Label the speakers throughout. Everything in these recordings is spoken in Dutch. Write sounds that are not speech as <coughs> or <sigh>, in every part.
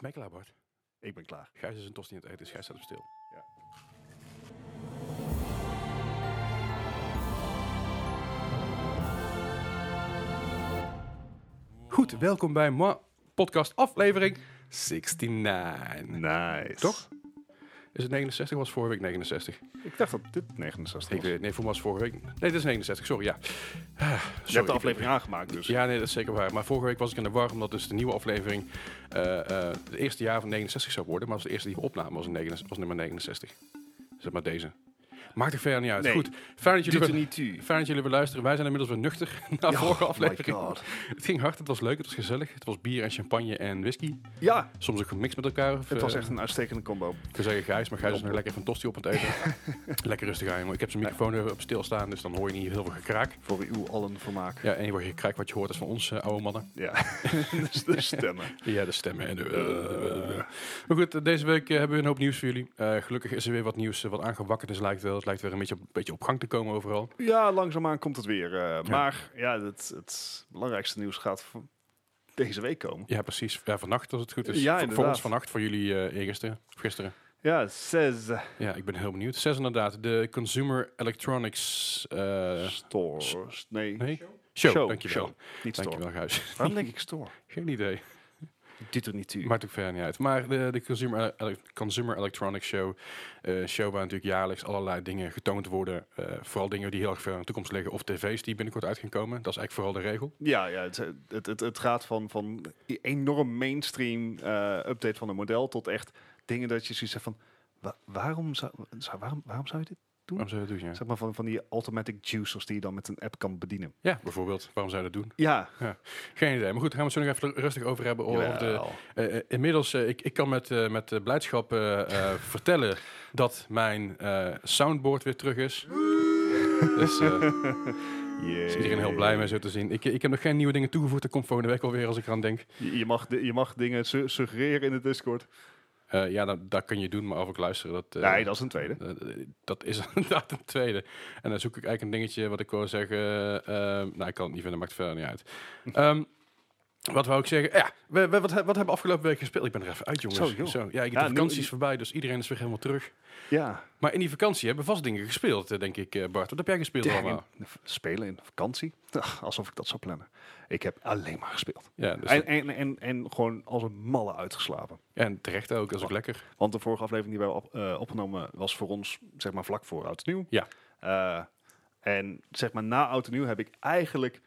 Speaker 1: Ben je klaar, Bart?
Speaker 2: Ik ben klaar.
Speaker 1: Gijs is een tosti aan het eten, dus Gijs staat op stil.
Speaker 2: Ja.
Speaker 1: Goed, welkom bij Moi Podcast aflevering 69.
Speaker 2: Nice.
Speaker 1: Toch? Is het 69 was vorige week 69?
Speaker 2: Ik dacht dat dit 69
Speaker 1: Ik
Speaker 2: was.
Speaker 1: weet, nee, voor mij was vorige week... Nee, dit is 69, sorry, ja. Ah,
Speaker 2: Je hebt
Speaker 1: sorry,
Speaker 2: de
Speaker 1: ik-
Speaker 2: aflevering aangemaakt, dus.
Speaker 1: Ja, nee, dat is zeker waar. Maar vorige week was ik in de war, omdat dus de nieuwe aflevering eh eh het eerste jaar van 69 zou worden. Maar als de eerste die we opnamen was, in 69 was nummer 69. Zeg maar deze. Maakt er verder niet uit.
Speaker 2: Nee.
Speaker 1: Goed, fijn dat, jullie
Speaker 2: Doet er
Speaker 1: weer-
Speaker 2: niet toe.
Speaker 1: fijn dat jullie weer luisteren. Wij zijn inmiddels weer nuchter <laughs> na de vorige
Speaker 2: my
Speaker 1: aflevering.
Speaker 2: God.
Speaker 1: Het ging hard, het was leuk, het was gezellig. Het was bier en champagne en whisky.
Speaker 2: Ja,
Speaker 1: Soms ook gemixt met elkaar. Of,
Speaker 2: het was
Speaker 1: eh,
Speaker 2: echt een uitstekende combo.
Speaker 1: ik zou zeggen Gijs, maar Gijs is nog lekker van tosti op aan het
Speaker 2: <laughs>
Speaker 1: eten. lekker rustig aan, jongen. Ik heb zijn microfoon even op stilstaan, dus dan hoor je niet heel veel gekraak.
Speaker 2: Voor uw allen vermaak.
Speaker 1: Ja, en je wordt gekraak wat je hoort is van ons eh, oude mannen.
Speaker 2: Ja, <laughs> dus de stemmen.
Speaker 1: Ja, de stemmen. En de, eh, eh. Maar goed, eh, deze week eh, hebben we een hoop nieuws voor jullie. Eh, gelukkig is er weer wat nieuws eh, wat aangewakkerd is, lijkt wel. Het lijkt weer een beetje op, beetje op gang te komen overal.
Speaker 2: Ja, langzaamaan komt het weer. eh, Maar ja, het, het belangrijkste nieuws gaat v- deze week komen.
Speaker 1: Ja, precies. Ja, vannacht, als het goed is.
Speaker 2: Ja,
Speaker 1: Voor- voor,
Speaker 2: inderdaad.
Speaker 1: ons vannacht, voor jullie eh eergisteren. Of gisteren.
Speaker 2: Ja, zes eh,
Speaker 1: Ja, ik ben heel benieuwd. Zes inderdaad, de Consumer Electronics eh,
Speaker 2: stores. Nee,
Speaker 1: nee? Show.
Speaker 2: Show,
Speaker 1: Dankjewel.
Speaker 2: show. niet store.
Speaker 1: Dankjewel, Gijs.
Speaker 2: Waarom denk ik store?
Speaker 1: <laughs> Geen idee.
Speaker 2: Dit doet niet u.
Speaker 1: Maakt ook verder niet uit. Maar de, de Consumer, Ele- Consumer Electronics Show, eh, show waar natuurlijk jaarlijks allerlei dingen getoond worden. Eh, vooral dingen die heel erg ver in de toekomst liggen. Of tv's die binnenkort uit gaan komen. Dat is eigenlijk vooral de regel.
Speaker 2: Ja, ja het, het, het, het gaat van, van enorm mainstream eh, update van een model tot echt dingen dat je zoiets hebt van, wa- waarom, zou, zou- waarom, waarom zou je dit?
Speaker 1: Waarom zou je dat doen? Ja,
Speaker 2: Zeg maar van, van die automatic juicers die je dan met een app kan bedienen.
Speaker 1: ja bijvoorbeeld. Waarom zou je dat doen?
Speaker 2: Ja,
Speaker 1: Geen idee. Maar goed, daar gaan we het zo nog even rustig over hebben. Over de,
Speaker 2: jawel.
Speaker 1: Eh, eh, inmiddels, eh, ik, ik kan met, eh, met eh, blijdschap eh, eh, <laughs> vertellen dat mijn eh, soundboard weer terug is. Dus eh, daar is iedereen heel blij mee zo te zien. Ik, ik heb nog geen nieuwe dingen toegevoegd. Dat komt volgende week alweer als ik eraan denk.
Speaker 2: Je, je mag, di- je mag dingen su- suggereren in de Discord.
Speaker 1: Eh, ja, dat, dat kun je doen, maar of ik luister, dat, eh,
Speaker 2: nee, dat is een tweede.
Speaker 1: eh, dat is <laughs> inderdaad een tweede. En dan zoek ik eigenlijk een dingetje wat ik wil zeggen. eh, nou, ik kan het niet vinden, maakt verder niet uit.
Speaker 2: <laughs>
Speaker 1: Ehm, wat wou ik zeggen? Ja, we, we- wat, he- wat hebben we afgelopen week gespeeld? Ik ben er even uit, jongens.
Speaker 2: Zo, joh.
Speaker 1: ja, ik,
Speaker 2: Ja,
Speaker 1: de
Speaker 2: nu-
Speaker 1: vakantie is voorbij, dus iedereen is weer helemaal terug.
Speaker 2: Ja,
Speaker 1: Maar in die vakantie hebben we vast dingen gespeeld, eh, denk ik, eh, Bart. Wat heb jij gespeeld allemaal?
Speaker 2: in- spelen in vakantie. Ach, alsof ik dat zou plannen. Ik heb alleen maar gespeeld.
Speaker 1: Ja, dus
Speaker 2: En, en, en, en gewoon als een malle uitgeslapen.
Speaker 1: en terecht ook, dat is ook lekker.
Speaker 2: Want de vorige aflevering die we op, eh, opgenomen was voor ons zeg maar vlak voor Oud en Nieuw.
Speaker 1: Ja.
Speaker 2: Eh, en zeg maar na Oud en Nieuw heb ik eigenlijk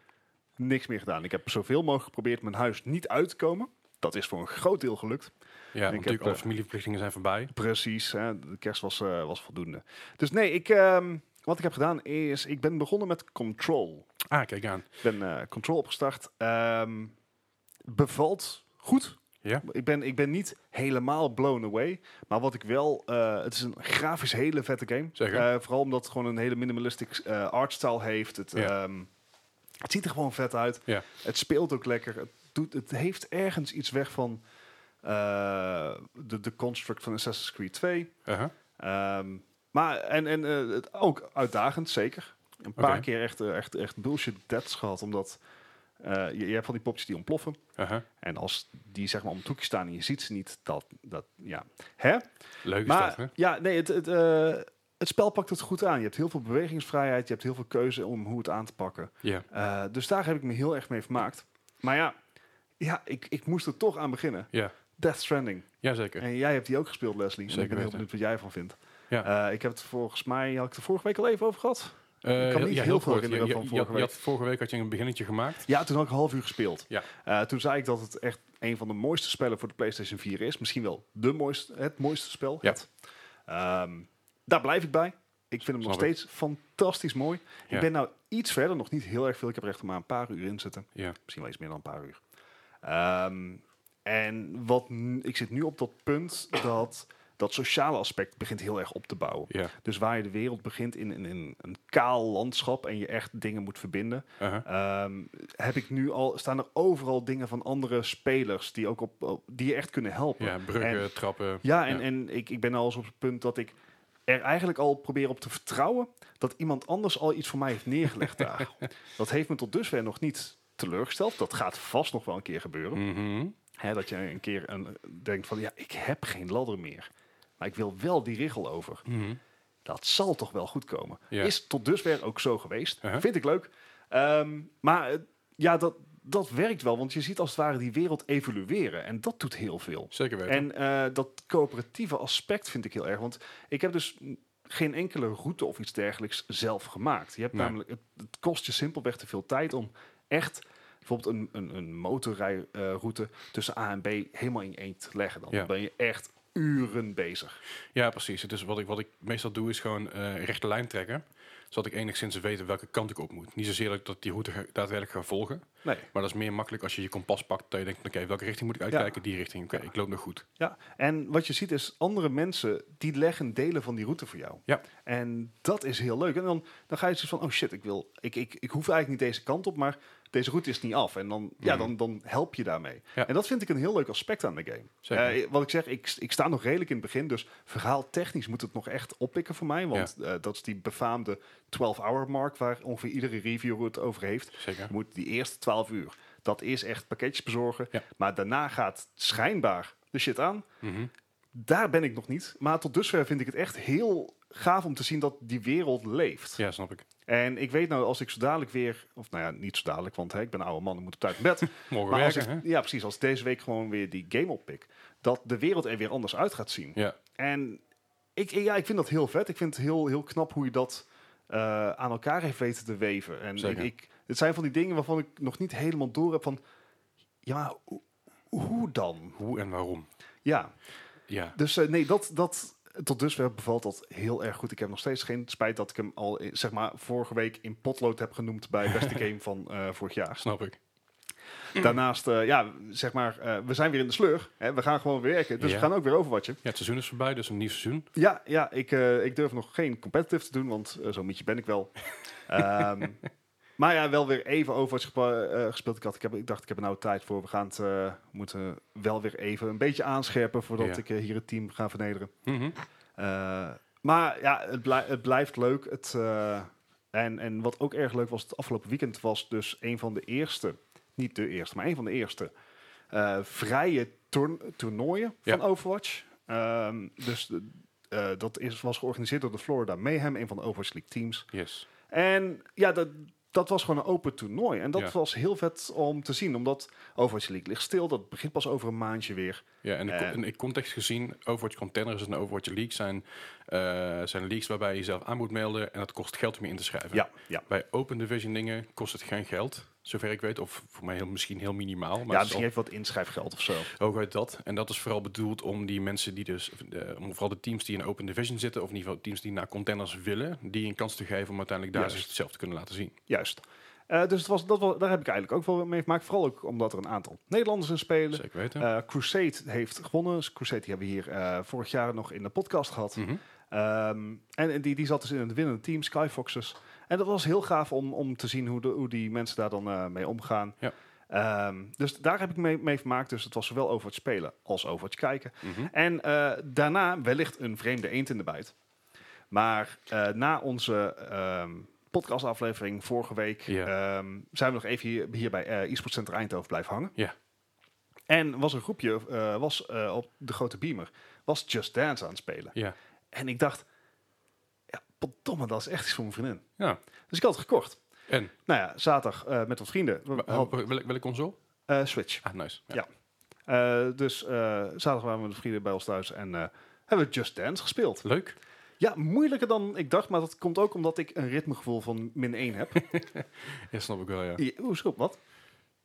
Speaker 2: niks meer gedaan. Ik heb zoveel mogelijk geprobeerd mijn huis niet uit te komen. Dat is voor een groot deel gelukt.
Speaker 1: Ja, want
Speaker 2: heb,
Speaker 1: natuurlijk, alle
Speaker 2: eh,
Speaker 1: familieverplichtingen zijn voorbij.
Speaker 2: Precies, hè, de kerst was, eh, was voldoende. Dus nee, ik, ehm, wat ik heb gedaan is, ik ben begonnen met Control.
Speaker 1: Ah, kijk aan.
Speaker 2: Ik ben eh, Control opgestart. Ehm, bevalt goed.
Speaker 1: Ja.
Speaker 2: Ik, ben, ik ben niet helemaal blown away. Maar wat ik wel... eh, het is een grafisch hele vette game.
Speaker 1: Zeker.
Speaker 2: Eh, vooral omdat het gewoon een hele minimalistic eh, artstyle heeft. Het,
Speaker 1: Ja.
Speaker 2: ehm, het ziet er gewoon vet uit.
Speaker 1: Ja.
Speaker 2: Het speelt ook lekker. Het, doet, het heeft ergens iets weg van... eh, de, de construct van Assassin's Creed 2.
Speaker 1: Uh-huh.
Speaker 2: Ehm, maar en, en eh, het ook uitdagend, zeker. Een paar
Speaker 1: Oké.
Speaker 2: keer echt, eh, echt, echt bullshit deaths gehad, omdat eh, je, je hebt van die popjes die ontploffen.
Speaker 1: uh-huh.
Speaker 2: En als die zeg maar om het hoekje staan en je ziet ze niet, dat, dat ja. Hè?
Speaker 1: Leuk is
Speaker 2: Maar
Speaker 1: dat, hè?
Speaker 2: ja, nee, het, het, eh, het spel pakt het goed aan. Je hebt heel veel bewegingsvrijheid, je hebt heel veel keuze om hoe het aan te pakken.
Speaker 1: Ja.
Speaker 2: Eh, dus daar heb ik me heel erg mee vermaakt. Maar ja, ja ik, ik moest er toch aan beginnen.
Speaker 1: Ja.
Speaker 2: Death Stranding.
Speaker 1: Jazeker.
Speaker 2: En jij hebt die ook gespeeld, Leslie. en
Speaker 1: Zeker
Speaker 2: ik ben
Speaker 1: weten.
Speaker 2: heel benieuwd wat jij ervan vindt.
Speaker 1: Ja.
Speaker 2: Eh, ik heb het volgens mij, had ik het er vorige week al even over gehad?
Speaker 1: Eh,
Speaker 2: Ik kan me niet heel veel
Speaker 1: kort.
Speaker 2: herinneren
Speaker 1: Je- je-
Speaker 2: van
Speaker 1: je
Speaker 2: vorige
Speaker 1: had- je had- vorige week had je een beginnetje gemaakt.
Speaker 2: Ja, toen had ik een half uur gespeeld.
Speaker 1: Ja.
Speaker 2: Eh, toen zei ik dat het echt een van de mooiste spellen voor de PlayStation 4 is. Misschien wel de mooiste, het mooiste spel.
Speaker 1: Ja.
Speaker 2: Het. Ehm, daar blijf ik bij. Ik vind hem nog
Speaker 1: Snap ik.
Speaker 2: steeds fantastisch mooi.
Speaker 1: Ja.
Speaker 2: Ik ben nou iets verder, nog niet heel erg veel. Ik heb er echt maar een paar uur in zitten.
Speaker 1: Ja.
Speaker 2: Misschien wel iets meer dan een paar uur. Ehm, en wat n- ik zit nu op dat punt dat dat sociale aspect begint heel erg op te bouwen.
Speaker 1: Ja.
Speaker 2: Dus waar je de wereld begint in, in, in een kaal landschap en je echt dingen moet verbinden,
Speaker 1: Uh-huh.
Speaker 2: Ehm, heb ik nu al, staan er overal dingen van andere spelers die, ook op, op- die je echt kunnen helpen.
Speaker 1: Ja, bruggen,
Speaker 2: En-
Speaker 1: trappen.
Speaker 2: ja, en, en ik, ik ben al eens op het punt dat ik er eigenlijk al probeer op te vertrouwen dat iemand anders al iets voor mij heeft neergelegd daar. Dat heeft me tot dusver nog niet teleurgesteld. Dat gaat vast nog wel een keer gebeuren.
Speaker 1: Mhm.
Speaker 2: Hè, dat je een keer een, denkt van, ja, ik heb geen ladder meer. Maar ik wil wel die rigel over.
Speaker 1: Mhm.
Speaker 2: Dat zal toch wel goed komen.
Speaker 1: Ja.
Speaker 2: Is tot dusver ook zo geweest.
Speaker 1: Uh-huh.
Speaker 2: Vind ik leuk. Ehm, maar eh, ja, dat, dat werkt wel. Want je ziet als het ware die wereld evolueren. En dat doet heel veel.
Speaker 1: Zeker weten.
Speaker 2: En eh, dat coöperatieve aspect vind ik heel erg. Want ik heb dus mm, geen enkele route of iets dergelijks zelf gemaakt. Je hebt
Speaker 1: Nee.
Speaker 2: namelijk, het, het kost je simpelweg te veel tijd om echt bijvoorbeeld een, een, een motorrijroute tussen A en B helemaal in één te leggen. Dan
Speaker 1: Ja.
Speaker 2: ben je echt uren bezig.
Speaker 1: Ja, precies. Dus wat ik, wat ik meestal doe is gewoon eh rechte lijn trekken. Zodat ik enigszins weet welke kant ik op moet. Niet zozeer dat ik dat die route ga- daadwerkelijk ga volgen.
Speaker 2: Nee.
Speaker 1: Maar dat is meer makkelijk als je je kompas pakt. Dat je denkt, oké, welke richting moet ik uitkijken? Die richting. Oké, ik loop nog goed.
Speaker 2: Ja, en wat je ziet is, andere mensen die leggen delen van die route voor jou.
Speaker 1: Ja.
Speaker 2: En dat is heel leuk. En dan, dan ga je dus van, oh shit, ik, wil, ik, ik, ik hoef eigenlijk niet deze kant op, maar deze route is niet af. En dan, ja,
Speaker 1: Mhm.
Speaker 2: dan, dan help je daarmee.
Speaker 1: Ja.
Speaker 2: En dat vind ik een heel leuk aspect aan de game.
Speaker 1: Zeker.
Speaker 2: Eh, wat ik zeg, ik, ik sta nog redelijk in het begin, dus verhaaltechnisch moet het nog echt oppikken voor mij. Want eh, dat is die befaamde 12-hour mark waar ongeveer iedere reviewer het over heeft.
Speaker 1: Zeker.
Speaker 2: Je moet die eerste 12 uur, dat is echt pakketjes bezorgen.
Speaker 1: Ja.
Speaker 2: Maar daarna gaat schijnbaar de shit aan.
Speaker 1: Mhm.
Speaker 2: Daar ben ik nog niet. Maar tot dusver vind ik het echt heel gaaf om te zien dat die wereld leeft.
Speaker 1: Ja, snap ik.
Speaker 2: En ik weet nou, als ik zo dadelijk weer... Of nou ja, niet zo dadelijk, want hè, ik ben een oude man en moet op
Speaker 1: <laughs>
Speaker 2: tijd naar bed.
Speaker 1: Morgen
Speaker 2: maar als
Speaker 1: werken,
Speaker 2: ik, ja, precies. Als ik deze week gewoon weer die game oppik... dat de wereld er weer anders uit gaat zien.
Speaker 1: hè? Ja.
Speaker 2: En ik, ja, ik vind dat heel vet. Ik vind het heel, heel knap hoe je dat eh, aan elkaar heeft weten te weven. En ik,
Speaker 1: Zeker.
Speaker 2: ik- het zijn van die dingen waarvan ik nog niet helemaal door heb van... Ja, maar hoe, hoe dan?
Speaker 1: Hoe en waarom?
Speaker 2: Ja,
Speaker 1: Ja.
Speaker 2: dus eh, nee, dat, dat tot dusver bevalt dat heel erg goed. Ik heb nog steeds geen spijt dat ik hem al eh, zeg maar, vorige week in potlood heb genoemd bij beste game van eh, vorig
Speaker 1: <clears throat>
Speaker 2: jaar.
Speaker 1: Snap ik.
Speaker 2: Daarnaast, eh, ja, zeg maar, eh, we zijn weer in de sleur. Hè? We gaan gewoon weer werken, dus
Speaker 1: Ja.
Speaker 2: we gaan ook weer overwatchen.
Speaker 1: Ja, het seizoen is voorbij, dus een nieuw seizoen.
Speaker 2: Ja, ja ik, eh, ik durf nog geen competitive te doen, want eh, zo'n mietje ben ik
Speaker 1: <laughs>
Speaker 2: wel. Ehm, maar ja, wel weer even Overwatch gepa- eh, gespeeld. Ik, had, ik, heb, ik dacht, ik heb er nou tijd voor. We gaan het eh, moeten wel weer even een beetje aanscherpen voordat
Speaker 1: Ja.
Speaker 2: ik eh, hier het team ga vernederen.
Speaker 1: Mhm.
Speaker 2: Eh, maar ja, het, blij- het blijft leuk. Het, eh, en, en wat ook erg leuk was, het afgelopen weekend was dus een van de eerste, niet de eerste, maar een van de eerste eh, vrije toern- toernooien
Speaker 1: Ja.
Speaker 2: van Overwatch. Ehm, dus de- eh, dat is, was georganiseerd door de Florida Mayhem, een van de Overwatch League teams.
Speaker 1: Yes.
Speaker 2: En ja, dat, dat was gewoon een open toernooi. En dat
Speaker 1: Ja.
Speaker 2: was heel vet om te zien, omdat Overwatch League ligt stil. Dat begint pas over een maandje weer.
Speaker 1: Ja, en
Speaker 2: Eh.
Speaker 1: in, in context gezien, Overwatch Contenders en Overwatch League zijn, eh, zijn leaks waarbij je zelf aan moet melden en dat kost geld om je in te schrijven.
Speaker 2: Ja, ja.
Speaker 1: Bij Open Division dingen kost het geen geld, zover ik weet. Of voor mij heel, misschien heel minimaal. Maar
Speaker 2: ja,
Speaker 1: het is
Speaker 2: misschien even wat inschrijfgeld of zo.
Speaker 1: al hooguit dat. En dat is vooral bedoeld om die mensen die dus... eh, om vooral de teams die in Open Division zitten... of in ieder geval teams die naar contenders willen... die een kans te geven om uiteindelijk daar
Speaker 2: Juist.
Speaker 1: zichzelf te kunnen laten zien.
Speaker 2: Juist. Eh, dus het was, dat was, daar heb ik eigenlijk ook wel mee gemaakt. Vooral ook omdat er een aantal Nederlanders in spelen.
Speaker 1: Zeker weten.
Speaker 2: Eh, Crusade heeft gewonnen. Dus Crusade die hebben we hier eh, vorig jaar nog in de podcast gehad.
Speaker 1: Mhm.
Speaker 2: Ehm, en en die, die zat dus in het winnende team, Skyfoxes. En dat was heel gaaf om, om te zien hoe, de, hoe die mensen daar dan eh, mee omgaan.
Speaker 1: Ja.
Speaker 2: Ehm, dus daar heb ik mee, mee gemaakt. Dus het was zowel over het spelen als over het kijken.
Speaker 1: Mhm.
Speaker 2: En eh, daarna wellicht een vreemde eend in de bijt. Maar eh, na onze ehm, podcastaflevering vorige week...
Speaker 1: Ja.
Speaker 2: ehm, zijn we nog even hier, hier bij eh eSports Center Eindhoven blijven hangen.
Speaker 1: Ja.
Speaker 2: En was een groepje, eh, was eh, op de grote beamer, was Just Dance aan het spelen.
Speaker 1: Ja.
Speaker 2: En ik dacht, ja, potdomme, dat is echt iets voor mijn vriendin.
Speaker 1: ja.
Speaker 2: Dus ik had het gekocht.
Speaker 1: En?
Speaker 2: Nou ja, zaterdag eh, met wat vrienden. We
Speaker 1: Wa- eh,
Speaker 2: hadden-
Speaker 1: welke, welke console?
Speaker 2: eh, Switch.
Speaker 1: Ah, nice.
Speaker 2: Ja. Eh, dus eh, zaterdag waren we met vrienden bij ons thuis en eh, hebben we Just Dance gespeeld.
Speaker 1: Leuk.
Speaker 2: Ja, moeilijker dan ik dacht, maar dat komt ook omdat ik een ritmegevoel van min 1
Speaker 1: <laughs>
Speaker 2: heb.
Speaker 1: Ja, snap ik wel, ja.
Speaker 2: Ja, Oeh, schop, wat?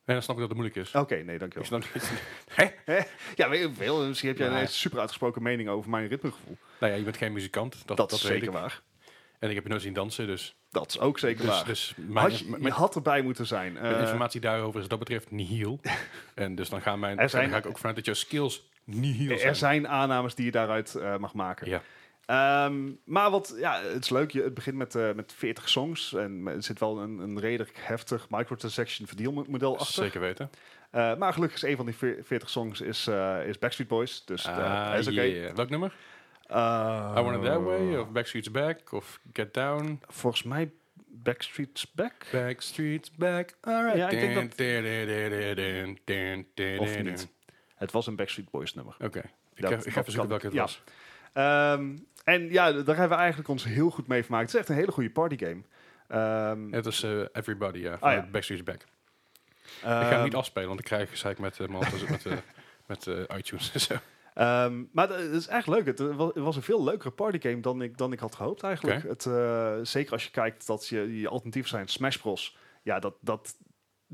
Speaker 1: En dan snap ik dat het moeilijk is.
Speaker 2: Oké, nee, dankjewel.
Speaker 1: Ik snap Nou niet. Hè?
Speaker 2: <laughs> Ja, weet ik veel, misschien heb jij
Speaker 1: Nee.
Speaker 2: een super uitgesproken mening over mijn ritmegevoel.
Speaker 1: Nou ja, je bent geen muzikant. Dat,
Speaker 2: Dat,
Speaker 1: dat,
Speaker 2: is
Speaker 1: weet
Speaker 2: zeker
Speaker 1: ik.
Speaker 2: waar.
Speaker 1: En ik heb je nooit zien dansen, dus...
Speaker 2: Dat is ook zeker
Speaker 1: Dus,
Speaker 2: waar.
Speaker 1: dus mijn,
Speaker 2: had je,
Speaker 1: mijn-
Speaker 2: je had erbij moeten zijn.
Speaker 1: mijn
Speaker 2: Eh,
Speaker 1: informatie daarover is wat dat betreft
Speaker 2: <laughs>
Speaker 1: nihil. en dus dan, gaan mijn,
Speaker 2: Er zijn-
Speaker 1: dan ga ik ook vanuit dat je skills nihil zijn.
Speaker 2: er zijn aannames die je daaruit eh, mag maken.
Speaker 1: Ja,
Speaker 2: Ehm, maar wat, ja, het is leuk. Je, het begint met, eh, met 40 songs. En er zit wel een, een redelijk heftig microtransaction verdeelmodel achter.
Speaker 1: zeker weten.
Speaker 2: Eh, maar gelukkig is een van die veer- 40 songs is, eh, is Backstreet Boys. Dus eh,
Speaker 1: Ah,
Speaker 2: dat is oké. Oh.
Speaker 1: yeah. Welk nummer? I Want It That Way, of Backstreet's Back, of Get Down.
Speaker 2: Eh, Volgens mij Backstreet's Back.
Speaker 1: Backstreet's Back, alright.
Speaker 2: Ja, ik denk dat-
Speaker 1: Dun, dun, dun, dun, dun, dun, dun,
Speaker 2: Of
Speaker 1: dun.
Speaker 2: niet. Het was een Backstreet Boys nummer.
Speaker 1: Oké. Ik,
Speaker 2: Dat-
Speaker 1: ga- ik ga
Speaker 2: dat
Speaker 1: even zoeken
Speaker 2: kan.
Speaker 1: welke het
Speaker 2: Ja.
Speaker 1: was.
Speaker 2: Ehm, en ja, daar hebben we eigenlijk ons heel goed mee vermaakt. Het is echt een hele goede partygame. Ehm,
Speaker 1: Het is eh, Everybody, ja.
Speaker 2: Ah,
Speaker 1: van
Speaker 2: ja.
Speaker 1: Backstreet's Back. ik ga hem
Speaker 2: ehm,
Speaker 1: niet afspelen, want ik krijg gezeik met, eh, Maltes- met, eh, <laughs> met eh, iTunes <laughs> en zo.
Speaker 2: Ehm, maar het is echt leuk. Het eh, wa- het was een veel leukere partygame dan ik, dan ik had gehoopt eigenlijk.
Speaker 1: Oké.
Speaker 2: Het, eh, zeker als je kijkt dat je, je alternatief zijn Smash Bros. Ja, dat, dat,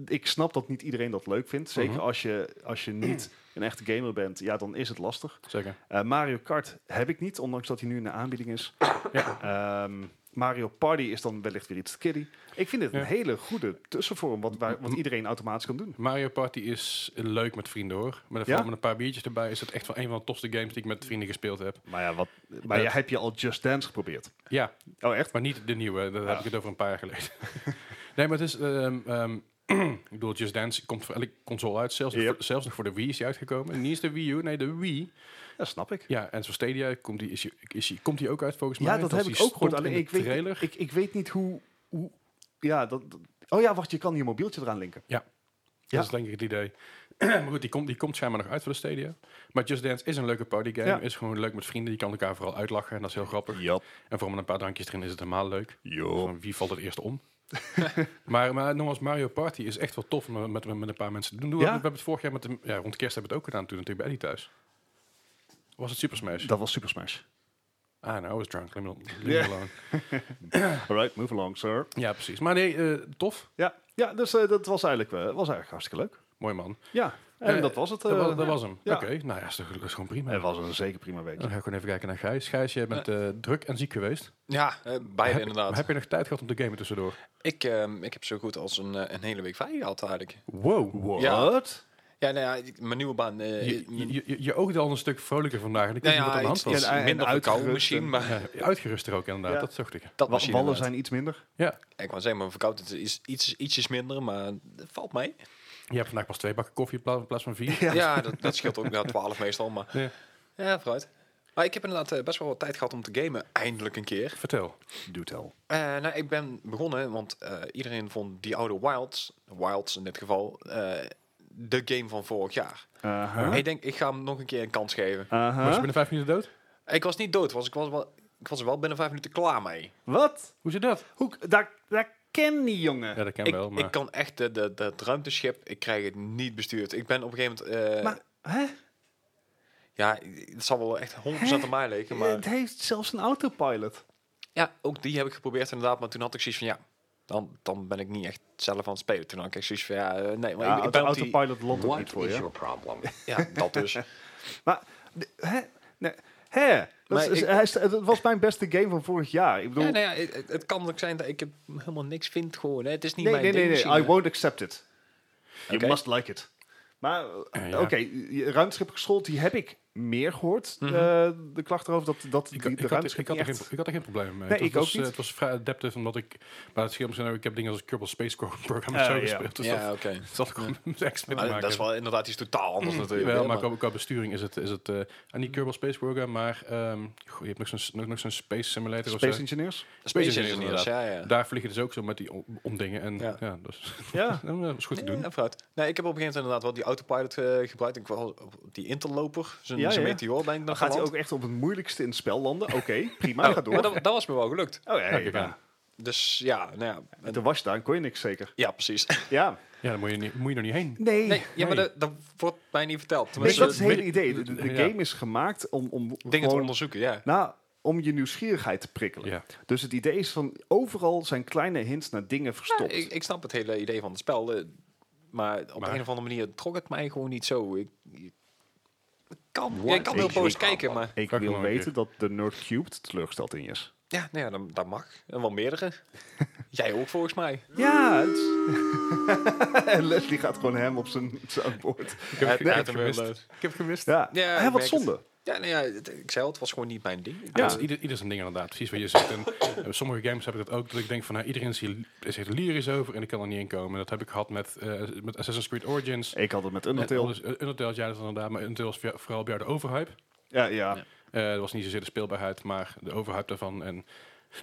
Speaker 2: ik snap dat niet iedereen dat leuk vindt. Zeker
Speaker 1: Mhm.
Speaker 2: als, je, als
Speaker 1: <clears throat>
Speaker 2: je niet een echte gamer bent, ja, dan is het lastig.
Speaker 1: Zeker.
Speaker 2: Eh, Mario Kart heb ik niet, ondanks dat hij nu in de aanbieding is.
Speaker 1: Ja.
Speaker 2: Ehm, Mario Party is dan wellicht weer iets te kiddie. Ik vind het
Speaker 1: Ja. Mm.
Speaker 2: een hele goede tussenvorm, wat, waar, wat iedereen automatisch kan doen.
Speaker 1: Mario Party is leuk met vrienden hoor. Maar
Speaker 2: Ja?
Speaker 1: vooral met een paar biertjes erbij is het echt wel een van de tofste games die ik met vrienden gespeeld heb.
Speaker 2: Maar ja, wat, maar
Speaker 1: Het-
Speaker 2: ja, heb je al Just Dance geprobeerd?
Speaker 1: Ja,
Speaker 2: Oh, echt?
Speaker 1: maar niet de nieuwe. Daar heb ik het over een paar jaar geleden. <laughs> nee, maar het is... ehm, ehm, <clears throat> ik bedoel, Just Dance komt voor elke console uit. Zelfs,
Speaker 2: Yep.
Speaker 1: voor- zelfs nog voor de Wii is die uitgekomen. Niet eens de Wii U, nee de Wii.
Speaker 2: Ja, snap ik.
Speaker 1: Ja, en zoals Stadia komt die, is, die- is die, komt die ook uit volgens mij.
Speaker 2: Ja, dat heb
Speaker 1: die
Speaker 2: ik ook gehoord.
Speaker 1: stond
Speaker 2: Alleen
Speaker 1: in
Speaker 2: ik
Speaker 1: de
Speaker 2: weet,
Speaker 1: trailer.
Speaker 2: ik, ik weet niet hoe... hoe ja, dat, dat- oh ja, wacht, je kan je mobieltje eraan linken. Ja.
Speaker 1: Dat is denk ik het idee. <clears throat> maar goed, die komt, die komt schijnbaar nog uit voor de Stadia. Maar Just Dance is een leuke partygame.
Speaker 2: Ja.
Speaker 1: Is gewoon leuk met vrienden. Je kan elkaar vooral uitlachen. En dat is heel grappig.
Speaker 2: Jap,
Speaker 1: En voor met een paar drankjes erin is het helemaal leuk.
Speaker 2: jop.
Speaker 1: Van wie valt het eerst om? <laughs> maar, maar nogmaals, Mario Party is echt wel tof om met, met, met een paar mensen te doen. We,
Speaker 2: Ja?
Speaker 1: hebben het vorig jaar met de, ja, rond kerst hebben we het ook gedaan toen natuurlijk bij Eddie thuis. Was het Super Smash?
Speaker 2: Dat was Super Smash.
Speaker 1: Ah, nou, I was drunk. Leave me, leave me
Speaker 2: Ja.
Speaker 1: alone.
Speaker 2: Alright, move along, sir.
Speaker 1: Ja, precies. Maar nee, eh, tof.
Speaker 2: Ja, ja dus eh, dat was eigenlijk, eh, was eigenlijk hartstikke leuk.
Speaker 1: Mooi man.
Speaker 2: Ja, en
Speaker 1: Eh,
Speaker 2: dat was het.
Speaker 1: dat,
Speaker 2: eh,
Speaker 1: was, dat was hem.
Speaker 2: Ja.
Speaker 1: Oké, nou ja, is toch- dat is gewoon prima.
Speaker 2: Het was een zeker prima week.
Speaker 1: Dan ga ik gewoon even kijken naar Gijs. Gijs, jij bent eh, druk en ziek geweest.
Speaker 3: Ja, eh, beide
Speaker 1: heb,
Speaker 3: inderdaad.
Speaker 1: Heb je nog tijd gehad om te gamen tussendoor?
Speaker 3: Ik, ehm, ik heb zo goed als een, eh, een hele week vrij gehad eigenlijk.
Speaker 1: Wow.
Speaker 3: Ja.
Speaker 2: Wat?
Speaker 3: Ja, nou ja, ik- mijn nieuwe baan. eh,
Speaker 1: Je,
Speaker 3: mijn-
Speaker 1: je, je, je oogt al een stuk vrolijker vandaag. En ik
Speaker 3: nou
Speaker 1: weet niet wat
Speaker 3: ja,
Speaker 1: er aan de
Speaker 3: iets,
Speaker 1: hand was.
Speaker 3: iets
Speaker 2: Ja, en
Speaker 3: minder verkouden
Speaker 2: uitgerust
Speaker 3: misschien,
Speaker 2: en-
Speaker 3: maar
Speaker 1: Ja, uitgeruster ook inderdaad,
Speaker 2: Ja.
Speaker 1: dat zocht ik.
Speaker 3: dat
Speaker 2: Wa-
Speaker 3: misschien
Speaker 2: wallen
Speaker 3: inderdaad.
Speaker 2: zijn iets minder.
Speaker 1: Ja,
Speaker 3: Ik wou zeggen, mijn verkoudheid is iets, ietsjes minder, maar dat valt mee.
Speaker 1: je hebt vandaag pas twee bakken koffie in pla- in plaats van vier.
Speaker 3: <laughs> Ja, dat, dat scheelt ook naar 12 meestal, maar
Speaker 1: Ja.
Speaker 3: ja, vooruit. Maar ik heb inderdaad eh, best wel wat tijd gehad om te gamen, eindelijk een keer.
Speaker 1: Vertel.
Speaker 2: Doe tel.
Speaker 3: Eh, nou, ik ben begonnen, want eh, iedereen vond die oude Wilds, Wilds in dit geval, eh, de game van vorig jaar.
Speaker 2: Aha.
Speaker 3: Ik denk, ik ga hem nog een keer een kans geven.
Speaker 2: Aha.
Speaker 1: Was je binnen vijf minuten dood?
Speaker 3: Ik was niet dood, was, ik, was wel, ik was er wel binnen vijf minuten klaar mee.
Speaker 2: Wat?
Speaker 1: Hoe zit dat?
Speaker 2: Hoe, k- daar, daar ken die jongen.
Speaker 1: Ja, dat ken
Speaker 3: Ik,
Speaker 1: wel, maar...
Speaker 3: ik kan echt eh, de, de, het ruimteschip, ik krijg het niet bestuurd. Ik ben op een gegeven moment... eh,
Speaker 2: Maar, hè?
Speaker 3: Ja, het zal wel echt 100% aan mij leken, maar...
Speaker 2: Het heeft zelfs een autopilot.
Speaker 3: Ja, ook die heb ik geprobeerd inderdaad, maar toen had ik zoiets van ja, dan, dan ben ik niet echt zelf aan het spelen. Toen had ik zoiets van ja, eh, nee, maar
Speaker 2: Ja,
Speaker 3: ik, ik
Speaker 2: auto-
Speaker 3: ben op die-
Speaker 2: autopilot landt ook
Speaker 4: What
Speaker 2: niet
Speaker 4: is
Speaker 2: voor je.
Speaker 4: your problem?
Speaker 3: <laughs> Ja, dat
Speaker 2: <laughs>
Speaker 3: dus.
Speaker 2: Maar, d- hè? Nee, hè? Dat
Speaker 3: Maar
Speaker 2: is- is-
Speaker 3: ik-
Speaker 2: hij is- het was mijn beste game van vorig jaar. Ik bedoel,
Speaker 3: ja, nou
Speaker 2: nee,
Speaker 3: ja, het, het kan ook zijn dat ik hem helemaal niks vind gewoon. Hè. Het is niet
Speaker 2: nee,
Speaker 3: mijn
Speaker 2: nee, nee,
Speaker 3: ding misschien,
Speaker 2: I
Speaker 3: hè.
Speaker 2: won't accept it.
Speaker 3: Oké.
Speaker 2: You must like it. Maar, eh,
Speaker 1: ja.
Speaker 2: oké, je ruimteschip geschoold, die heb ik meer gehoord. eh, de klacht erover dat, dat die,
Speaker 1: Ik,
Speaker 2: de
Speaker 1: ik, had,
Speaker 2: ruimteschip
Speaker 1: ik, had er
Speaker 2: niet
Speaker 1: geen,
Speaker 2: echt-
Speaker 1: ik had er geen probleem mee.
Speaker 2: Nee,
Speaker 1: het
Speaker 2: ik
Speaker 1: was,
Speaker 2: ook
Speaker 1: eh,
Speaker 2: niet.
Speaker 1: het was vrij adaptive, omdat ik... Maar het scheelt me, ik heb dingen als Kerbal Space Program en zo
Speaker 2: Eh, ja.
Speaker 1: gespeeld. Dus
Speaker 3: Ah, Ja,
Speaker 1: dat
Speaker 3: oké.
Speaker 1: zat ik gewoon <laughs> niks mee te
Speaker 3: Maar
Speaker 1: maken.
Speaker 3: dat is wel inderdaad iets totaal
Speaker 2: <laughs>
Speaker 3: anders natuurlijk.
Speaker 1: Jawel,
Speaker 3: hè,
Speaker 1: maar
Speaker 3: maar-
Speaker 1: qua, qua besturing is het... Is het eh, en niet Kerbal Space Program, maar... ehm, goh, je hebt nog zo'n, nog, nog zo'n Space Simulator of
Speaker 2: Space
Speaker 1: zo. <laughs>
Speaker 2: Engineers?
Speaker 3: Space Engineers, ja, ja.
Speaker 1: Daar vlieg je dus ook zo met die om, om dingen. En ja,
Speaker 3: Ja.
Speaker 1: dus, <laughs>
Speaker 2: Ja.
Speaker 1: dat is goed te doen.
Speaker 3: Ja, vooruit. Nee, ik heb op een gegeven moment inderdaad wel die autopilot eh, gebruikt. Ik was op die interloper,
Speaker 2: Ja,
Speaker 3: zijn ja,
Speaker 2: ja.
Speaker 3: meteor ben ik
Speaker 2: Gaat
Speaker 3: nog
Speaker 2: hij
Speaker 3: geland.
Speaker 2: ook echt op het moeilijkste in het spel landen? Oké, <laughs> prima,
Speaker 3: Oh,
Speaker 2: ga door.
Speaker 3: maar dat, dat was me wel gelukt.
Speaker 2: oh, ja,
Speaker 1: kijk aan.
Speaker 2: ja.
Speaker 3: Dus ja, nou ja.
Speaker 2: Toen was je daar en kon je niks zeker.
Speaker 3: Ja, precies.
Speaker 2: Ja.
Speaker 1: Ja, dan moet je, niet, moet je nog niet heen.
Speaker 2: Nee.
Speaker 3: <laughs> Nee, ja, maar
Speaker 1: Nee.
Speaker 3: dat, dat wordt mij niet verteld.
Speaker 2: Nee,
Speaker 3: Tenminste, eh,
Speaker 2: dat is het hele
Speaker 1: Mid-
Speaker 2: idee. De, de- de
Speaker 1: Ja.
Speaker 2: game is gemaakt om, om
Speaker 3: dingen te
Speaker 2: gewoon-
Speaker 3: onderzoeken, ja.
Speaker 2: Nou, om je nieuwsgierigheid te prikkelen.
Speaker 1: Ja.
Speaker 2: Dus het idee is van overal zijn kleine hints naar dingen
Speaker 3: Ja,
Speaker 2: verstopt.
Speaker 3: ik, ik snap het hele idee van het spel. eh, maar op
Speaker 1: Maar-
Speaker 3: een of andere manier trok het mij gewoon niet zo. Ik, ik kan, ja,
Speaker 4: What
Speaker 3: ik kan
Speaker 4: is
Speaker 3: heel boos
Speaker 4: your
Speaker 3: kijken,
Speaker 4: problem?
Speaker 3: maar
Speaker 2: Ik
Speaker 1: Vraag
Speaker 2: wil
Speaker 1: me maar een
Speaker 2: weten dat de Nerd Cubed teleurgesteld in je is.
Speaker 3: ja, nou ja dan, dat mag. En wel <laughs> meerdere. Jij ook volgens mij.
Speaker 2: Ja, het is- <laughs> En Leslie gaat gewoon hem op zijn soundboard.
Speaker 1: Ik heb,
Speaker 3: Uit-
Speaker 1: ik heb
Speaker 3: uit hem
Speaker 1: gemist.
Speaker 3: wel, eh.
Speaker 1: Ik heb gemist.
Speaker 2: Ja,
Speaker 3: Ja,
Speaker 2: Hè,
Speaker 3: ik merk
Speaker 2: wat
Speaker 3: het.
Speaker 2: zonde.
Speaker 3: Ja, nou ja, het- ik zei al, het was gewoon niet mijn ding.
Speaker 1: Ja.
Speaker 2: Ja.
Speaker 1: het is ieder, ieder zijn ding inderdaad, precies wat je zegt. En eh, sommige games heb ik dat ook, dat ik denk van nou, iedereen is hier, is hier lyrisch over en ik kan er niet in komen. Dat heb ik gehad met, eh, met Assassin's Creed Origins.
Speaker 2: Ik had het met
Speaker 1: Eh,
Speaker 2: Undertale.
Speaker 1: alles- eh, Undertale, ja, dat is inderdaad, maar Undertale was via- vooral bij jou de overhype.
Speaker 2: Ja, ja.
Speaker 1: Eh dat was niet zozeer de speelbaarheid, maar de overhype daarvan. En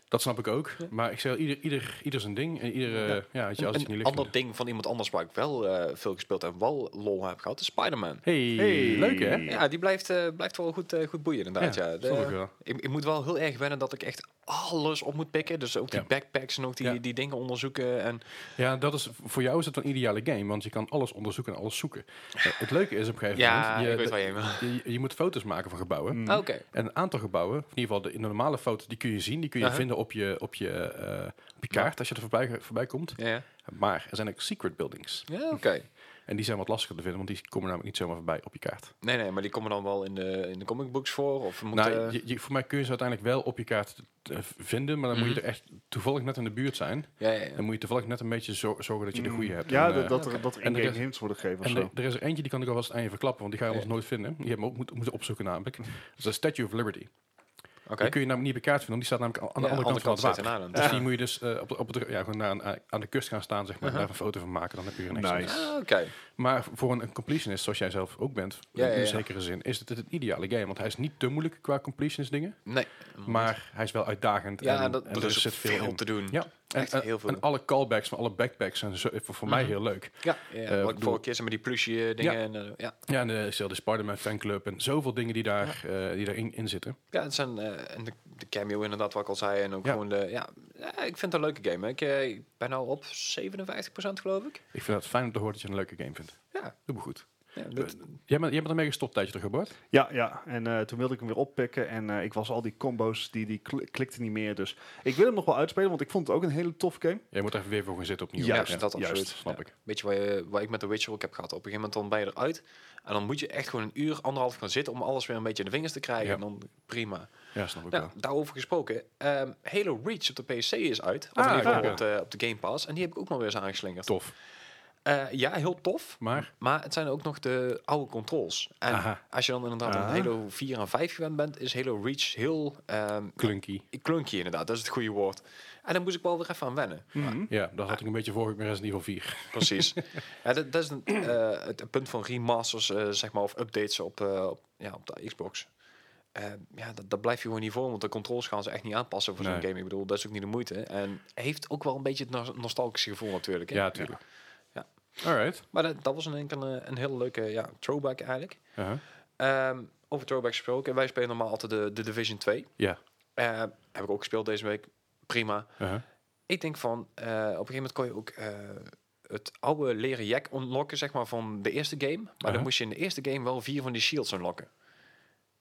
Speaker 1: Dat snap ik ook. Maar ik zeg, ieder, ieder, ieder zijn ding. En ieder, eh, ja. weet je, als het je niet
Speaker 3: Een
Speaker 1: lukt.
Speaker 3: ander ding van iemand anders waar ik wel eh, veel gespeeld en wel lol heb gehad, is Spider-Man.
Speaker 1: Hey,
Speaker 2: Hey.
Speaker 1: leuk hè?
Speaker 3: Ja, die blijft, eh, blijft wel goed, eh, goed boeien inderdaad. Ja, De-
Speaker 1: snap ik wel.
Speaker 3: ik, ik moet wel heel erg wennen dat ik echt alles op moet pikken. Dus ook die
Speaker 1: Ja.
Speaker 3: backpacks en ook die,
Speaker 1: Ja.
Speaker 3: die dingen onderzoeken. En
Speaker 1: Ja, dat is, voor jou is het een ideale game, want je kan alles onderzoeken en alles zoeken. Eh, het leuke is op een gegeven
Speaker 3: ja,
Speaker 1: moment,
Speaker 3: ik
Speaker 1: je,
Speaker 3: weet waar je heen wil.
Speaker 1: je, je moet foto's maken van gebouwen.
Speaker 2: Mm.
Speaker 3: Ah, Oké.
Speaker 1: En een aantal gebouwen, of in ieder geval de, de normale foto, die kun je zien. Die kun je
Speaker 3: Aha.
Speaker 1: vinden op je, op, je, eh, op je kaart als je er voorbij, voorbij komt.
Speaker 3: Ja, ja.
Speaker 1: Maar er zijn ook secret buildings.
Speaker 3: ja oké.
Speaker 1: En die zijn wat lastiger te vinden, want die komen namelijk niet zomaar voorbij op je kaart.
Speaker 3: Nee, nee, maar die komen dan wel in de, in de comic books voor? Of moet,
Speaker 1: nou,
Speaker 3: eh,
Speaker 1: je, je- voor mij kun je ze uiteindelijk wel op je kaart eh, vinden, maar dan moet je er echt toevallig net in de buurt zijn.
Speaker 3: ja, Mhm. ja, Mhm. ja.
Speaker 1: Dan moet je toevallig net een beetje zo- zorgen dat je de goede hebt.
Speaker 2: Ja,
Speaker 1: En, eh,
Speaker 2: dat, dat, er,
Speaker 3: oké.
Speaker 2: dat er
Speaker 1: En de
Speaker 2: in-game
Speaker 1: rest-
Speaker 2: hints worden gegeven of
Speaker 1: En
Speaker 2: zo.
Speaker 1: er, er is er eentje die kan ik alvast aan je verklappen, want die ga je
Speaker 3: Ja. Mhm.
Speaker 1: ons nooit vinden. Die hebben we ook moet, moeten opzoeken namelijk. Dat is de Statue of Liberty.
Speaker 3: Oké.
Speaker 1: Die kun je namelijk niet op je kaart vinden, want die staat namelijk al- aan de
Speaker 3: Ja,
Speaker 1: andere kant van het water.
Speaker 3: staat een
Speaker 1: Dus
Speaker 3: eiland.
Speaker 1: die moet je dus eh, op, de- op het, ja, gewoon naar, aan- aan de kust gaan staan, zeg maar,
Speaker 3: Uh-huh.
Speaker 1: en daar een foto van maken. Dan heb je er niks aan.
Speaker 2: Nice.
Speaker 3: Ah, Oké.
Speaker 1: Maar voor een, een completionist, zoals jij zelf ook bent,
Speaker 3: Ja, ja,
Speaker 1: in
Speaker 3: ja.
Speaker 1: zekere zin, is het het ideale game. Want hij is niet te moeilijk qua completionist dingen,
Speaker 3: Nee.
Speaker 1: maar hij is wel uitdagend.
Speaker 3: Ja,
Speaker 1: en,
Speaker 3: dat,
Speaker 1: en
Speaker 3: er is
Speaker 1: zit
Speaker 3: veel
Speaker 1: in.
Speaker 3: te doen.
Speaker 1: Ja, en,
Speaker 3: Echt
Speaker 1: en-
Speaker 3: heel veel.
Speaker 1: en alle callbacks van alle backpacks zijn zo, voor, voor mij
Speaker 3: Mhm.
Speaker 1: heel leuk.
Speaker 3: Ja, ja,
Speaker 1: Eh,
Speaker 3: wat ik
Speaker 1: bedoel-
Speaker 3: vorige keer zei met die plusje eh, dingen.
Speaker 1: Ja.
Speaker 3: En, eh, ja.
Speaker 1: Ja, en de, is heel de Spider-Man fanclub en zoveel dingen die, daar, eh, die daarin in zitten.
Speaker 3: ja, het zijn eh, en de, de cameo inderdaad, wat ik al zei. En ook
Speaker 1: Ja.
Speaker 3: gewoon de, ja, ja, ik vind het een leuke game. hè. Ik, eh, ik ben al op 57% geloof ik.
Speaker 1: Ik vind het fijn om te horen dat je een leuke game vindt.
Speaker 3: Ja,
Speaker 1: Doe me goed.
Speaker 3: ja dat-
Speaker 1: Jij bent, jij bent ermee gestopt tijdje terug, Bart.
Speaker 2: Ja, ja. En eh, toen wilde ik hem weer oppikken. En eh, ik was al die combo's, die, die kl- klikten niet meer. Dus ik wil hem nog wel uitspelen, want ik vond het ook een hele tof game.
Speaker 1: Jij moet er even weer voor gaan zitten opnieuw.
Speaker 2: Juist,
Speaker 3: ja, dat
Speaker 2: juist,
Speaker 3: absoluut.
Speaker 1: snap ik.
Speaker 3: Weet je waar, je- waar ik met The Witcher ook heb gehad? Op een gegeven moment dan ben je eruit. En dan moet je echt gewoon een uur, anderhalf gaan zitten om alles weer een beetje in de vingers te krijgen.
Speaker 1: Ja.
Speaker 3: En dan prima.
Speaker 1: Ja, snap ik
Speaker 3: Nou,
Speaker 1: wel.
Speaker 3: daarover gesproken. ehm, Halo Reach op de PC is uit. Of
Speaker 1: Ah,
Speaker 3: in ieder geval
Speaker 1: ja.
Speaker 3: op, de, op de Game Pass. En die heb ik ook nog weer eens aangeslingerd.
Speaker 1: Tof.
Speaker 3: Eh, ja, heel tof.
Speaker 1: Maar,
Speaker 3: Maar het zijn ook nog de oude controls. En
Speaker 1: Aha.
Speaker 3: als je dan inderdaad
Speaker 2: Aha.
Speaker 3: aan Halo 4 en 5 gewend bent, is Halo Reach heel ehm
Speaker 1: clunky.
Speaker 3: clunky inderdaad. Dat is het goede woord. En daar moest ik wel weer even aan wennen.
Speaker 2: Mhm.
Speaker 1: Ja, dat had ik een beetje vorige keer met Resident Evil 4. <laughs>
Speaker 3: Precies. ja, dat, dat is een, eh, het punt van remasters, eh, zeg maar, of updates op, eh, op, ja, op de Xbox. Eh, ja, dat, dat blijf je gewoon niet voor, want de controls gaan ze echt niet aanpassen voor
Speaker 1: Nee.
Speaker 3: zo'n game. Ik bedoel, dat is ook niet de moeite. En heeft ook wel een beetje het nos- nostalgische gevoel natuurlijk. hè.
Speaker 1: Ja, tuurlijk.
Speaker 3: Ja.
Speaker 1: Alright.
Speaker 3: Maar dat, dat was in één keer een, een hele leuke ja, throwback eigenlijk.
Speaker 1: Uh-huh.
Speaker 3: Ehm, over throwback gesproken. Wij spelen normaal altijd de, de Division 2.
Speaker 1: Ja.
Speaker 3: Eh, heb ik ook gespeeld deze week. Prima.
Speaker 1: Uh-huh.
Speaker 3: Ik denk van, eh, op een gegeven moment kon je ook eh, het oude leren jack unlocken, zeg maar, van de eerste game. Maar
Speaker 1: Aha.
Speaker 3: dan moest je in de eerste game wel vier van die shields unlocken.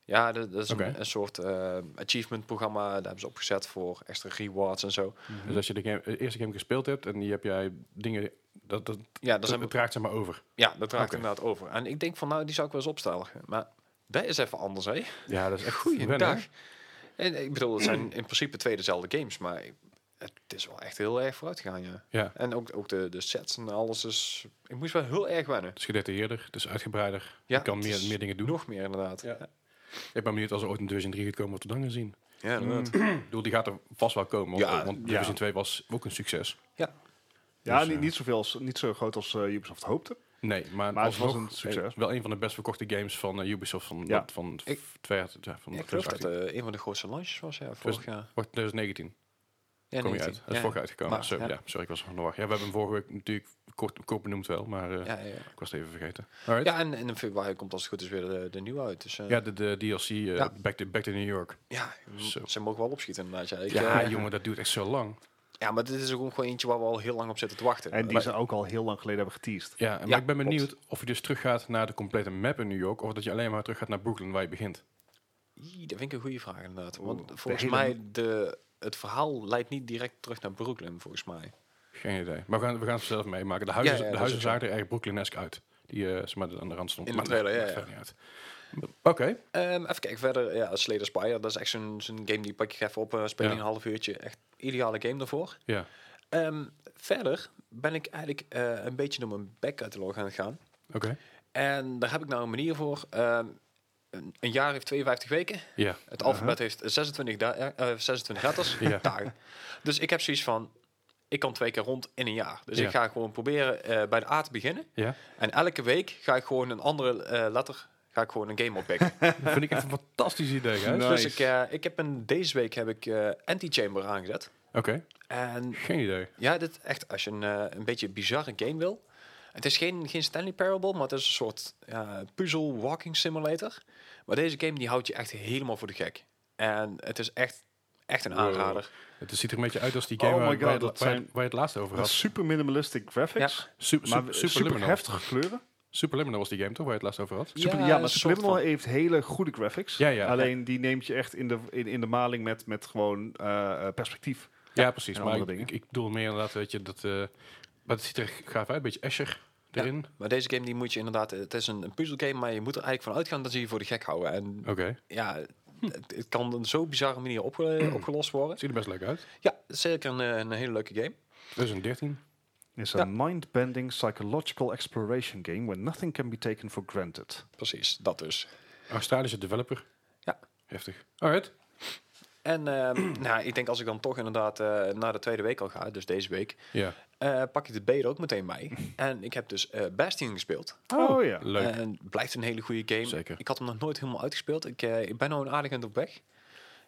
Speaker 3: Ja, dat, dat is
Speaker 1: Oké.
Speaker 3: een, een soort eh, achievement programma. Daar hebben ze opgezet voor extra rewards en zo.
Speaker 1: Dus als je de, game, de eerste game gespeeld hebt en die heb jij dingen... Dat, dat,
Speaker 3: Ja, dat,
Speaker 1: dat,
Speaker 3: zijn,
Speaker 1: het raakt zeg maar over.
Speaker 3: ja, dat raakt
Speaker 1: Oké.
Speaker 3: inderdaad over. En ik denk van, nou, die zou ik wel eens opstellen. Maar dat is even anders, hè?
Speaker 1: Ja, dat is echt wennen, hè?
Speaker 3: Goeiedag. En eh, ik bedoel, het zijn in principe twee dezelfde games, maar het is wel echt heel erg vooruit gegaan, ja.
Speaker 1: Ja.
Speaker 3: En ook, ook de, de sets en alles, dus ik moest wel heel erg wennen.
Speaker 1: Het is gedetailleerder, het is uitgebreider.
Speaker 3: Ja,
Speaker 1: je kan
Speaker 3: het
Speaker 1: meer,
Speaker 3: is
Speaker 1: meer dingen doen.
Speaker 3: Nog meer, inderdaad.
Speaker 1: Ja. Ik ben benieuwd als er ooit een Division 3 gaat komen wat we dan gaan zien.
Speaker 3: Ja, inderdaad.
Speaker 1: Ik bedoel, die gaat er vast wel komen. Want,
Speaker 3: Ja,
Speaker 1: want
Speaker 2: ja.
Speaker 1: Division 2 was ook een succes.
Speaker 3: Ja.
Speaker 2: Ja,
Speaker 1: Dus,
Speaker 2: niet,
Speaker 1: eh,
Speaker 2: niet, zoveel als, niet zo groot als eh, Ubisoft hoopte.
Speaker 1: Nee, maar,
Speaker 2: Maar het was
Speaker 1: alsnog,
Speaker 2: een succes.
Speaker 1: eh, Wel een van de best verkochte games van eh, Ubisoft van,
Speaker 2: Ja.
Speaker 1: wat- van
Speaker 3: Ik-
Speaker 1: v- twee jaar- ja, van
Speaker 3: Ja, ik geloof dat
Speaker 1: 2018.
Speaker 3: eh, een van de grootste launches was, ja, vorig jaar.
Speaker 1: Wordt 2019
Speaker 3: Ja,
Speaker 1: kom je
Speaker 3: 19,
Speaker 1: uit. Dat is
Speaker 3: ja.
Speaker 1: vorig jaar uitgekomen.
Speaker 3: Maar,
Speaker 1: Zo, eh, ja.
Speaker 3: ja.
Speaker 1: sorry, ik was van de war. Ja, we hebben hem vorige week natuurlijk kort, kort benoemd wel, maar eh,
Speaker 3: Ja, ja, ja.
Speaker 1: ik was het even vergeten. Alright. Ja,
Speaker 3: Ja, en, en in februari komt als het goed is weer de, de nieuwe uit. Dus eh,
Speaker 1: de, de DLC eh,
Speaker 3: Ja.
Speaker 1: back, to, back to New York.
Speaker 3: ja,
Speaker 1: Zo.
Speaker 3: ze mogen wel opschieten inderdaad. Ja, Ik,
Speaker 1: Ja,
Speaker 3: eh,
Speaker 1: jongen, dat duurt echt zo lang.
Speaker 3: ja, maar dit is ook gewoon eentje waar we al heel lang op zitten te wachten.
Speaker 2: En die
Speaker 1: Maar-
Speaker 2: ze ook al heel lang geleden hebben geteased.
Speaker 1: Ja, maar
Speaker 3: Ja,
Speaker 1: ik ben
Speaker 3: klopt.
Speaker 1: benieuwd of je dus teruggaat naar de complete map in New York, of dat je alleen maar teruggaat naar Brooklyn waar je begint.
Speaker 3: Ih, Dat vind ik een goede vraag inderdaad.
Speaker 2: Oeh,
Speaker 3: Want
Speaker 2: Oh, de
Speaker 3: volgens
Speaker 2: hele-
Speaker 3: mij, de, het verhaal leidt niet direct terug naar Brooklyn, volgens mij.
Speaker 1: Geen idee. Maar we gaan, we gaan het zelf meemaken. De huizen,
Speaker 3: Ja, ja,
Speaker 1: de
Speaker 3: dat
Speaker 1: huizen
Speaker 3: is ook zo.
Speaker 1: zagen er erg Brooklyn-esque uit. Die eh, zeg maar, aan de rand stond.
Speaker 3: In de trailer, ja, ja.
Speaker 1: Oké.
Speaker 3: Ehm, even kijken verder. Ja, Slater Spire, dat is echt zo'n zo'n game die pak je even op, eh speel je
Speaker 1: Ja.
Speaker 3: een half uurtje. Echt ideale game daarvoor.
Speaker 1: Ja.
Speaker 3: Ehm, verder ben ik eigenlijk eh, een beetje door mijn backcatalog aan het gaan.
Speaker 1: Oké.
Speaker 3: En daar heb ik nou een manier voor. Ehm, een, een jaar heeft 52 weken.
Speaker 1: Ja.
Speaker 3: Het alfabet heeft 26, da- eh, eh, 26 letters,
Speaker 1: <laughs> Ja.
Speaker 3: dagen. Dus ik heb zoiets van, ik kan twee keer rond in een jaar. Dus
Speaker 1: Ja.
Speaker 3: ik ga gewoon proberen eh, bij de A te beginnen.
Speaker 1: Ja.
Speaker 3: En elke week ga ik gewoon een andere eh, letter ga ik gewoon een
Speaker 1: <laughs>
Speaker 3: game oppikken.
Speaker 1: Dat vind ik echt een fantastisch idee, hè?
Speaker 2: Nou.
Speaker 3: Dus
Speaker 2: Nice.
Speaker 3: ik, eh, ik heb een, deze week heb ik eh Anti-Chamber aangezet.
Speaker 1: Oké,
Speaker 3: En
Speaker 1: geen idee.
Speaker 3: ja, dit echt, als je een, eh, een beetje bizarre game wil. Het is geen, geen Stanley Parable, maar het is een soort eh, puzzel walking simulator. Maar deze game die houdt je echt helemaal voor de gek. En het is echt, echt een
Speaker 1: Wow.
Speaker 3: aanrader.
Speaker 1: Het ziet er een beetje uit als die
Speaker 2: Oh
Speaker 1: game
Speaker 2: my
Speaker 1: waar,
Speaker 2: God,
Speaker 1: waar je,
Speaker 2: dat
Speaker 1: het- waar je-
Speaker 2: zijn-
Speaker 1: waar je het laatst over had.
Speaker 2: Super minimalistic graphics.
Speaker 1: Super,
Speaker 2: Maar
Speaker 1: super,
Speaker 2: super, heftige kleuren.
Speaker 1: Superliminal was die game toch, waar je het laatst over had?
Speaker 2: Super, ja,
Speaker 3: een
Speaker 2: maar
Speaker 3: soort
Speaker 2: Subliminal
Speaker 3: van.
Speaker 2: heeft hele goede graphics.
Speaker 1: Ja, ja.
Speaker 2: Alleen die neemt je echt in de, in, in de maling met, met gewoon eh, eh, perspectief.
Speaker 1: Ja, precies.
Speaker 2: en
Speaker 1: Maar ik,
Speaker 2: andere
Speaker 1: ik,
Speaker 2: dingen.
Speaker 1: ik bedoel meer inderdaad, weet je, dat... eh, maar het ziet er gaaf uit, een beetje Escher
Speaker 3: Ja.
Speaker 1: erin.
Speaker 3: Maar deze game die moet je inderdaad... Het is een, een puzzelgame, maar je moet er eigenlijk van uitgaan dat ze je voor de gek houden. En
Speaker 1: Oké,
Speaker 3: ja, het, het kan op een zo bizarre manier opge- opgelost worden.
Speaker 1: het ziet er best leuk uit.
Speaker 3: Ja, zeker een, eh, een hele leuke game.
Speaker 1: Dat is een 13.
Speaker 2: It's
Speaker 3: Ja.
Speaker 2: a mind-bending psychological exploration game where nothing can be taken for granted.
Speaker 3: Precies, dat dus.
Speaker 1: Australische developer.
Speaker 3: Ja.
Speaker 1: Heftig. Alright.
Speaker 3: En ehm, <clears throat> nou, ik denk als ik dan toch inderdaad eh naar de tweede week al ga, dus deze week,
Speaker 1: Ja.
Speaker 3: eh, pak ik de B er ook meteen bij. en ik heb dus eh Bastion gespeeld.
Speaker 2: Oh, ja.
Speaker 1: Leuk.
Speaker 3: En Eh, het blijft een hele goede game.
Speaker 1: Zeker.
Speaker 3: Ik had hem nog nooit helemaal uitgespeeld. Ik, eh, ik ben al een aardig eind op weg.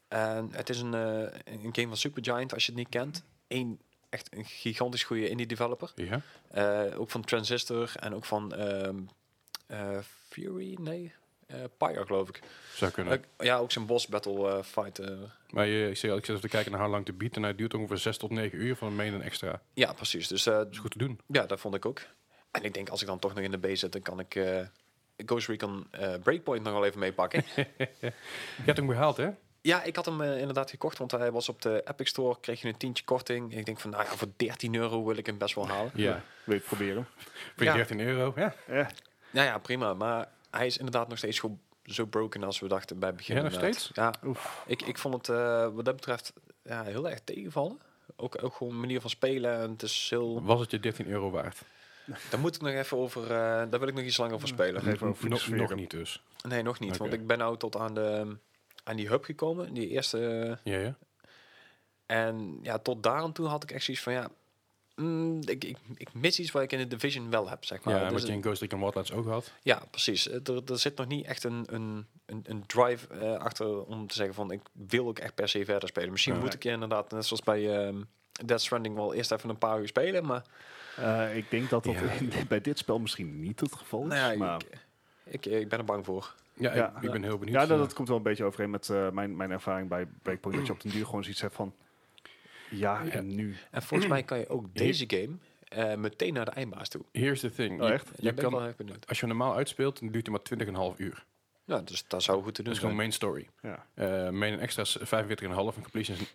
Speaker 3: En het is een, eh, een game van Supergiant, als je het niet kent. Eén, echt een gigantisch goede indie developer.
Speaker 1: Ja.
Speaker 3: Eh, ook van Transistor en ook van ehm, eh, Fury, nee, eh Pyre geloof ik.
Speaker 1: Zou kunnen.
Speaker 3: Eh, ja, ook zijn boss battle eh, fight. eh.
Speaker 1: Maar je, ik, zeg, ik zit even te kijken naar hoe lang de beat. En hij duurt ongeveer 6 tot 9 uur van een main en extra. Dat
Speaker 3: ja, precies. Dus eh,
Speaker 1: is goed te doen.
Speaker 3: ja, dat vond ik ook. En ik denk, als ik dan toch nog in de B zit, dan kan ik eh, Ghost Recon eh, Breakpoint nog wel even meepakken.
Speaker 1: Je hebt hem gehaald, hè?
Speaker 3: ja, ik had hem eh, inderdaad gekocht, want hij was op de Epic Store, kreeg je een tientje korting. Ik denk van, nou ja, voor 13 euro wil ik hem best wel halen.
Speaker 1: Ja.
Speaker 2: Wil je het proberen? Eh,
Speaker 1: Voor
Speaker 3: Ja.
Speaker 1: 13 euro. Ja.
Speaker 2: Ja.
Speaker 3: Nou ja, prima. Maar hij is inderdaad nog steeds gewoon zo broken als we dachten bij het begin.
Speaker 1: Ja, nog
Speaker 3: inderdaad.
Speaker 1: steeds?
Speaker 3: Ja,
Speaker 2: Oef.
Speaker 3: Ik, ik vond het eh, wat dat betreft ja, heel erg tegenvallen. Ook, ook gewoon manier van spelen. En het is heel...
Speaker 1: Was het je 13 euro waard?
Speaker 3: Daar moet ik nog even over... eh, daar wil ik nog iets langer over spelen.
Speaker 2: Even over de
Speaker 1: Nog,
Speaker 2: sfeer.
Speaker 1: nog niet dus.
Speaker 3: Nee, nog niet. Want
Speaker 1: Oké.
Speaker 3: ik ben nou tot aan, de, aan die hub gekomen. Die eerste...
Speaker 1: Ja, ja.
Speaker 3: En ja, tot daar aan toe had ik echt zoiets van... Ja, mm, ik, ik, ik mis iets wat ik in de Division wel heb, zeg maar.
Speaker 1: ja,
Speaker 3: Dus
Speaker 1: wat je in Ghost Recon Wildlands ook had.
Speaker 3: Ja, precies. Eh, Er, er zit nog niet echt een, een, een, een drive eh, achter om te zeggen van ik wil ook echt per se verder spelen. Misschien
Speaker 1: Nee.
Speaker 3: moet ik inderdaad, net zoals bij ehm Death Stranding, wel eerst even een paar uur spelen. Maar
Speaker 2: Eh, ik denk dat dat
Speaker 1: Ja.
Speaker 2: in- bij dit spel misschien niet het geval is.
Speaker 3: nou ja,
Speaker 2: maar
Speaker 3: ik, ik, eh, ik ben er bang voor.
Speaker 1: Ja,
Speaker 2: Ja.
Speaker 1: Ik, ik ben heel benieuwd.
Speaker 2: ja, dat,
Speaker 1: eh,
Speaker 2: dat komt wel een beetje overeen met eh, mijn, mijn ervaring bij Breakpoint. dat je op den duur gewoon zoiets hebt van... Ja, en nu?
Speaker 1: <clears throat>
Speaker 3: En volgens mij kan je ook deze game eh, meteen naar de eindbaas toe.
Speaker 1: Here's the thing.
Speaker 2: Oh,
Speaker 1: Je-
Speaker 2: echt?
Speaker 1: je
Speaker 3: Daar ben
Speaker 1: kan-
Speaker 3: ik wel erg benieuwd.
Speaker 1: als je normaal uitspeelt, dan duurt het maar 20,5 uur.
Speaker 3: Ja, dus dat zou goed te
Speaker 1: Dat
Speaker 3: doen
Speaker 1: is gewoon
Speaker 3: zijn.
Speaker 1: main story.
Speaker 2: Ja.
Speaker 1: Eh, main en extra is 45,5 en completion is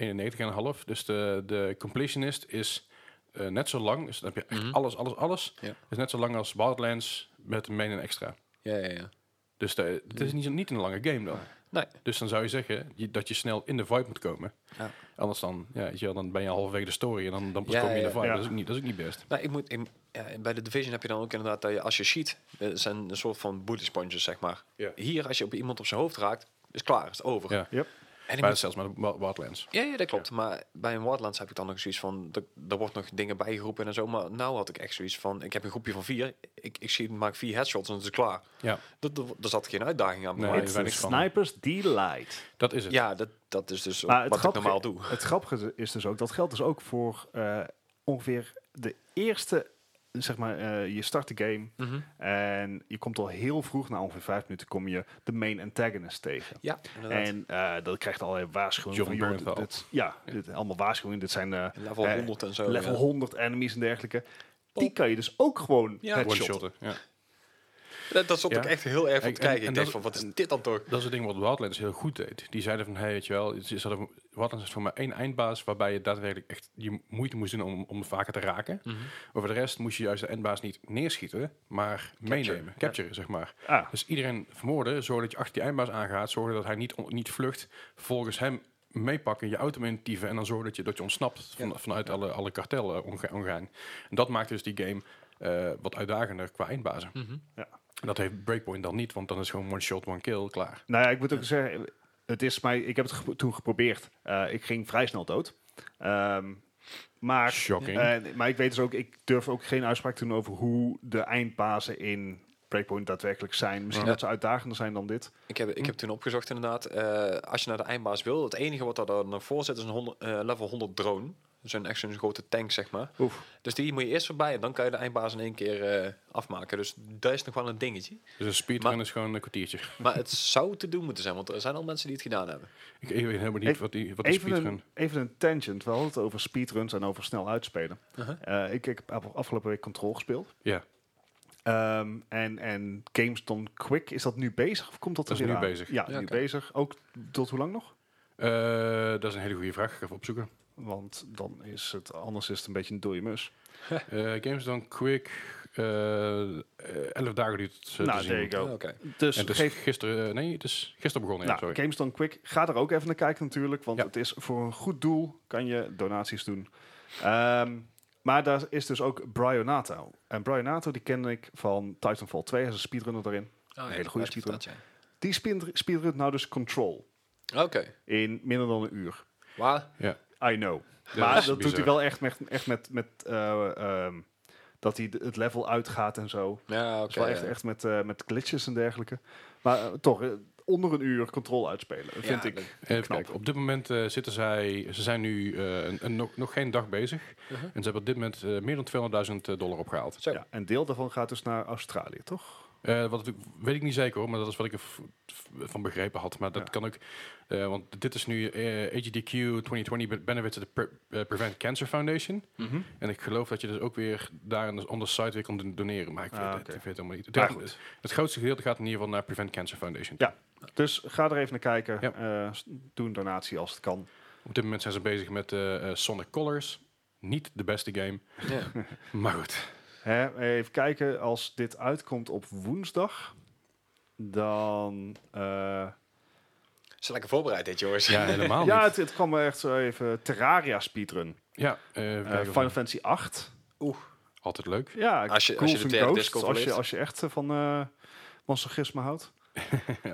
Speaker 1: 91,5. Dus de, de completionist is eh, net zo lang. Dus dan heb je echt
Speaker 3: Mhm.
Speaker 1: alles, alles, alles.
Speaker 3: Ja.
Speaker 1: Is net zo lang als Wildlands met main en extra.
Speaker 3: Ja, ja, ja.
Speaker 1: Dus de- het is niet, zo- niet een lange game dan.
Speaker 3: Nee.
Speaker 1: Dus dan zou je zeggen je- dat je snel in de vibe moet komen.
Speaker 3: Ja.
Speaker 1: Anders dan, ja, weet je wel, dan ben je halverwege de story en dan, dan pas
Speaker 3: Ja,
Speaker 1: kom je in de
Speaker 3: ja,
Speaker 1: vibe.
Speaker 2: ja.
Speaker 1: Dat, is ook niet, dat is ook niet best.
Speaker 3: Nou, ik moet, ik- ja, bij de Division heb je dan ook inderdaad dat je als je schiet, dat zijn een soort van bullet sponges, zeg maar.
Speaker 1: Ja.
Speaker 3: Hier, als je op iemand op zijn hoofd raakt, is klaar, is het over.
Speaker 1: Ja.
Speaker 2: Yep.
Speaker 3: En ik
Speaker 1: Maar
Speaker 3: moet
Speaker 1: dat is zelfs met Wild- Wildlands.
Speaker 3: Ja, ja, dat klopt. Maar bij een Wildlands heb ik dan nog zoiets van... dat- Er wordt nog dingen bijgeroepen en zo. Maar nou had ik echt zoiets van... Ik heb een groepje van vier. Ik, ik schiet, maak vier headshots en het is klaar.
Speaker 1: Ja,
Speaker 3: Dat, dat- daar zat geen uitdaging aan.
Speaker 1: Nee.
Speaker 3: Maar
Speaker 1: It's
Speaker 2: It's
Speaker 1: weinig
Speaker 2: the
Speaker 1: van.
Speaker 2: Sniper's Delight.
Speaker 1: dat is het.
Speaker 3: ja, dat, dat is dus
Speaker 2: Maar het
Speaker 3: wat ik
Speaker 2: grappige-
Speaker 3: normaal doe.
Speaker 2: Het grappige is dus ook, dat geldt dus ook voor eh, ongeveer de eerste... Zeg maar, eh, je start de game
Speaker 3: Mhm.
Speaker 2: en je komt al heel vroeg, na ongeveer vijf minuten, kom je de main antagonist tegen.
Speaker 3: Ja, inderdaad.
Speaker 2: En eh, dat krijgt allerlei waarschuwingen.
Speaker 1: John
Speaker 2: van, joh,
Speaker 1: Bernthal.
Speaker 2: dit- dit- ja, dit, allemaal waarschuwingen. Dit zijn eh,
Speaker 3: level
Speaker 2: eh,
Speaker 3: 100 en zo.
Speaker 2: level
Speaker 3: ja.
Speaker 2: 100 enemies en dergelijke. Die kan je dus ook gewoon
Speaker 3: Ja.
Speaker 2: headshotten.
Speaker 1: One-shotter. Ja.
Speaker 3: Dat, dat stond
Speaker 1: Ja.
Speaker 3: ik echt heel erg van te
Speaker 1: En- en-
Speaker 3: kijken.
Speaker 1: en
Speaker 3: Ik
Speaker 1: dat
Speaker 3: dacht
Speaker 1: is-
Speaker 3: van, wat is dit dan toch?
Speaker 1: Dat is het ding wat Wildlands heel goed deed. Die zeiden van, hey, weet je wel, het is- ze hadden- Wildlands is voor mij één eindbaas waarbij je daadwerkelijk echt je moeite moest doen om, om vaker te raken. Over de rest moest je juist de eindbaas niet neerschieten, maar meenemen, capturen, zeg maar.
Speaker 2: Ah,
Speaker 1: Dus iedereen vermoorden, zorg dat je achter die eindbaas aangaat, zorg dat hij niet, on- niet vlucht, volgens hem meepakken, je auto intieven en dan zorg dat je, dat je ontsnapt van, vanuit alle, alle kartellen omga- omgaan. En dat maakt dus die game eh, wat uitdagender qua eindbazen.
Speaker 2: Ja.
Speaker 1: En dat heeft Breakpoint dan niet, want dan is gewoon one shot, one kill, klaar.
Speaker 2: nou ja, ik moet ook zeggen, het is mij, ik heb het gepro- toen geprobeerd. Eh, ik ging vrij snel dood. Ehm, maar,
Speaker 1: Shocking.
Speaker 2: eh, maar ik weet dus ook, ik durf ook geen uitspraak te doen over hoe de eindbazen in Breakpoint daadwerkelijk zijn. Misschien
Speaker 3: Ja.
Speaker 2: dat ze uitdagender zijn dan dit.
Speaker 3: Ik heb, ik heb toen opgezocht inderdaad, eh, als je naar de eindbaas wil, het enige wat daar dan voor zit is een 100, eh, level 100 drone. Dat is een- echt zo'n grote tank, zeg maar.
Speaker 2: Oef.
Speaker 3: Dus die moet je eerst voorbij en dan kan je de eindbaas in één keer eh, afmaken. Dus dat is nog wel een dingetje.
Speaker 1: Dus een speedrun
Speaker 3: Maar-
Speaker 1: is gewoon een kwartiertje. <laughs>
Speaker 3: Maar het <laughs> zou te doen moeten zijn, want er zijn al mensen die het gedaan hebben.
Speaker 1: Ik ik weet helemaal niet
Speaker 2: Even-
Speaker 1: wat die, wat die
Speaker 2: Even
Speaker 1: speedrun...
Speaker 2: een, even een tangent. We hadden het over speedruns en over snel uitspelen.
Speaker 3: Uh-huh.
Speaker 2: Eh, ik, ik heb af- afgelopen week Control gespeeld.
Speaker 1: Ja,
Speaker 2: Ehm, en, en Games Done Quick, is dat nu bezig of komt dat,
Speaker 1: Dat
Speaker 2: er
Speaker 1: is
Speaker 2: weer
Speaker 1: nu
Speaker 2: aan?
Speaker 1: bezig.
Speaker 2: Ja,
Speaker 3: Ja,
Speaker 2: nu
Speaker 3: oké.
Speaker 2: bezig. Ook tot hoe lang nog?
Speaker 1: Eh, dat is een hele goede vraag. Ik ga even opzoeken.
Speaker 2: Want dan is het, anders is het een beetje een dode mus.
Speaker 1: Eh, Games dan Quick. eh eh, 11 dagen duurt het eh,
Speaker 2: Nou,
Speaker 1: te
Speaker 2: there
Speaker 1: zien.
Speaker 2: you go.
Speaker 3: Ah, Oké.
Speaker 2: Dus
Speaker 1: En het is
Speaker 2: geef
Speaker 1: gisteren... eh, nee, het is gisteren begonnen. Ja,
Speaker 2: nou,
Speaker 1: sorry.
Speaker 2: Games Done Quick, ga er ook even naar kijken natuurlijk. Want
Speaker 1: Ja.
Speaker 2: het is voor een goed doel, kan je donaties doen. Ehm, maar daar is dus ook Brionato. En Brionato, die ken ik van Titanfall 2. Hij is een speedrunner daarin.
Speaker 3: Ah, ja,
Speaker 2: hele goede
Speaker 3: dat is
Speaker 2: speedrun.
Speaker 3: inderdaad,
Speaker 2: Die speed- speedrunt nou dus Control
Speaker 3: ja. Oké.
Speaker 2: in minder dan een uur.
Speaker 3: Waar?
Speaker 2: I know.
Speaker 1: Ja,
Speaker 2: maar
Speaker 1: dat
Speaker 2: dat
Speaker 1: is
Speaker 2: doet
Speaker 1: bizar.
Speaker 2: hij wel echt met, echt met, met eh, ehm, dat hij de- het level uitgaat en zo.
Speaker 3: Ja,
Speaker 2: Dus
Speaker 3: oké.
Speaker 2: wel echt,
Speaker 3: ja.
Speaker 2: echt met, eh, met glitches en dergelijke. Maar eh, toch, eh, onder een uur controle uitspelen,
Speaker 3: Ja,
Speaker 2: vind
Speaker 3: dat-
Speaker 2: ik
Speaker 1: Even
Speaker 2: knap.
Speaker 1: kijken. Op dit moment eh, zitten zij... Ze zijn nu eh, een, een- nog, nog geen dag bezig.
Speaker 3: Mhm.
Speaker 1: En ze hebben op dit moment eh, meer dan 200.000 dollar opgehaald.
Speaker 3: Zo.
Speaker 2: Uh-huh. Ja, en deel daarvan gaat dus naar Australië, toch?
Speaker 1: Eh, wat ik- weet ik niet zeker hoor, maar dat is wat ik erv- van begrepen had. Maar dat
Speaker 2: Ja.
Speaker 1: kan ook, eh, want dit is nu eh AGDQ 2020 be- Benefits of the Pre- eh, Prevent Cancer Foundation.
Speaker 3: Mhm.
Speaker 1: En ik geloof dat je dus ook weer daar aan de, on the site weer kan don- doneren. Maar ik weet,
Speaker 2: Ah,
Speaker 1: het-
Speaker 2: oké.
Speaker 1: ik weet het helemaal niet. Het,
Speaker 2: Maar
Speaker 1: gaat-
Speaker 2: goed.
Speaker 1: het grootste gedeelte gaat in ieder geval naar Prevent Cancer Foundation.
Speaker 2: Ja. Dus ga er even naar kijken.
Speaker 1: Ja.
Speaker 2: Eh, s- doe een donatie als het kan.
Speaker 1: Op dit moment zijn ze bezig met eh, eh, Sonic Colors. Niet de beste game,
Speaker 2: Mhm.
Speaker 3: Ja.
Speaker 1: maar goed.
Speaker 2: Hè, even kijken, als dit uitkomt op woensdag, dan... eh,
Speaker 3: Ze lekker voorbereid dit,
Speaker 1: <laughs>
Speaker 3: jongens. <laughs>
Speaker 1: Ja, helemaal
Speaker 2: ja,
Speaker 1: niet.
Speaker 2: het, het kwam me echt zo even Terraria speedrun.
Speaker 1: Ja, eh, even
Speaker 2: Eh,
Speaker 1: kijken of-
Speaker 2: Final Fantasy 8.
Speaker 1: altijd leuk.
Speaker 2: Ja,
Speaker 3: Als je- als
Speaker 2: Ghouls
Speaker 3: je de
Speaker 2: and
Speaker 3: terre
Speaker 2: Ghosts,
Speaker 3: disco
Speaker 2: als je,
Speaker 3: verleert.
Speaker 2: als je echt eh, van eh masochisme houdt.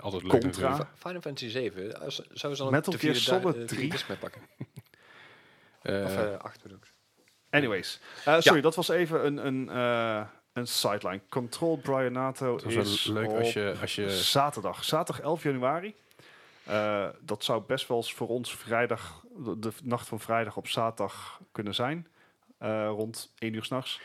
Speaker 1: altijd leuk.
Speaker 2: Contra.
Speaker 1: natuurlijk.
Speaker 3: Final Fantasy 7. Als, zouden ze dan
Speaker 2: Metal
Speaker 3: de
Speaker 2: Gear
Speaker 3: vierde da-
Speaker 2: Solid
Speaker 3: eh,
Speaker 2: 3?
Speaker 3: disc mee pakken?
Speaker 1: Eh,
Speaker 3: Of eh 8 bedoel ik.
Speaker 2: Anyways, Eh, sorry, dat was even een, een, eh, een sideline. Control Brianato
Speaker 1: het was
Speaker 2: is
Speaker 1: wel leuk
Speaker 2: op
Speaker 1: als je, eh, als je
Speaker 2: zaterdag. Zaterdag 11 januari. Eh, dat zou best wel eens voor ons vrijdag, de, de nacht van vrijdag op zaterdag kunnen zijn. Eh, rond 1 uur s'nachts.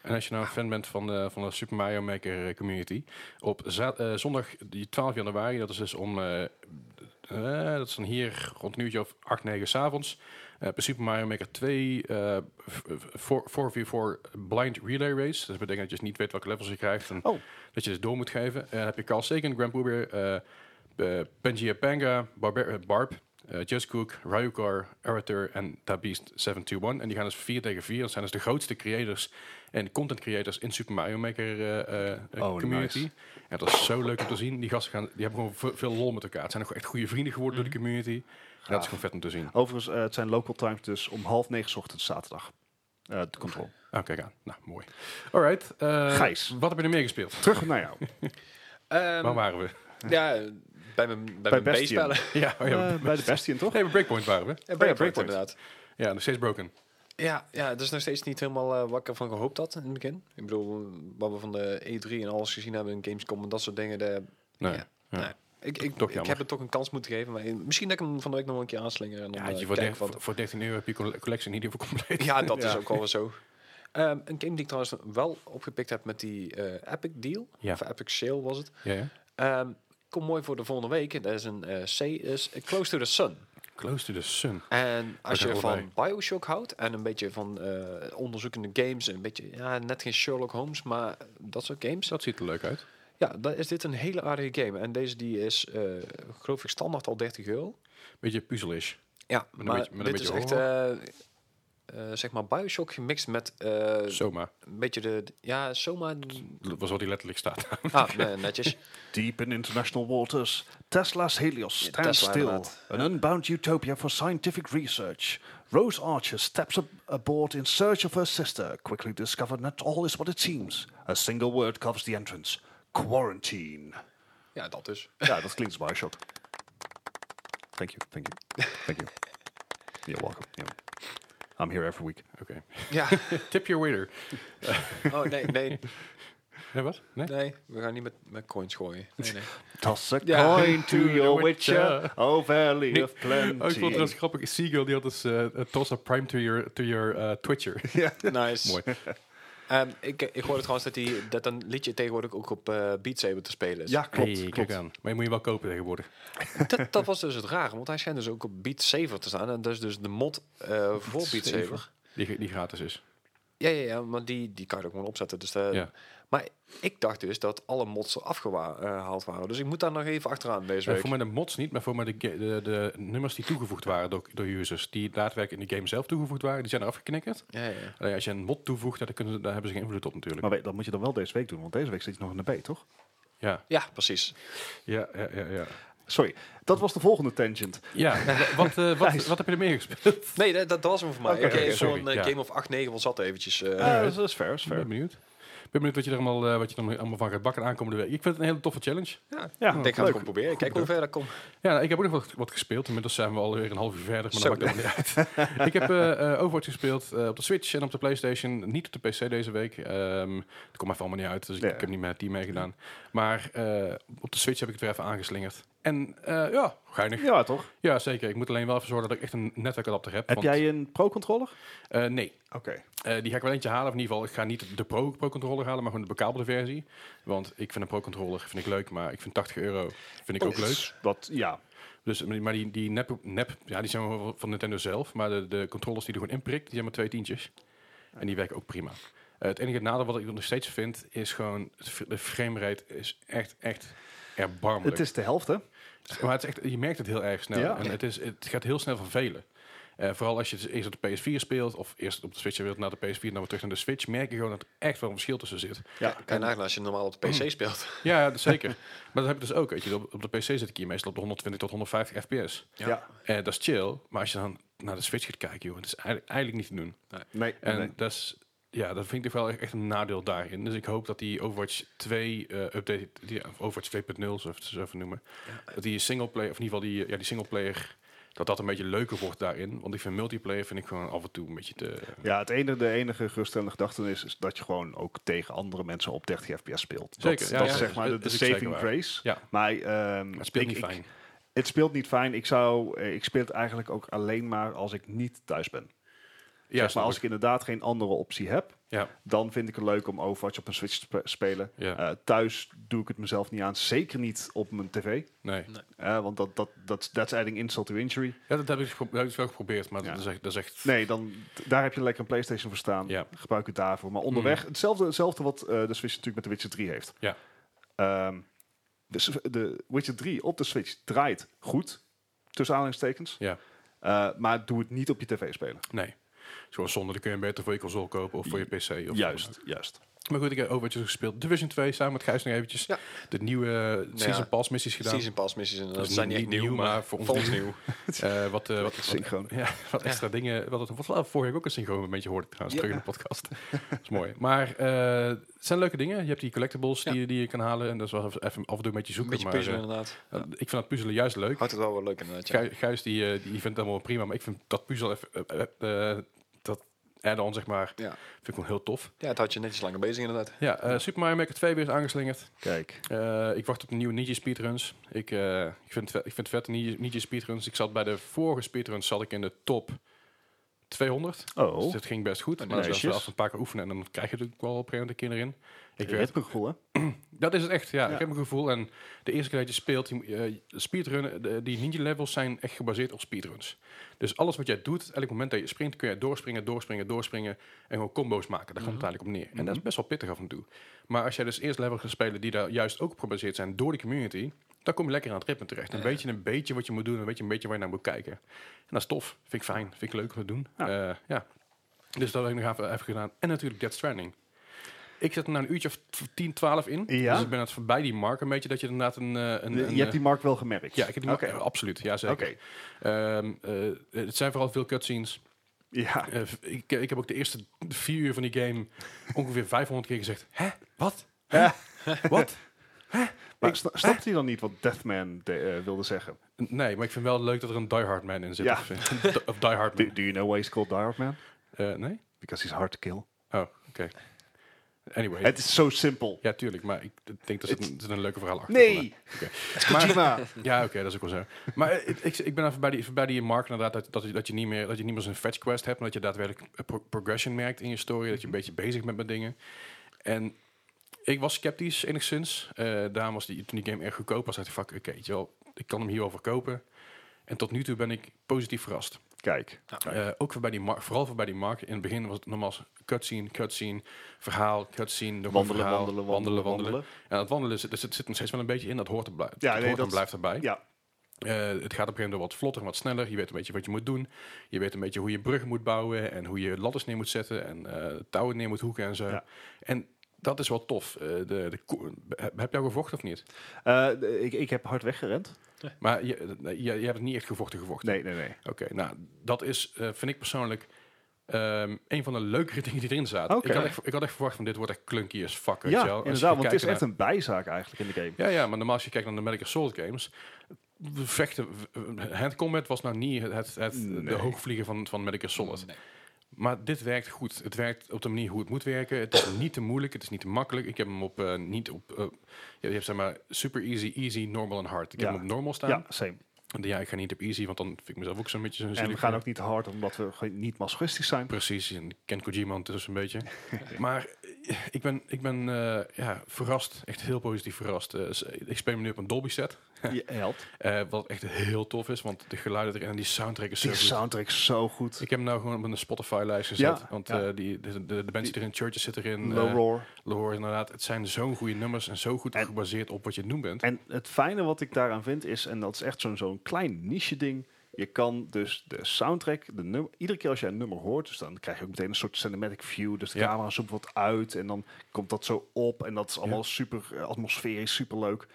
Speaker 1: En als je nou een fan bent van de, van de Super Mario Maker eh, community, op za- eh, zondag die 12 januari, dat is dus om, eh, eh, dat is dan hier rond een uurtje of 8, 9 s'avonds, eh bij Super Mario Maker 2 eh, v- v- 4v4 Blind Relay Race. Dat betekent dat je dus niet weet welke levels je krijgt en
Speaker 2: Oh.
Speaker 1: dat je dus door moet geven. En dan heb je Carl Sagan, Grand Poober, eh eh, Pangea Panga, Barber, eh, Barb, eh Just Cook, Ryukar, Arator en Tabeast 721. En die gaan dus 4 tegen 4. Dat zijn dus de grootste creators en content creators in Super Mario Maker eh, eh, eh,
Speaker 2: Oh,
Speaker 1: community.
Speaker 2: nice.
Speaker 1: En dat is zo leuk om te zien. Die gasten gaan, die hebben gewoon ve- veel lol met elkaar. Het zijn ook echt goede vrienden geworden door de community. En dat
Speaker 2: Mhm. Gaaf.
Speaker 1: is gewoon vet om te zien.
Speaker 2: Overigens, eh, het zijn local times dus om half negen 's ochtends zaterdag. Eh, de
Speaker 3: <laughs>
Speaker 2: control.
Speaker 1: Ah, kijk aan. Nou, mooi. Alright. eh,
Speaker 2: Gijs.
Speaker 1: Wat heb je er meer gespeeld?
Speaker 2: Terug naar jou.
Speaker 3: Oh Ehm,
Speaker 1: Waar waren we? <laughs>
Speaker 3: Ja, bij mijn, bij
Speaker 2: Bij
Speaker 3: mijn
Speaker 2: Bastion.
Speaker 3: B-spellen.
Speaker 1: ja, oh ja,
Speaker 2: Eh, bij de Bastion, toch?
Speaker 1: nee, bij Breakpoint waren
Speaker 3: <laughs>
Speaker 1: we.
Speaker 3: Ja,
Speaker 2: Oh ja,
Speaker 3: Breakpoint,
Speaker 2: Breakpoint.
Speaker 3: inderdaad.
Speaker 1: Ja, nog steeds broken.
Speaker 3: Ja, ja, dat is nog steeds niet helemaal eh, wat ik ervan gehoopt had in het begin. Ik bedoel, wat we van de E3 en alles gezien hebben in Gamescom en dat soort dingen. De,
Speaker 1: Nee.
Speaker 3: Ja. nee. Ik, ik,
Speaker 1: Toch
Speaker 3: ik
Speaker 1: jammer.
Speaker 3: heb het toch een kans moeten geven. Maar eh, misschien dat ik hem van de week nog een keer aanslinger. En dan,
Speaker 1: Ja,
Speaker 3: eh,
Speaker 1: je voor,
Speaker 3: kijken
Speaker 1: der-
Speaker 3: wat-
Speaker 1: voor- voor 13 euro heb je colle- collectie niet even compleet.
Speaker 3: ja, dat is
Speaker 2: Ja.
Speaker 3: ook wel weer zo. Ehm, een game die ik trouwens wel opgepikt heb met die eh, Epic Deal.
Speaker 1: Ja.
Speaker 3: Of Epic Sale was het.
Speaker 1: Ja, ja.
Speaker 3: Ehm kom mooi voor de volgende week. Dat is een eh, C, is Close to the Sun.
Speaker 1: Close to the sun.
Speaker 3: En als
Speaker 1: zijn
Speaker 3: je
Speaker 1: allebei.
Speaker 3: van Bioshock houdt en een beetje van eh, onderzoekende games, en een beetje, ja, net geen Sherlock Holmes, maar dat soort games.
Speaker 1: Dat ziet er leuk uit.
Speaker 3: Ja, dan is dit een hele aardige game. En deze die is, eh, geloof ik, standaard al 30 euro.
Speaker 1: Beetje puzzelish.
Speaker 3: Ja,
Speaker 1: een
Speaker 3: maar
Speaker 1: beetje- met een
Speaker 3: dit is
Speaker 1: beetje
Speaker 3: echt, eh, eh, zeg maar, Bioshock gemixt met eh,
Speaker 1: Soma.
Speaker 3: een beetje de, ja, zomaar...
Speaker 1: Dat was wat die letterlijk <laughs> staat.
Speaker 3: ah, nee, netjes.
Speaker 2: Deep in international waters, Tesla's Helios
Speaker 3: Ja,
Speaker 2: stands
Speaker 3: Tesla,
Speaker 2: still,
Speaker 3: inderdaad.
Speaker 2: an unbound utopia for scientific research. Rose Archer steps ab- aboard in search of her sister, quickly discovered not all is what it seems. A single word covers the entrance. Quarantine.
Speaker 3: Ja, dat
Speaker 1: <laughs>
Speaker 3: dus.
Speaker 2: Ja, dat klinkt als Bioshock. Thank you, thank you, thank you. You're welcome. You're welcome. I'm here every week.
Speaker 1: Oké.
Speaker 3: Ja,
Speaker 1: Tip your waiter.
Speaker 3: oh nee, nee.
Speaker 1: Ja, wat? Nee?
Speaker 3: Nee, we gaan niet met, met coins gooien. Nee, nee.
Speaker 2: Toss a
Speaker 3: Ja.
Speaker 2: coin to your witcher,
Speaker 1: Witcher.
Speaker 2: oh valley
Speaker 1: Nee.
Speaker 2: of
Speaker 1: Oh, ik vond het
Speaker 2: plenty.
Speaker 1: trouwens grappig. Seagull die had dus eh, eh, toss a prime to your, to your eh, <laughs> twitcher.
Speaker 3: Nice.
Speaker 1: Mooi.
Speaker 3: <laughs> Ehm, ik, ik hoorde trouwens dat, die, dat een liedje tegenwoordig ook op eh Beat Saber te spelen is.
Speaker 2: Ja, klopt.
Speaker 1: Hey, kijk
Speaker 2: klopt.
Speaker 1: aan. Maar je moet je wel kopen tegenwoordig.
Speaker 3: <laughs> Dat, dat was dus het rare, want hij schijnt dus ook op Beat Saber te staan. En dat is dus de mod eh, voor Beat
Speaker 1: Saber.
Speaker 3: Saber.
Speaker 1: Die, die gratis is.
Speaker 3: Ja, ja, ja, maar die, die kan je ook gewoon opzetten. Dus eh,
Speaker 1: Ja.
Speaker 3: Maar ik dacht dus dat alle mods er afgehaald waren. Dus ik moet daar nog even achteraan deze
Speaker 1: Eh,
Speaker 3: week.
Speaker 1: voor mij de mods niet, maar voor mij de, ga- de, de nummers die toegevoegd waren door, door users. Die daadwerkelijk in de game zelf toegevoegd waren, die zijn er afgeknikkerd.
Speaker 3: Ja, ja, ja.
Speaker 1: Alleen als je een mod toevoegt, dan kunnen, ze- daar hebben ze geen invloed op natuurlijk.
Speaker 2: Maar weet, dat moet je dan wel deze week doen, want deze week zit je nog in de B, toch?
Speaker 1: Ja,
Speaker 3: ja, precies.
Speaker 1: ja, ja, ja. ja.
Speaker 2: Sorry, dat was de volgende tangent.
Speaker 1: ja wa- wat, eh, wat, wat heb je er meer gespeeld?
Speaker 3: Nee, dat, dat was hem voor mij.
Speaker 2: Oké,
Speaker 3: Oké,
Speaker 2: oké,
Speaker 1: sorry,
Speaker 3: zo'n eh,
Speaker 1: ja.
Speaker 3: game of 8, 9 was dat eventjes. eh,
Speaker 2: Ja, dat is- dat is fair, dat is
Speaker 1: Ik ben
Speaker 2: fair.
Speaker 1: benieuwd. Ik ben benieuwd wat je er allemaal, eh, wat je er allemaal van gaat bakken aankomende week. Ik vind het een hele toffe challenge.
Speaker 3: ja.
Speaker 2: Ja,
Speaker 3: Ik denk, ga het
Speaker 2: leuk.
Speaker 3: gewoon proberen. Kijk hoe ver dat komt.
Speaker 1: Ja, nou, ik heb ook nog wat, wat gespeeld. Inmiddels zijn we alweer een half uur verder, maar
Speaker 3: Zo.
Speaker 1: dat maakt helemaal niet uit. ik heb eh, eh, Overwatch gespeeld eh, op de Switch en op de Playstation. Niet op de PC deze week. Ehm dat komt mij allemaal niet uit, dus ik-
Speaker 2: Ja.
Speaker 1: ik, heb niet met het team meegedaan. Maar eh, op de Switch heb ik het weer even aangeslingerd. En eh, ja, geinig.
Speaker 2: Ja, toch?
Speaker 1: Ja, zeker. Ik moet alleen wel even zorgen dat ik echt een netwerkadapter heb.
Speaker 2: Heb
Speaker 1: want,
Speaker 2: jij een pro-controller?
Speaker 1: eh, nee.
Speaker 2: Oké.
Speaker 1: Eh, die ga ik wel eentje halen. Of in ieder geval, ik ga niet de Pro- Pro-controller halen, maar gewoon de bekabelde versie. Want ik vind een Pro-controller vind ik leuk, maar ik vind 80 euro vind ik
Speaker 2: Oh,
Speaker 1: ook leuk.
Speaker 2: Dat, ja.
Speaker 1: Dus, maar die, die nep, nep, ja, die zijn wel van Nintendo zelf. Maar de, de controllers die er gewoon in prikt, die zijn maar twee tientjes. En die werken ook prima. Eh, het enige nadeel wat ik nog steeds vind, is gewoon... het fr- De framerate is echt, echt erbarmelijk.
Speaker 2: Het is de helft, hè?
Speaker 1: maar het is echt, je merkt het heel erg snel.
Speaker 2: Ja.
Speaker 1: En het, is, het gaat heel snel vervelen. Eh, vooral als je het eerst op de PS4 speelt... of eerst op de Switch wilt naar de PS4... en dan weer terug naar de Switch... merk je gewoon dat er echt wel een verschil tussen zit.
Speaker 2: Ja.
Speaker 3: Kan je nagaan als je normaal op de PC speelt.
Speaker 1: Ja, ja,
Speaker 2: <laughs>
Speaker 1: zeker. maar dat heb ik dus ook. Weet je, op, op de PC zit ik hier meestal op de 120 tot 150 fps.
Speaker 2: Ja.
Speaker 1: Eh, dat is chill, maar als je dan naar de Switch gaat kijken, joh, het is eigenlijk, eigenlijk niet te doen.
Speaker 2: Nee,
Speaker 1: En
Speaker 2: nee.
Speaker 1: dat is, ja, dat vind ik toch wel echt een nadeel daarin. Dus ik hoop dat die Overwatch 2 eh, update, die, of Overwatch 2.0, zo even- zo even noemen, dat die singleplayer, of in ieder geval die, ja, die singleplayer, dat dat een beetje leuker wordt daarin. Want ik vind multiplayer vind ik gewoon af en toe een beetje te...
Speaker 2: Ja, het enige, de enige geruststellende gedachte is, is dat je gewoon ook tegen andere mensen op 30 fps speelt.
Speaker 1: Zeker,
Speaker 2: dat,
Speaker 1: ja, ja,
Speaker 2: dat is
Speaker 1: dat
Speaker 2: zeg
Speaker 1: is-
Speaker 2: maar de,
Speaker 1: dat
Speaker 2: de
Speaker 1: is ook zeker
Speaker 2: saving
Speaker 1: waar.
Speaker 2: grace.
Speaker 1: Ja, maar
Speaker 2: Maar, ehm,
Speaker 1: het speelt
Speaker 2: ik-
Speaker 1: niet
Speaker 2: ik-
Speaker 1: fijn.
Speaker 2: het speelt niet fijn. Ik, zou, eh, ik speel het eigenlijk ook alleen maar als ik niet thuis ben.
Speaker 1: Ja,
Speaker 2: zeg
Speaker 1: snap
Speaker 2: maar als
Speaker 1: ik.
Speaker 2: ik inderdaad geen andere optie heb,
Speaker 1: ja,
Speaker 2: dan vind ik het leuk om Overwatch op een Switch te spe- spelen.
Speaker 1: Ja.
Speaker 2: Eh, thuis doe ik het mezelf niet aan. Zeker niet op mijn tv.
Speaker 1: nee.
Speaker 2: Eh, want dat, dat, dat, that's adding insult to injury.
Speaker 1: Ja, dat heb ik, gepro- dat heb ik wel geprobeerd, maar
Speaker 2: Ja.
Speaker 1: dat is echt... Dat is echt
Speaker 2: Nee, dan, d- daar heb je lekker een PlayStation voor staan.
Speaker 1: Ja. Mm.
Speaker 2: Gebruik het daarvoor. Maar onderweg, hetzelfde, hetzelfde wat eh, de Switch natuurlijk met de Witcher 3 heeft.
Speaker 1: Ja.
Speaker 2: Ehm, de, s- de Witcher 3 op de Switch draait goed, tussen aanhalingstekens.
Speaker 1: Ja.
Speaker 2: Eh, maar doe het niet op je tv spelen.
Speaker 1: nee. Zoals zonder, dan kun je hem beter voor je console kopen of voor je PC. Of
Speaker 2: juist.
Speaker 1: Maar goed, ik heb Overwatch dus gespeeld. Division 2 samen met Gijs nog eventjes.
Speaker 3: Ja.
Speaker 1: De nieuwe eh,
Speaker 2: Nou
Speaker 1: Season
Speaker 3: Ja.
Speaker 1: Pass missies gedaan.
Speaker 3: Season Pass missies. En dat
Speaker 1: is
Speaker 3: zijn
Speaker 1: niet-
Speaker 3: niet echt
Speaker 1: niet
Speaker 3: nieuw, maar voor ons nieuw.
Speaker 1: Eh, wat, eh, wat, wat,
Speaker 2: Synchroon.
Speaker 1: ja, wat extra dingen. Wat, wat, wat vorige week ook een synchroon momentje hoorde ik trouwens terug in de
Speaker 3: <laughs>
Speaker 1: podcast. dat is mooi. Maar eh, het zijn leuke dingen. Je hebt die collectibles die, die je kan halen. En dat is wel even af en toe een beetje
Speaker 3: Een
Speaker 1: zoeken.
Speaker 3: beetje
Speaker 1: maar,
Speaker 3: puzzelen
Speaker 1: eh,
Speaker 3: inderdaad.
Speaker 1: eh, ik vind dat puzzelen juist leuk.
Speaker 3: Houdt het wel wel leuk inderdaad, ja.
Speaker 1: Gij- Gijs die, eh, die vindt het allemaal prima. Maar ik vind dat puzzel even... eh, eh, eh, dat add-on zeg maar.
Speaker 3: ja.
Speaker 1: Vind ik gewoon heel tof.
Speaker 3: Ja, het houdt je netjes langer bezig inderdaad.
Speaker 1: Ja, eh, Super Mario Maker 2 weer is aangeslingerd.
Speaker 2: Kijk.
Speaker 1: Eh, ik wacht op de nieuwe Ninja speedruns. Ik, eh, ik, vind het, ve- ik vind het vet, Ninja, Ninja speedruns. Ik zat bij de vorige speedruns zat ik in de top 200. Dus
Speaker 2: Oh,
Speaker 1: dat ging best goed. Maar
Speaker 2: netjes.
Speaker 1: dat is wel af een paar keer oefenen en dan krijg je natuurlijk wel op een gegeven moment een keer erin. Ik
Speaker 2: ik
Speaker 1: werd-
Speaker 2: heb een gevoel, hè?
Speaker 1: dat is het echt, ja.
Speaker 2: Ja.
Speaker 1: Ik heb een gevoel. En de eerste keer dat je speelt, die, eh, speedrunnen, de- die ninja levels zijn echt gebaseerd op speedruns. Dus alles wat jij doet, elk moment dat je springt, kun je doorspringen, doorspringen, doorspringen. En gewoon combo's maken. Daar komt het
Speaker 2: Mhm.
Speaker 1: eigenlijk op neer. En dat is best wel pittig af en toe. Maar als jij dus eerst levels gaat spelen die daar juist ook op gebaseerd zijn door de community, dan kom je lekker aan het ritme terecht. Dan weet je een beetje wat je moet doen en weet je een beetje waar je naar moet kijken. En dat is tof. Vind ik fijn. Vind ik leuk om te doen. Ja. ja. Dus dat heb ik nog even, even gedaan. En natuurlijk Dead Stranding. Ik zit er na een uurtje of t- 10, 12 in.
Speaker 2: Ja?
Speaker 1: Dus ik ben het voorbij die mark een beetje dat je inderdaad een... eh, een,
Speaker 2: Je
Speaker 1: een,
Speaker 2: hebt die
Speaker 1: eh,
Speaker 2: mark wel gemerkt.
Speaker 1: Ja, ik heb die mark.
Speaker 2: Oké.
Speaker 1: ja, absoluut. Ja, zeker.
Speaker 2: Oké.
Speaker 1: Ehm, eh, het zijn vooral veel cutscenes.
Speaker 2: Ja.
Speaker 1: Eh, v- ik, ik heb ook de eerste vier uur van die game ongeveer 500 keer gezegd... Hè? Wat? Hè? <laughs> Wat?
Speaker 2: Maar sna- snapt hij dan niet wat Deathman de- eh, wilde zeggen?
Speaker 1: Nee, maar ik vind wel leuk dat er een Die Hard Man in zit.
Speaker 2: Ja.
Speaker 1: Of, eh, of Die Hard
Speaker 2: Do,
Speaker 1: Man.
Speaker 2: do you know why he's called Die Hard Man?
Speaker 1: Eh, nee?
Speaker 2: Because he's hard to kill.
Speaker 1: Oh, oké. Anyway.
Speaker 2: Het is zo simpel.
Speaker 1: ja, tuurlijk, maar ik denk dat er zit een, er zit een leuke verhaal achter.
Speaker 2: Nee!
Speaker 1: Maar-
Speaker 2: Kojima!
Speaker 1: Ja, oké, dat is ook wel zo. Maar eh, ik, ik ben even bij die, bij die markt inderdaad dat, dat, je- dat je niet meer, dat je niet meer zo'n fetch quest hebt, maar dat je daadwerkelijk eh, pro- progression merkt in je story, dat je een
Speaker 2: Mhm.
Speaker 1: beetje bezig bent met dingen. En ik was sceptisch enigszins. Eh daarom was die, toen die game erg goedkoop was, dacht ik, fuck, oké, weet je wel, ik kan hem hier wel verkopen. En tot nu toe ben ik positief verrast.
Speaker 2: <laughs> Kijk.
Speaker 1: Eh, ook voor bij die mar- vooral voor bij die markt. In het begin was het normaal cutscene, cutscene, verhaal, cutscene, nog een
Speaker 2: Wandelen,
Speaker 1: verhaal,
Speaker 2: wandelen, wandelen, wandelen.
Speaker 1: En dat wandelen zit, zit, zit nog steeds wel een beetje in, dat hoort, er blij- dat
Speaker 2: nee,
Speaker 1: hoort en
Speaker 2: dat-
Speaker 1: blijft erbij.
Speaker 2: Ja,
Speaker 1: Eh, het gaat op een gegeven moment wel wat vlotter en wat sneller. Je weet een beetje wat je moet doen. Je weet een beetje hoe je bruggen moet bouwen en hoe je ladders neer moet zetten en eh, touwen neer moet hoeken en zo.
Speaker 2: Ja.
Speaker 1: En dat is wel tof. Eh, de, de, ko- heb jij al gevochten of niet?
Speaker 2: Eh, d- ik, ik heb hard weggerend.
Speaker 1: Maar je, je, je hebt niet echt gevochten gevochten.
Speaker 2: Nee, nee, nee.
Speaker 1: Oké, nou, dat is, eh, vind ik persoonlijk, ehm, een van de leukere <laughs> dingen die erin zaten.
Speaker 2: Oké.
Speaker 1: Ik, had echt, ik had echt verwacht van dit wordt echt clunky as fuck, weet
Speaker 2: ja,
Speaker 1: je wel. Als je
Speaker 2: inderdaad, want het
Speaker 1: kijkt
Speaker 2: is echt een bijzaak eigenlijk in de game.
Speaker 1: naar- Ja, ja, maar normaal als je kijkt naar de Medical Souls games, vechten, handcombat was nou niet het, het, het- de
Speaker 2: Nee.
Speaker 1: hoogvlieger van, van Medical Solid.
Speaker 3: Nee.
Speaker 1: Maar dit werkt goed. Het werkt op de manier hoe het moet werken. Het is niet te moeilijk, het is niet te makkelijk. Ik heb hem op, eh, niet op, eh, je hebt zeg maar super easy, easy, normal en hard. Ik heb
Speaker 2: Ja.
Speaker 1: hem op normal staan.
Speaker 2: Ja, same. Dus
Speaker 1: Ja, ik ga niet op easy, want dan vind ik mezelf ook zo'n beetje zo'n
Speaker 2: En we
Speaker 1: zielig-
Speaker 2: gaan ook niet hard omdat we gewoon niet masochistisch zijn. <laughs>
Speaker 1: Precies, en ik ken Kojima ondertussen een beetje. maar eh, ik ben, ik ben eh, ja, verrast, echt heel positief verrast. Eh, s- ik speel hem nu op een Dolby set,
Speaker 2: Je helpt.
Speaker 1: eh, wat echt heel tof is, want de geluiden erin en die soundtrack is zo
Speaker 2: Die
Speaker 1: goed.
Speaker 2: soundtrack is zo goed.
Speaker 1: Ik heb hem nou gewoon op een Spotify-lijst gezet,
Speaker 2: Ja,
Speaker 1: want
Speaker 2: ja.
Speaker 1: eh, die, de, de, de mensen die erin, Churches zitten erin,
Speaker 2: Low
Speaker 1: eh
Speaker 2: roar.
Speaker 1: Loor inderdaad. Het zijn zo'n goede nummers en zo goed
Speaker 2: En-
Speaker 1: gebaseerd op wat je doen bent.
Speaker 2: En het fijne wat ik daaraan vind is, en dat is echt zo'n zo'n klein niche ding. Je kan dus de soundtrack, de nummer, iedere keer als je een nummer hoort, dus dan krijg je ook meteen een soort cinematic view. Dus de
Speaker 1: Ja.
Speaker 2: camera zoomt wat uit en dan komt dat zo op. En dat is allemaal super eh, atmosferisch, super leuk.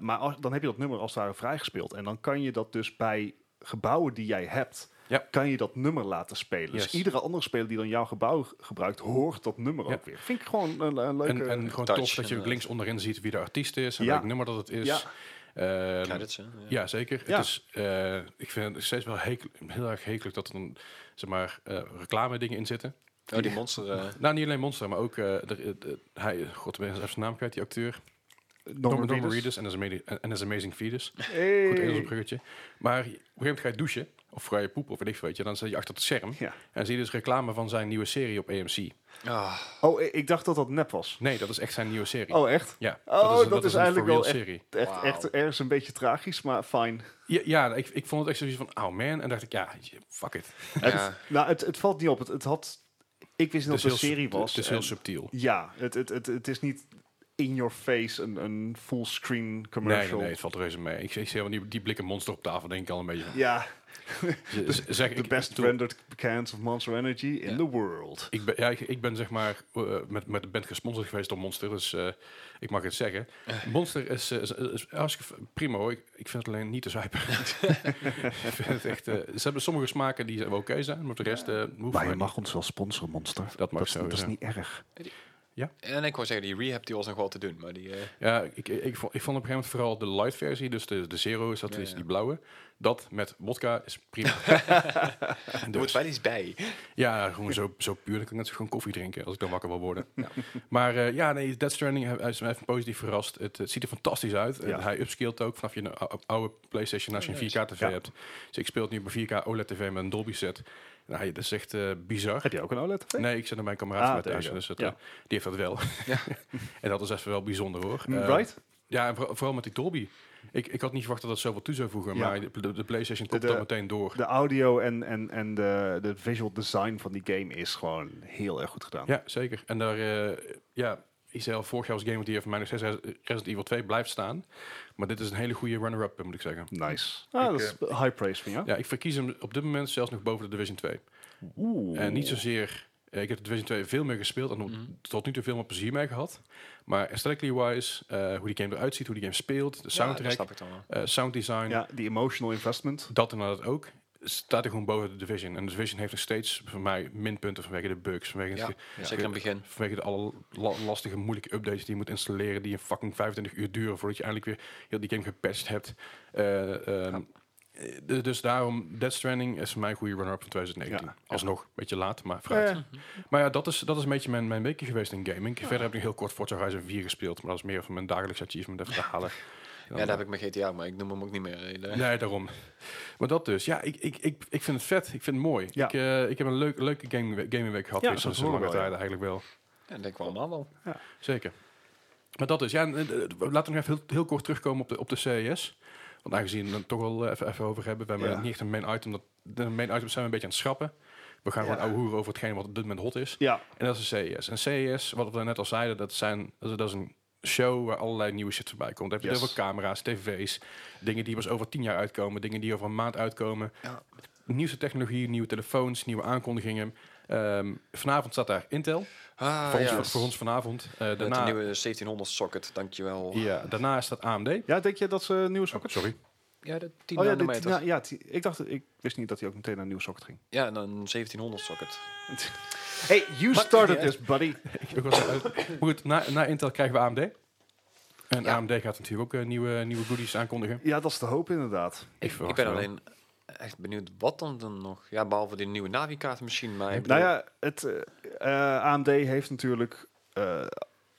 Speaker 2: maar als- dan heb je dat nummer als het ware vrijgespeeld. En dan kan je dat dus bij gebouwen die jij hebt,
Speaker 1: Ja.
Speaker 2: kan je dat nummer laten spelen. Dus
Speaker 1: Yes.
Speaker 2: iedere andere speler die dan jouw gebouw g- gebruikt, hoort dat nummer
Speaker 1: Ja.
Speaker 2: ook weer. Vind ik gewoon een, een leuke...
Speaker 1: En, en gewoon tof
Speaker 3: touch
Speaker 1: dat je ook
Speaker 3: inderdaad.
Speaker 1: links onderin ziet wie de artiest is en
Speaker 2: Ja.
Speaker 1: welk nummer dat het is.
Speaker 2: Ja.
Speaker 1: Ehm,
Speaker 3: Credits, hè? Ja.
Speaker 1: Ja, zeker.
Speaker 2: Ja.
Speaker 1: Het is, eh, ik vind het nog steeds wel hekel- heel erg hekelijk dat er dan, zeg maar, eh, reclame dingen in zitten.
Speaker 3: Oh, die monster. eh,
Speaker 1: Nou, niet alleen Monster, maar ook eh, er- eh, eh, hij, god, ik ben even zijn naam kwijt, die acteur.
Speaker 2: Norman Reedus.
Speaker 1: Reedus en his Amazing- en his Amazing Fetus.
Speaker 2: Hey.
Speaker 1: Goed Engels bruggetje. Maar op een gegeven moment ga je douchen, of ga je poepen, of weet ik veel, weet je. Dan zit je achter het scherm
Speaker 2: Ja.
Speaker 1: en zie je dus reclame van zijn nieuwe serie op AMC.
Speaker 3: ah,
Speaker 2: Oh, i- ik dacht dat dat nep was.
Speaker 1: Nee, dat is echt zijn nieuwe serie.
Speaker 2: Oh, echt?
Speaker 1: Ja,
Speaker 2: Oh, dat is
Speaker 1: een
Speaker 2: eigenlijk
Speaker 1: for-real
Speaker 2: wel
Speaker 1: serie.
Speaker 2: Echt,
Speaker 3: Wauw.
Speaker 2: echt ergens een beetje tragisch, maar fijn.
Speaker 1: Ja, ja ik, ik vond het echt zoiets van, oh man. En dacht ik, ja, fuck it.
Speaker 3: ja.
Speaker 2: Nou, het, het valt niet op. Het, het had... Ik wist niet dat
Speaker 1: Dus
Speaker 2: het een
Speaker 1: heel
Speaker 2: serie
Speaker 1: sub-
Speaker 2: was.
Speaker 1: Het is heel
Speaker 2: en-
Speaker 1: subtiel.
Speaker 2: Ja, het, het, het, het is niet in your face een, een fullscreen
Speaker 1: Nee, nee,
Speaker 2: commercial.
Speaker 1: nee, het valt reuze mee. Ik, ik zie wel die, die blikken monster op tafel, denk ik al een
Speaker 2: <laughs>
Speaker 1: beetje. van,
Speaker 2: Ja,
Speaker 1: z- z- zeg,
Speaker 2: the
Speaker 1: ik,
Speaker 2: best
Speaker 1: ik bedoel,
Speaker 2: rendered cans of Monster Energy in the world.
Speaker 1: Ik ben, ja, ik, ik ben zeg maar eh, met, met de band gesponsord geweest door Monster, dus eh, ik mag het zeggen. Monster is, eh, is, is hartstikke f- prima hoor. Ik, ik vind het alleen niet te zuipen.
Speaker 3: <laughs>
Speaker 1: ik vind het echt, eh, ze hebben sommige smaken die oké zijn, maar de rest eh hoeft
Speaker 2: Maar je
Speaker 1: mij
Speaker 2: mag ons wel sponsoren, Monster.
Speaker 1: Dat mag
Speaker 2: dat,
Speaker 1: sowieso.
Speaker 2: dat is niet erg.
Speaker 3: En ik wou zeggen, die rehab die was nog wel te doen, maar die... eh,
Speaker 1: niet. Ja, ik, ik, ik vond, ik vond op een gegeven moment vooral de light versie, dus de, de zero is dat
Speaker 3: Ja,
Speaker 1: is
Speaker 3: ja.
Speaker 1: die blauwe. Dat met vodka is
Speaker 3: <laughs>
Speaker 1: prima. dus-
Speaker 3: er moet wel iets bij.
Speaker 1: Ja, gewoon zo, zo puur. Dan kan ik net zo gewoon koffie drinken als ik dan wakker wil worden. Maar eh, ja, nee, Dead Stranding hij- hij is me even positief verrast. Het, eh, ziet er fantastisch uit. En
Speaker 2: Ja.
Speaker 1: hij upscaled ook vanaf je nou, ou- oude PlayStation als je een 4K TV
Speaker 2: Ja.
Speaker 1: hebt. Dus ik speel het nu op een 4K OLED TV met een Dolby set. Nou, dat is echt eh, bizar.
Speaker 2: Heb je ook een E OLED? TV?
Speaker 1: Nee, ik zit naar mijn kameraad
Speaker 2: Ah,
Speaker 1: met
Speaker 2: there
Speaker 1: thuis.
Speaker 2: you
Speaker 1: Dus
Speaker 2: go.
Speaker 1: dat, eh,
Speaker 2: Ja.
Speaker 1: die heeft dat wel. <laughs> en dat is even wel bijzonder hoor.
Speaker 2: Mm,
Speaker 1: Eh,
Speaker 2: Right?
Speaker 1: ja, en voor- vooral met die Dolby. Ik, ik had niet verwacht dat dat zoveel toe zou voegen.
Speaker 2: Ja.
Speaker 1: Maar de, de- de PlayStation komt
Speaker 2: De-
Speaker 1: dat
Speaker 2: de-
Speaker 1: meteen door.
Speaker 2: De audio en, en, en de, de visual design van die game is gewoon heel erg goed gedaan.
Speaker 1: Ja, zeker. En daar, eh ja, ik zei al, vorig jaar was Game of the Year voor mij nog steeds Res- Resident Evil 2 blijft staan. Maar dit is een hele goede runner-up, moet ik zeggen.
Speaker 2: Nice. Ah, dat is high praise van jou.
Speaker 1: Ja, ik verkies hem op dit moment zelfs nog boven de Division 2.
Speaker 2: Oeh.
Speaker 1: En niet zozeer, eh, ik heb de Division 2 veel meer gespeeld en
Speaker 3: Mhm.
Speaker 1: tot nu toe veel meer plezier mee gehad. Maar aesthetically wise, eh, hoe die game eruit ziet, hoe die game speelt, de
Speaker 3: Ja, dat
Speaker 1: soundtrack,
Speaker 3: snap ik dan wel.
Speaker 1: eh, sound design,
Speaker 2: Ja, die emotional investment.
Speaker 1: dat inderdaad ook. Staat er gewoon boven de Division. En de Division heeft nog steeds voor mij minpunten vanwege de bugs. Vanwege
Speaker 3: Ja,
Speaker 1: het
Speaker 3: zeker in het begin.
Speaker 1: Vanwege de alle la- lastige, moeilijke updates die je moet installeren, die een fucking 25 uur duren voordat je eindelijk weer heel die game gepatcht hebt. Eh, ehm, eh, d- dus daarom, Death Stranding is voor mij een goede runner-up van 2019.
Speaker 2: Ja.
Speaker 1: Alsnog, een beetje laat, maar vooruit.
Speaker 2: Eh,
Speaker 1: Maar ja, dat is, dat is een beetje mijn, mijn weekje geweest in gaming. Verder heb ik heel kort Forza Horizon 4 gespeeld. Maar dat is meer van mijn dagelijks achievement even te halen.
Speaker 3: Ja, daar heb ik mijn GTA, maar ik noem hem ook niet meer. eh,
Speaker 1: <laughs> Nee, daarom. Maar dat dus. Ja, ik, ik, ik, ik vind het vet. Ik vind het mooi.
Speaker 2: Ja.
Speaker 1: Ik, eh, ik heb een leuk, leuke game, gamingweek gehad.
Speaker 2: Ja,
Speaker 1: Ja, dus dat
Speaker 2: dat
Speaker 1: is een
Speaker 2: horen we
Speaker 1: lange
Speaker 2: wel,
Speaker 1: tijd eigenlijk wel.
Speaker 3: Ja, dat denk ik wel allemaal wel.
Speaker 1: Zeker. Maar dat is, ja, en, eh, eh, laten we nog even heel, heel kort terugkomen op de, op de CES. Want aangezien we het toch wel eh, even, even over hebben, we hebben
Speaker 2: Ja.
Speaker 1: niet echt een main item. Dat, de main items zijn we een beetje aan het schrappen. We gaan
Speaker 2: Ja.
Speaker 1: gewoon ouwe hoeren over hetgeen wat op dit moment hot is.
Speaker 2: Ja,
Speaker 1: En dat is de CES. En CES, wat we net al zeiden, dat, zijn, dat is- dat is een show waar allerlei nieuwe shit voorbij komt. Daar heb je
Speaker 2: Yes.
Speaker 1: heel veel camera's, tv's, dingen die pas over tien jaar uitkomen, dingen die over een maand uitkomen.
Speaker 3: Ja.
Speaker 1: Nieuwste technologie, nieuwe telefoons, nieuwe aankondigingen. Ehm, vanavond staat daar Intel,
Speaker 3: Ah,
Speaker 1: voor, ons,
Speaker 3: ja.
Speaker 1: voor, voor ons vanavond. Eh,
Speaker 3: Met de
Speaker 1: daarna,
Speaker 3: nieuwe 1700 socket, dankjewel.
Speaker 1: ja, daarna staat AMD.
Speaker 2: ja denk je dat ze een nieuwe
Speaker 1: Oh,
Speaker 2: socket...
Speaker 1: sorry.
Speaker 3: Ja, de 10
Speaker 2: oh ja, dit-
Speaker 3: nanometer.
Speaker 2: ja, ja, die- ik dacht, ik wist niet dat hij ook meteen naar een nieuwe socket ging.
Speaker 3: Ja, en een 1700 socket.
Speaker 2: Hey, you
Speaker 3: Maar-
Speaker 2: started
Speaker 3: Ja.
Speaker 2: this, buddy.
Speaker 1: Ik was, eh, goed, na, na Intel krijgen we AMD. En
Speaker 3: Ja.
Speaker 1: AMD gaat natuurlijk ook eh, nieuwe, nieuwe goodies aankondigen.
Speaker 2: Ja, dat is de hoop inderdaad.
Speaker 1: Ik,
Speaker 3: Ik
Speaker 1: verwacht
Speaker 3: ben
Speaker 1: wel.
Speaker 3: alleen echt benieuwd wat dan, dan nog. Ja, behalve die nieuwe Navi-kaart misschien. Maar ik
Speaker 2: Nou
Speaker 3: bedoel-
Speaker 2: ja, het eh, eh, AMD heeft natuurlijk eh,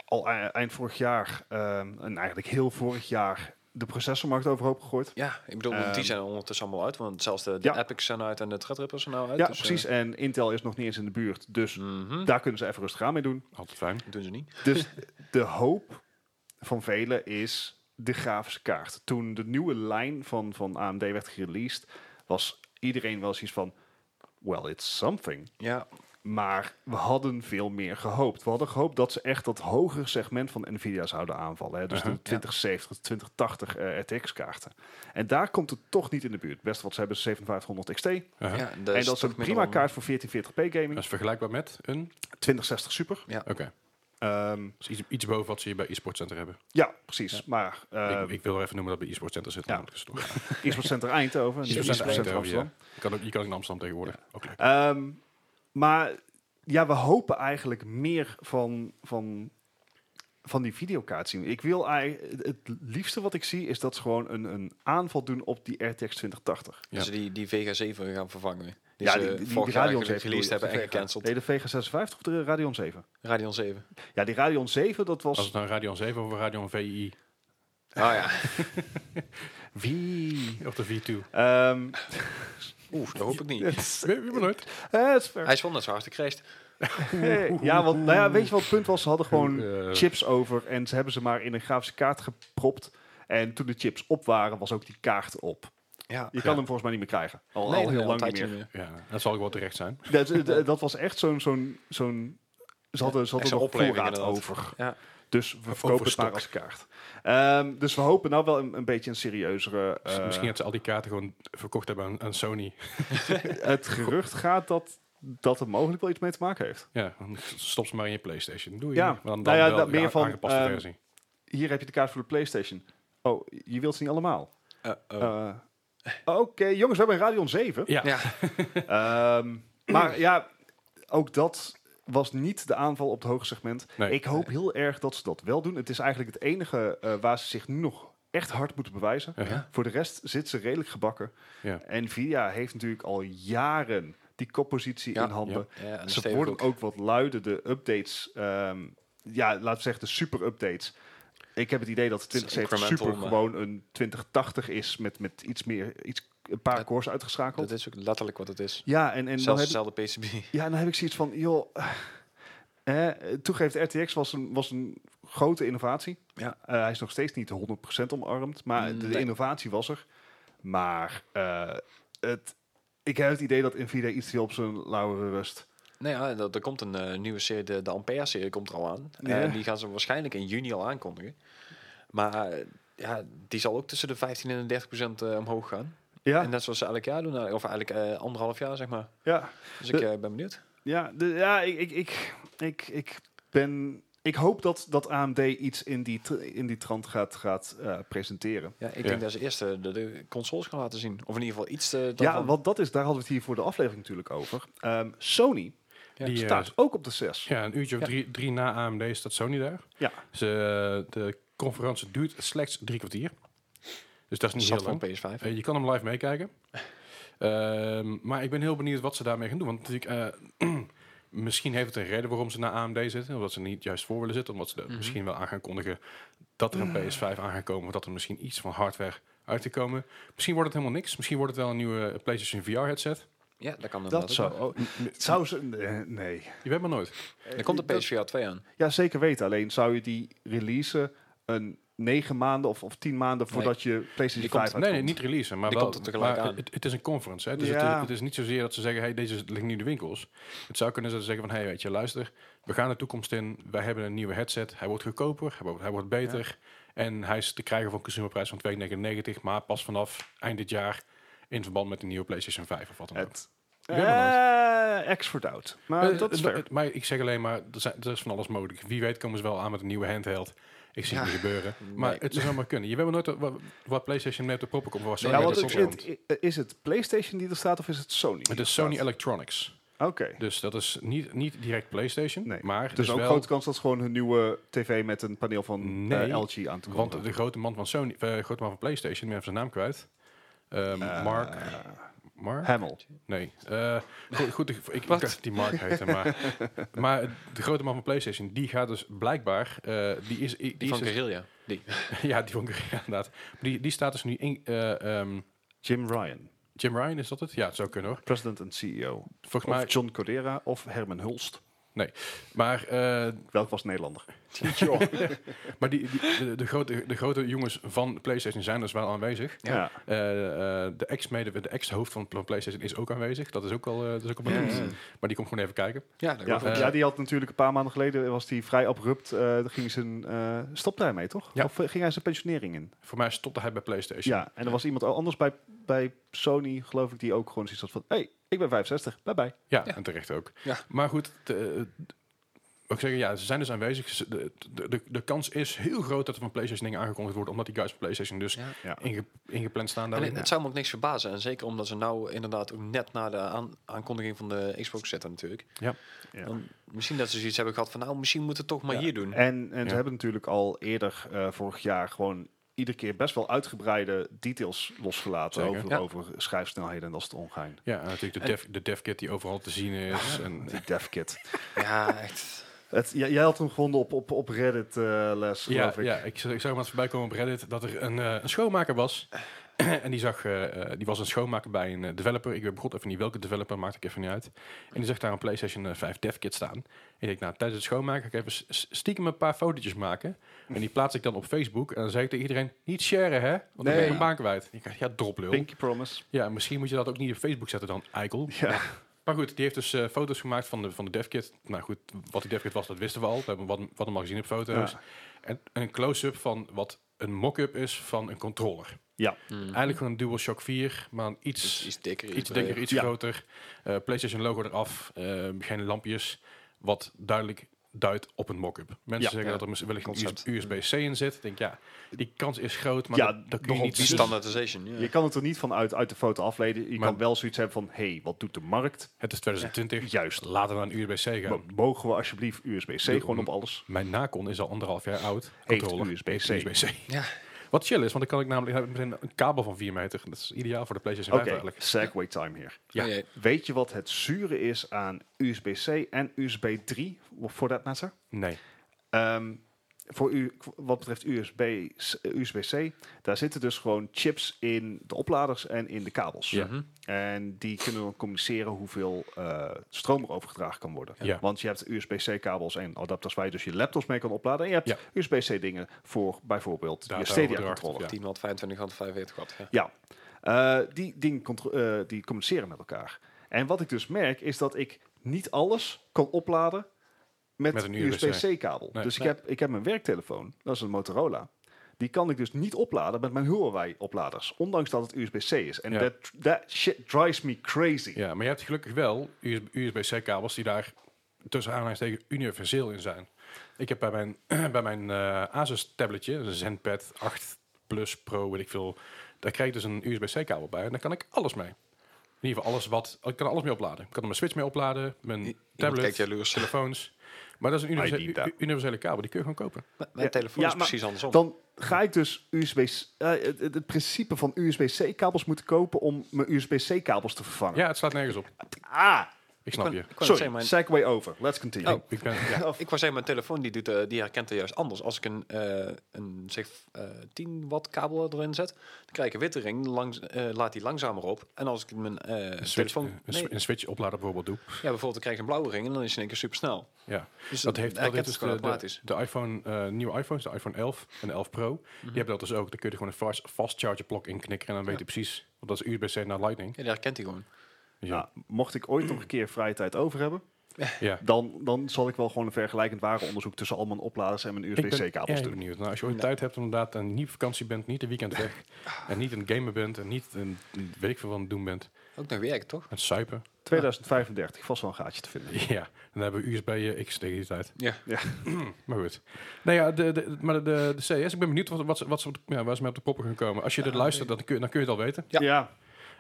Speaker 2: al ei- eind vorig jaar, ehm, en eigenlijk heel vorig jaar, de processormarkt overhoop gegooid.
Speaker 3: ja, ik bedoel,
Speaker 2: Ehm,
Speaker 3: die zijn ondertussen allemaal uit. Want zelfs de, de
Speaker 2: ja.
Speaker 3: Epics zijn uit en de Threadrippers zijn nou uit.
Speaker 2: Ja,
Speaker 3: dus, eh,
Speaker 2: precies. En Intel is nog niet eens in de buurt. Dus
Speaker 3: mhm,
Speaker 2: daar kunnen ze even rustig aan mee doen.
Speaker 1: Altijd fijn.
Speaker 3: Dat doen ze niet.
Speaker 2: Dus de hoop van velen is de grafische kaart. Toen de nieuwe lijn van, van AMD werd gereleased, was iedereen wel zoiets van... Well, it's something.
Speaker 3: Ja,
Speaker 2: Maar we hadden veel meer gehoopt. We hadden gehoopt dat ze echt dat hogere segment van Nvidia zouden aanvallen. Hè? Dus
Speaker 1: Uh-huh.
Speaker 2: de 2070, 2080 eh, RTX kaarten. En daar komt het toch niet in de buurt. Het beste wat ze hebben is 7500 XT.
Speaker 1: Uh-huh.
Speaker 3: ja, dat
Speaker 2: en dat is
Speaker 3: toch
Speaker 2: een
Speaker 3: minder
Speaker 2: prima
Speaker 3: om-
Speaker 2: kaart voor 1440p
Speaker 1: Dat
Speaker 2: gaming.
Speaker 1: is vergelijkbaar met een...
Speaker 2: 2060 super.
Speaker 1: Oké.
Speaker 2: Ehm,
Speaker 1: Dus iets, iets boven wat ze hier bij e-sport center hebben.
Speaker 2: ja, precies. Maar
Speaker 1: ik,
Speaker 2: ehm
Speaker 1: ik wil er even noemen dat bij e-sport center zit.
Speaker 2: ja.
Speaker 1: namelijk is het toch.
Speaker 2: e-sport Center Eindhoven.
Speaker 1: E-sport center
Speaker 2: E-sport Center
Speaker 1: Eindhoven,
Speaker 2: Amsterdam.
Speaker 1: ja. Je kan ook, je kan ook in Amsterdam tegenwoordig. Ook leuk.
Speaker 2: Ehm, maar ja, we hopen eigenlijk meer van, van, van die videokaart zien. Ik wil eigenlijk, het liefste wat ik zie is dat ze gewoon een, een aanval doen op die RTX 2080.
Speaker 3: Dat ze die, die Vega 7 gaan vervangen. Die
Speaker 2: ja,
Speaker 3: ze vorig jaar eigenlijk
Speaker 2: bedoel je,
Speaker 3: released hebben
Speaker 2: of de
Speaker 3: en
Speaker 2: Vega?
Speaker 3: gecanceld.
Speaker 2: Nee, de Vega 56 of de Radeon 7?
Speaker 3: Radion 7.
Speaker 2: Ja, die Radeon 7, dat
Speaker 1: Was
Speaker 2: was...
Speaker 1: het nou Radion 7 of Radion VI?
Speaker 3: Ah ja.
Speaker 2: <laughs> Wie?
Speaker 1: Of de V2?
Speaker 2: Ehm,
Speaker 3: Oeh, dat hoop ik niet.
Speaker 2: het is-
Speaker 1: Weet je maar nooit.
Speaker 2: eh, het is ver.
Speaker 1: <laughs>
Speaker 3: Hij is wel net zo hard gecrashed.
Speaker 2: Eh, Ja, want nou ja, weet je wat het punt was? Ze hadden gewoon
Speaker 1: Eh,
Speaker 2: chips over en ze hebben ze maar in een grafische kaart gepropt. En toen de chips op waren, was ook die kaart op.
Speaker 3: Ja.
Speaker 2: Je kan
Speaker 1: Ja.
Speaker 2: hem volgens mij niet meer krijgen. Al,
Speaker 3: Nee,
Speaker 2: al heel
Speaker 3: al
Speaker 2: lang
Speaker 3: een
Speaker 2: niet
Speaker 3: tijdje
Speaker 2: meer.
Speaker 1: Ja, dat zal ook wel terecht zijn.
Speaker 2: Dat, dat- dat was echt zo'n... zo'n zo'n ze hadden, ze
Speaker 3: Echt
Speaker 2: hadden
Speaker 3: zo'n
Speaker 2: nog
Speaker 3: opleving
Speaker 2: voorraad
Speaker 3: inderdaad.
Speaker 2: over.
Speaker 3: Ja.
Speaker 2: Dus we verkopen het maar als kaart. Ehm, dus we hopen nou wel een, een beetje een serieuzere...
Speaker 1: Dus
Speaker 2: eh,
Speaker 1: Misschien dat ze al die kaarten gewoon verkocht hebben aan, aan Sony.
Speaker 2: het gerucht gaat dat, dat er mogelijk wel iets mee te maken heeft.
Speaker 1: Ja, dan stop ze maar in je Playstation. Doei.
Speaker 2: Ja.
Speaker 1: Maar dan,
Speaker 2: Nou ja,
Speaker 1: wel
Speaker 2: dat
Speaker 1: de
Speaker 2: meer
Speaker 1: a-
Speaker 2: van,
Speaker 1: aangepaste
Speaker 2: ehm,
Speaker 1: versie.
Speaker 2: Hier heb je de kaart voor de Playstation. Oh, je wilt ze niet allemaal?
Speaker 3: Oh,
Speaker 2: Eh, Oké, jongens, we hebben een Radeon 7.
Speaker 1: Ja.
Speaker 3: Ja.
Speaker 2: Ehm, maar ja, ook dat was niet de aanval op het hoge segment.
Speaker 1: Nee.
Speaker 2: Ik hoop heel erg dat ze dat wel doen. Het is eigenlijk het enige eh, waar ze zich nu nog echt hard moeten bewijzen.
Speaker 1: Uh-huh.
Speaker 2: Voor de rest zit ze redelijk gebakken.
Speaker 1: Ja.
Speaker 2: Nvidia heeft natuurlijk al jaren die koppositie
Speaker 3: Ja,
Speaker 2: in handen.
Speaker 3: Ja, en
Speaker 2: Ze
Speaker 3: Steven
Speaker 2: worden
Speaker 3: ook.
Speaker 2: ook wat luider, de updates. ehm, ja, laten we zeggen de super-updates. Ik heb het idee dat de
Speaker 3: Het is
Speaker 2: 2070 Super
Speaker 3: incremental,
Speaker 2: gewoon een 2080 is met, met iets meer, iets, een paar
Speaker 3: Dat-
Speaker 2: cores uitgeschakeld.
Speaker 3: Dat is ook letterlijk wat het is.
Speaker 2: ja, en, en dan
Speaker 3: Zelfs
Speaker 2: heb
Speaker 3: dezelfde PCB.
Speaker 2: ja, en dan heb ik zoiets van, joh, eh, toegeeft RTX was een, was een grote innovatie.
Speaker 3: Ja.
Speaker 2: Eh, hij is nog steeds niet 100% omarmd, maar de
Speaker 3: Nee.
Speaker 2: innovatie was er. Maar eh, het, ik heb het idee dat Nvidia iets te veel op zijn lauweren rust.
Speaker 3: Nee, ja, er, er komt een eh, nieuwe serie, de, de Ampère-serie komt er al aan.
Speaker 2: Ja.
Speaker 3: En die gaan ze waarschijnlijk in juni al aankondigen. Maar eh, ja, die zal ook tussen de 15 en de 30 procent eh, omhoog gaan.
Speaker 2: Ja,
Speaker 3: En net zoals ze elk jaar doen, eh, of eigenlijk eh, anderhalf jaar zeg maar.
Speaker 2: ja,
Speaker 3: Dus ik
Speaker 2: De-
Speaker 3: eh, ben benieuwd.
Speaker 2: ja, de- ja ik, ik, ik, ik, ik ben... Ik hoop dat, dat AMD iets in die, tr- in die trant gaat, gaat eh, presenteren.
Speaker 3: Ja, ik
Speaker 1: Ja.
Speaker 3: denk dat ze eerst eh, de, de consoles gaan laten zien. Of in ieder geval iets eh,
Speaker 2: Ja,
Speaker 3: daarvan.
Speaker 2: want dat is, daar hadden we het hier voor de aflevering natuurlijk over. Ehm, Sony
Speaker 3: Ja,
Speaker 1: die, eh,
Speaker 2: staat ook op de 6.
Speaker 1: ja, een uurtje of
Speaker 3: Ja.
Speaker 1: drie, drie na AMD staat Sony daar. eh,
Speaker 2: Ja.
Speaker 1: Ze, de conferentie duurt slechts drie kwartier. Dus dat is niet heel
Speaker 3: Zat
Speaker 1: lang.
Speaker 3: van PS5.
Speaker 1: Eh, je kan hem live meekijken. Ehm, maar ik ben heel benieuwd wat ze daarmee gaan doen. Want natuurlijk, eh, <clears throat> misschien heeft het een reden waarom ze naar AMD zitten. Omdat ze niet juist voor willen zitten. Omdat ze er
Speaker 3: Mhm.
Speaker 1: misschien wel aan gaan kondigen dat er een PS5 aan gaat komen. Of dat er misschien iets van hardware uit te komen. Misschien wordt het helemaal niks. Misschien wordt het wel een nieuwe PlayStation VR headset.
Speaker 3: Ja, dat kan
Speaker 2: Dat
Speaker 3: inderdaad
Speaker 2: zou...
Speaker 3: ook.
Speaker 2: oh, het zou ze... Nee. nee.
Speaker 1: Je weet maar nooit.
Speaker 3: Er komt de
Speaker 2: Dat-
Speaker 3: PSVR 2 aan.
Speaker 2: Ja, zeker weten. Alleen zou je die releasen een negen maanden of, of tien maanden voordat je PlayStation
Speaker 3: Die komt-
Speaker 2: 5
Speaker 1: Nee, nee,
Speaker 2: uitkomt?
Speaker 1: niet releasen. Maar,
Speaker 3: Die
Speaker 1: wel,
Speaker 3: komt er tegelijk
Speaker 1: maar
Speaker 3: aan.
Speaker 1: Het, het is een conference. Hè? Dus het,
Speaker 2: Ja.
Speaker 1: is, het is niet zozeer dat ze zeggen, hey, deze ligt nu in de winkels. Het zou kunnen zijn dat ze zeggen van, hey, weet je, luister, we gaan de toekomst in. Wij hebben een nieuwe headset. Hij wordt goedkoper, hij wordt, hij wordt beter. En hij is te krijgen voor een consumerprijs van 2,99. Maar pas vanaf eind dit jaar in verband met de nieuwe PlayStation 5 of wat dan ook.
Speaker 2: Het...
Speaker 1: Ik weet nog
Speaker 2: Eh, X wordt oud. Maar
Speaker 1: Eh,
Speaker 2: dat is
Speaker 1: eh,
Speaker 2: fair.
Speaker 1: eh, Maar ik zeg alleen maar, er, zijn, er is van alles mogelijk. Wie weet komen ze wel aan met een nieuwe handheld. Ik zie het niet
Speaker 2: <laughs>
Speaker 1: gebeuren. Maar
Speaker 3: Nee.
Speaker 1: het zou zomaar kunnen. Je weet maar nooit wat, wat PlayStation mee op de proppen komt. waar Sony
Speaker 2: Ja,
Speaker 1: mee op
Speaker 2: want
Speaker 1: de
Speaker 2: het-
Speaker 1: proppen komt.
Speaker 2: het- i- is het PlayStation die er staat of is het Sony? die
Speaker 1: Het
Speaker 2: er
Speaker 1: is Sony
Speaker 2: staat?
Speaker 1: Electronics.
Speaker 2: Oké.
Speaker 1: Dus dat is niet, niet direct PlayStation.
Speaker 2: Nee,
Speaker 1: Maar het
Speaker 2: Dus
Speaker 1: is
Speaker 2: ook
Speaker 1: wel,
Speaker 2: grote kans dat ze gewoon hun nieuwe tv met een paneel van eh,
Speaker 1: Nee,
Speaker 2: LG aan te komen.
Speaker 1: Want de grote man van Sony, eh, grote man van PlayStation, ik ben even zijn naam kwijt. Ehm,
Speaker 2: Eh,
Speaker 1: Mark. Mark?
Speaker 2: Hamill.
Speaker 1: Nee. Eh, goed, goed, ik, ik ik dacht die Mark heette,
Speaker 2: <laughs>
Speaker 1: maar, maar de grote man van PlayStation, die gaat dus blijkbaar, eh, die is, die,
Speaker 3: Die
Speaker 1: is
Speaker 3: van
Speaker 1: dus-
Speaker 3: Guerrilla. Die.
Speaker 1: <laughs> ja, die van Guerrilla inderdaad. Die, die staat dus nu in, eh, ehm,
Speaker 2: Jim Ryan,
Speaker 1: Jim Ryan is dat het? Ja, het zou kunnen hoor.
Speaker 2: president en CEO.
Speaker 1: Volgens mij,
Speaker 2: Of John Cordera of Herman Hulst.
Speaker 1: maar eh,
Speaker 2: Welk was Nederlander?
Speaker 1: maar die, die, de, de grote, de grote jongens van PlayStation zijn dus wel aanwezig.
Speaker 3: Ja.
Speaker 1: Eh, eh, de ex-mede, de ex-hoofd van Plan PlayStation is ook aanwezig. Dat is ook al, eh, dat is ook al
Speaker 3: Ja,
Speaker 1: benoemd.
Speaker 3: ja, ja.
Speaker 1: Maar die komt gewoon even kijken.
Speaker 3: Ja, dat
Speaker 2: Ja,
Speaker 3: wordt
Speaker 2: ja,
Speaker 1: eh,
Speaker 3: wel-
Speaker 2: die had natuurlijk een paar maanden geleden, was die vrij abrupt, eh daar ging zijn, eh stop daarmee toch?
Speaker 1: Ja.
Speaker 2: Of eh, ging hij zijn pensionering in?
Speaker 1: Voor mij stopte hij bij PlayStation.
Speaker 2: Ja, en er was iemand anders bij, bij Sony, geloof ik, die ook gewoon zoiets had van, hey, ik ben 65, bye bye.
Speaker 1: Ja,
Speaker 3: Ja.
Speaker 1: en terecht ook.
Speaker 3: Ja.
Speaker 1: Maar goed, de, ik zeggen, ja, ze zijn dus aanwezig. Ze- De, de, de, de kans is heel groot dat er van PlayStation dingen aangekondigd worden, omdat die guys van PlayStation dus
Speaker 3: Ja.
Speaker 2: Ja.
Speaker 1: inge- ingepland staan
Speaker 3: En
Speaker 1: daarin.
Speaker 3: het, het zou me ook niks verbazen. En zeker omdat ze nou inderdaad ook net na de aan- aankondiging van de Xbox zetten natuurlijk.
Speaker 1: Ja.
Speaker 2: Ja.
Speaker 3: Dan, misschien dat ze zoiets hebben gehad van nou, misschien moeten we het toch maar
Speaker 2: Ja.
Speaker 3: hier
Speaker 2: <laughs>
Speaker 3: doen.
Speaker 2: En, en
Speaker 1: Ja.
Speaker 2: ze hebben natuurlijk al eerder eh, vorig jaar gewoon iedere keer best wel uitgebreide details losgelaten
Speaker 1: Zeker.
Speaker 2: over,
Speaker 3: Ja.
Speaker 2: over schrijfsnelheden en dat soort ongein.
Speaker 1: Ja, en natuurlijk de,
Speaker 3: En-
Speaker 1: dev, de devkit die overal te zien is. En,
Speaker 2: <laughs> Die dev kit.
Speaker 3: Ja, echt.
Speaker 2: Het, jij, jij had hem gevonden op, op, op Reddit eh, les,
Speaker 1: ja,
Speaker 2: geloof ik.
Speaker 1: ja, ik, z- ik zag hem eens voorbij komen op Reddit dat er een, eh, een schoonmaker was. <clears throat> en die, zag, eh, eh, die was een schoonmaker bij een eh, developer. Ik weet begot even niet welke developer, maakt ik even niet uit. En die zag daar een PlayStation eh, 5 dev kit staan. En ik denk, nou, tijdens het schoonmaken ga ik even s- s- stiekem een paar fotootjes maken. En die plaats ik dan op Facebook. En dan zeg ik tegen iedereen, niet sharen, hè? Want dan ben
Speaker 2: Nee.
Speaker 1: ik mijn baan kwijt. Ik dacht, ja, droplul.
Speaker 2: Pinky Promise.
Speaker 1: Ja, misschien moet je dat ook niet op Facebook zetten dan, eikel.
Speaker 2: Ja.
Speaker 1: Maar goed, die heeft dus eh, foto's gemaakt van de, van de devkit. Nou goed, wat die devkit was, dat wisten we al. We hebben wat, wat hem al gezien op foto's.
Speaker 2: Ja.
Speaker 1: En een close-up van wat een mock-up is van een controller.
Speaker 2: Ja.
Speaker 1: Eigenlijk gewoon een DualShock 4, maar een
Speaker 3: Iets,
Speaker 1: Mhm. iets,
Speaker 3: iets dikker.
Speaker 1: iets dikker, iets
Speaker 2: Ja.
Speaker 1: groter. Eh, PlayStation logo eraf, eh, geen lampjes. Wat duidelijk duidt op een mock-up. Mensen
Speaker 2: Ja.
Speaker 1: zeggen
Speaker 3: Ja.
Speaker 1: dat er mis- wellicht
Speaker 3: Concept.
Speaker 1: een USB-C in zit. Ik denk, ja, die kans is groot, maar
Speaker 2: Ja,
Speaker 1: dat, dat kun je
Speaker 2: nogal
Speaker 1: niet
Speaker 3: Die
Speaker 1: zien.
Speaker 3: standaardisation. Ja.
Speaker 2: Je kan het er niet van uit, uit de foto afleiden. Je
Speaker 1: Maar-
Speaker 2: kan wel zoiets hebben van, hey, wat doet de markt?
Speaker 1: Het is 2020.
Speaker 2: Juist.
Speaker 1: Laten we naar een USB-C gaan.
Speaker 2: Mo- Mogen we alsjeblieft USB-C
Speaker 1: Doe-
Speaker 2: gewoon op alles?
Speaker 1: Mijn Nacon is al anderhalf jaar oud.
Speaker 2: Heeft
Speaker 1: Controller.
Speaker 2: USB-C.
Speaker 1: Heeft USB-C.
Speaker 3: Ja.
Speaker 1: Wat chill is, want dan kan ik namelijk heb ik meteen een kabel van 4 meter. Dat is ideaal voor de PlayStation 5
Speaker 2: Oké,
Speaker 1: eigenlijk.
Speaker 2: segway time hier.
Speaker 1: Ja.
Speaker 3: Oh jee.
Speaker 2: Weet je wat het zure is aan USB-C en USB-3, voor dat matter?
Speaker 1: Nee.
Speaker 2: Ehm, voor u, wat betreft USB, USB-C, daar zitten dus gewoon chips in de opladers en in de kabels.
Speaker 1: Ja.
Speaker 3: Mhm.
Speaker 2: En die kunnen dan communiceren hoeveel eh, stroom er overgedragen kan worden.
Speaker 1: Ja.
Speaker 2: Want je hebt USB-C-kabels en adapters waar je dus je laptops mee kan opladen. En je hebt
Speaker 1: Ja.
Speaker 2: USB-C-dingen voor bijvoorbeeld je
Speaker 1: Dataoverdracht,
Speaker 2: Stadia-controller.
Speaker 1: ja.
Speaker 3: 10 watt, 25 watt, 45 watt. Ja.
Speaker 2: Ja, Eh, die dingen contro- eh, die communiceren met elkaar. En wat ik dus merk is dat ik niet alles kan opladen met,
Speaker 1: Met
Speaker 2: een
Speaker 1: een
Speaker 2: USB-C-kabel.
Speaker 1: Nee.
Speaker 2: dus ik,
Speaker 3: Nee.
Speaker 2: heb, ik heb mijn werktelefoon, dat is een Motorola. Die kan ik dus niet opladen met mijn Huawei-opladers, ondanks dat het USB-C is. En
Speaker 1: Ja.
Speaker 2: that, that shit drives me crazy.
Speaker 1: Ja, maar je hebt gelukkig wel USB- USB-C-kabels die daar tussen aanhalingstekens universeel in zijn. Ik heb bij mijn, <clears throat> bij mijn eh, Asus tabletje, een ZenPad 8 Plus Pro, weet ik veel, daar krijg ik dus een USB-C-kabel bij en daar kan ik alles mee. In ieder geval alles wat... Ik kan er alles mee opladen. Ik kan er mijn Switch mee opladen, mijn
Speaker 3: I- iemand kijkt
Speaker 1: tablet,
Speaker 3: jaloers.
Speaker 1: telefoons. Maar dat is een
Speaker 4: I
Speaker 1: universe-
Speaker 4: need that.
Speaker 1: u- universele kabel, die kun je gewoon kopen.
Speaker 3: M- Mijn
Speaker 2: Ja,
Speaker 3: telefoon
Speaker 2: ja,
Speaker 3: is
Speaker 2: maar
Speaker 3: precies andersom.
Speaker 2: Dan ga ik dus USB... s- eh, het, het- het principe van USB-C-kabels moeten kopen om mijn USB-C-kabels te vervangen.
Speaker 1: Ja, het slaat nergens op.
Speaker 2: Ah,
Speaker 1: Ik snap
Speaker 3: kon-
Speaker 1: je.
Speaker 3: ik kon het
Speaker 2: sorry.
Speaker 3: zeggen, maar- Oh.
Speaker 2: Segway over. Let's continue.
Speaker 1: Ik ben, ja.
Speaker 3: Ik was zeggen, mijn telefoon die, doet, eh, die herkent er juist anders. Als ik een, eh, een zeg, eh, 10 watt kabel erin zet, dan krijg ik een witte ring, langs, eh, laat die langzamer op. En als ik mijn eh,
Speaker 1: Switch,
Speaker 3: telefoon...
Speaker 1: een,
Speaker 3: nee,
Speaker 1: swi- een switch opladen bijvoorbeeld doe.
Speaker 3: ja, bijvoorbeeld dan krijg ik een blauwe ring en dan is het in één keer supersnel.
Speaker 1: Ja.
Speaker 3: Dus
Speaker 1: Dat heeft,
Speaker 3: hij
Speaker 1: dat heeft
Speaker 3: herkent het
Speaker 1: dus
Speaker 3: gewoon
Speaker 1: de, de,
Speaker 3: automatisch.
Speaker 1: de iPhone, eh, nieuwe iPhones, de iPhone 11 en de 11 Pro.
Speaker 3: Mhm.
Speaker 1: Die hebben dat dus ook. Dan kun je er gewoon een fast, fast charger plug in knikken en dan weet je precies. Want dat is USB-C naar Lightning.
Speaker 3: Ja, die herkent hij gewoon.
Speaker 1: Dus
Speaker 2: Nou,
Speaker 1: ja.
Speaker 2: mocht ik ooit nog een keer vrije tijd over hebben,
Speaker 3: <laughs>
Speaker 1: ja.
Speaker 2: dan, dan zal ik wel gewoon een vergelijkend warenonderzoek tussen al mijn opladers en mijn
Speaker 1: Ik ben
Speaker 2: USB-C-kabels
Speaker 1: erg
Speaker 2: doen.
Speaker 1: benieuwd. Nou, als je ooit
Speaker 3: Ja.
Speaker 1: tijd hebt inderdaad en niet op vakantie bent, niet een weekend
Speaker 3: <laughs>
Speaker 1: weg en niet een gamer bent en niet een weet ik veel wat aan het doen bent, aan
Speaker 3: Ook nog werk, toch?
Speaker 1: het suipen. <laughs>
Speaker 2: 2035, vast wel een gaatje te vinden.
Speaker 1: Ja, dan hebben we USB-X tegen die tijd.
Speaker 3: Ja.
Speaker 1: <clears throat> Maar goed. Nou ja, de, de, maar de, de CS, ik ben benieuwd wat, wat, ze- wat ze op de, ja, waar ze mee op de poppen gaan komen. Als je
Speaker 3: Ah,
Speaker 1: dit luistert, dan kun, je- dan kun je het al weten.
Speaker 3: Ja.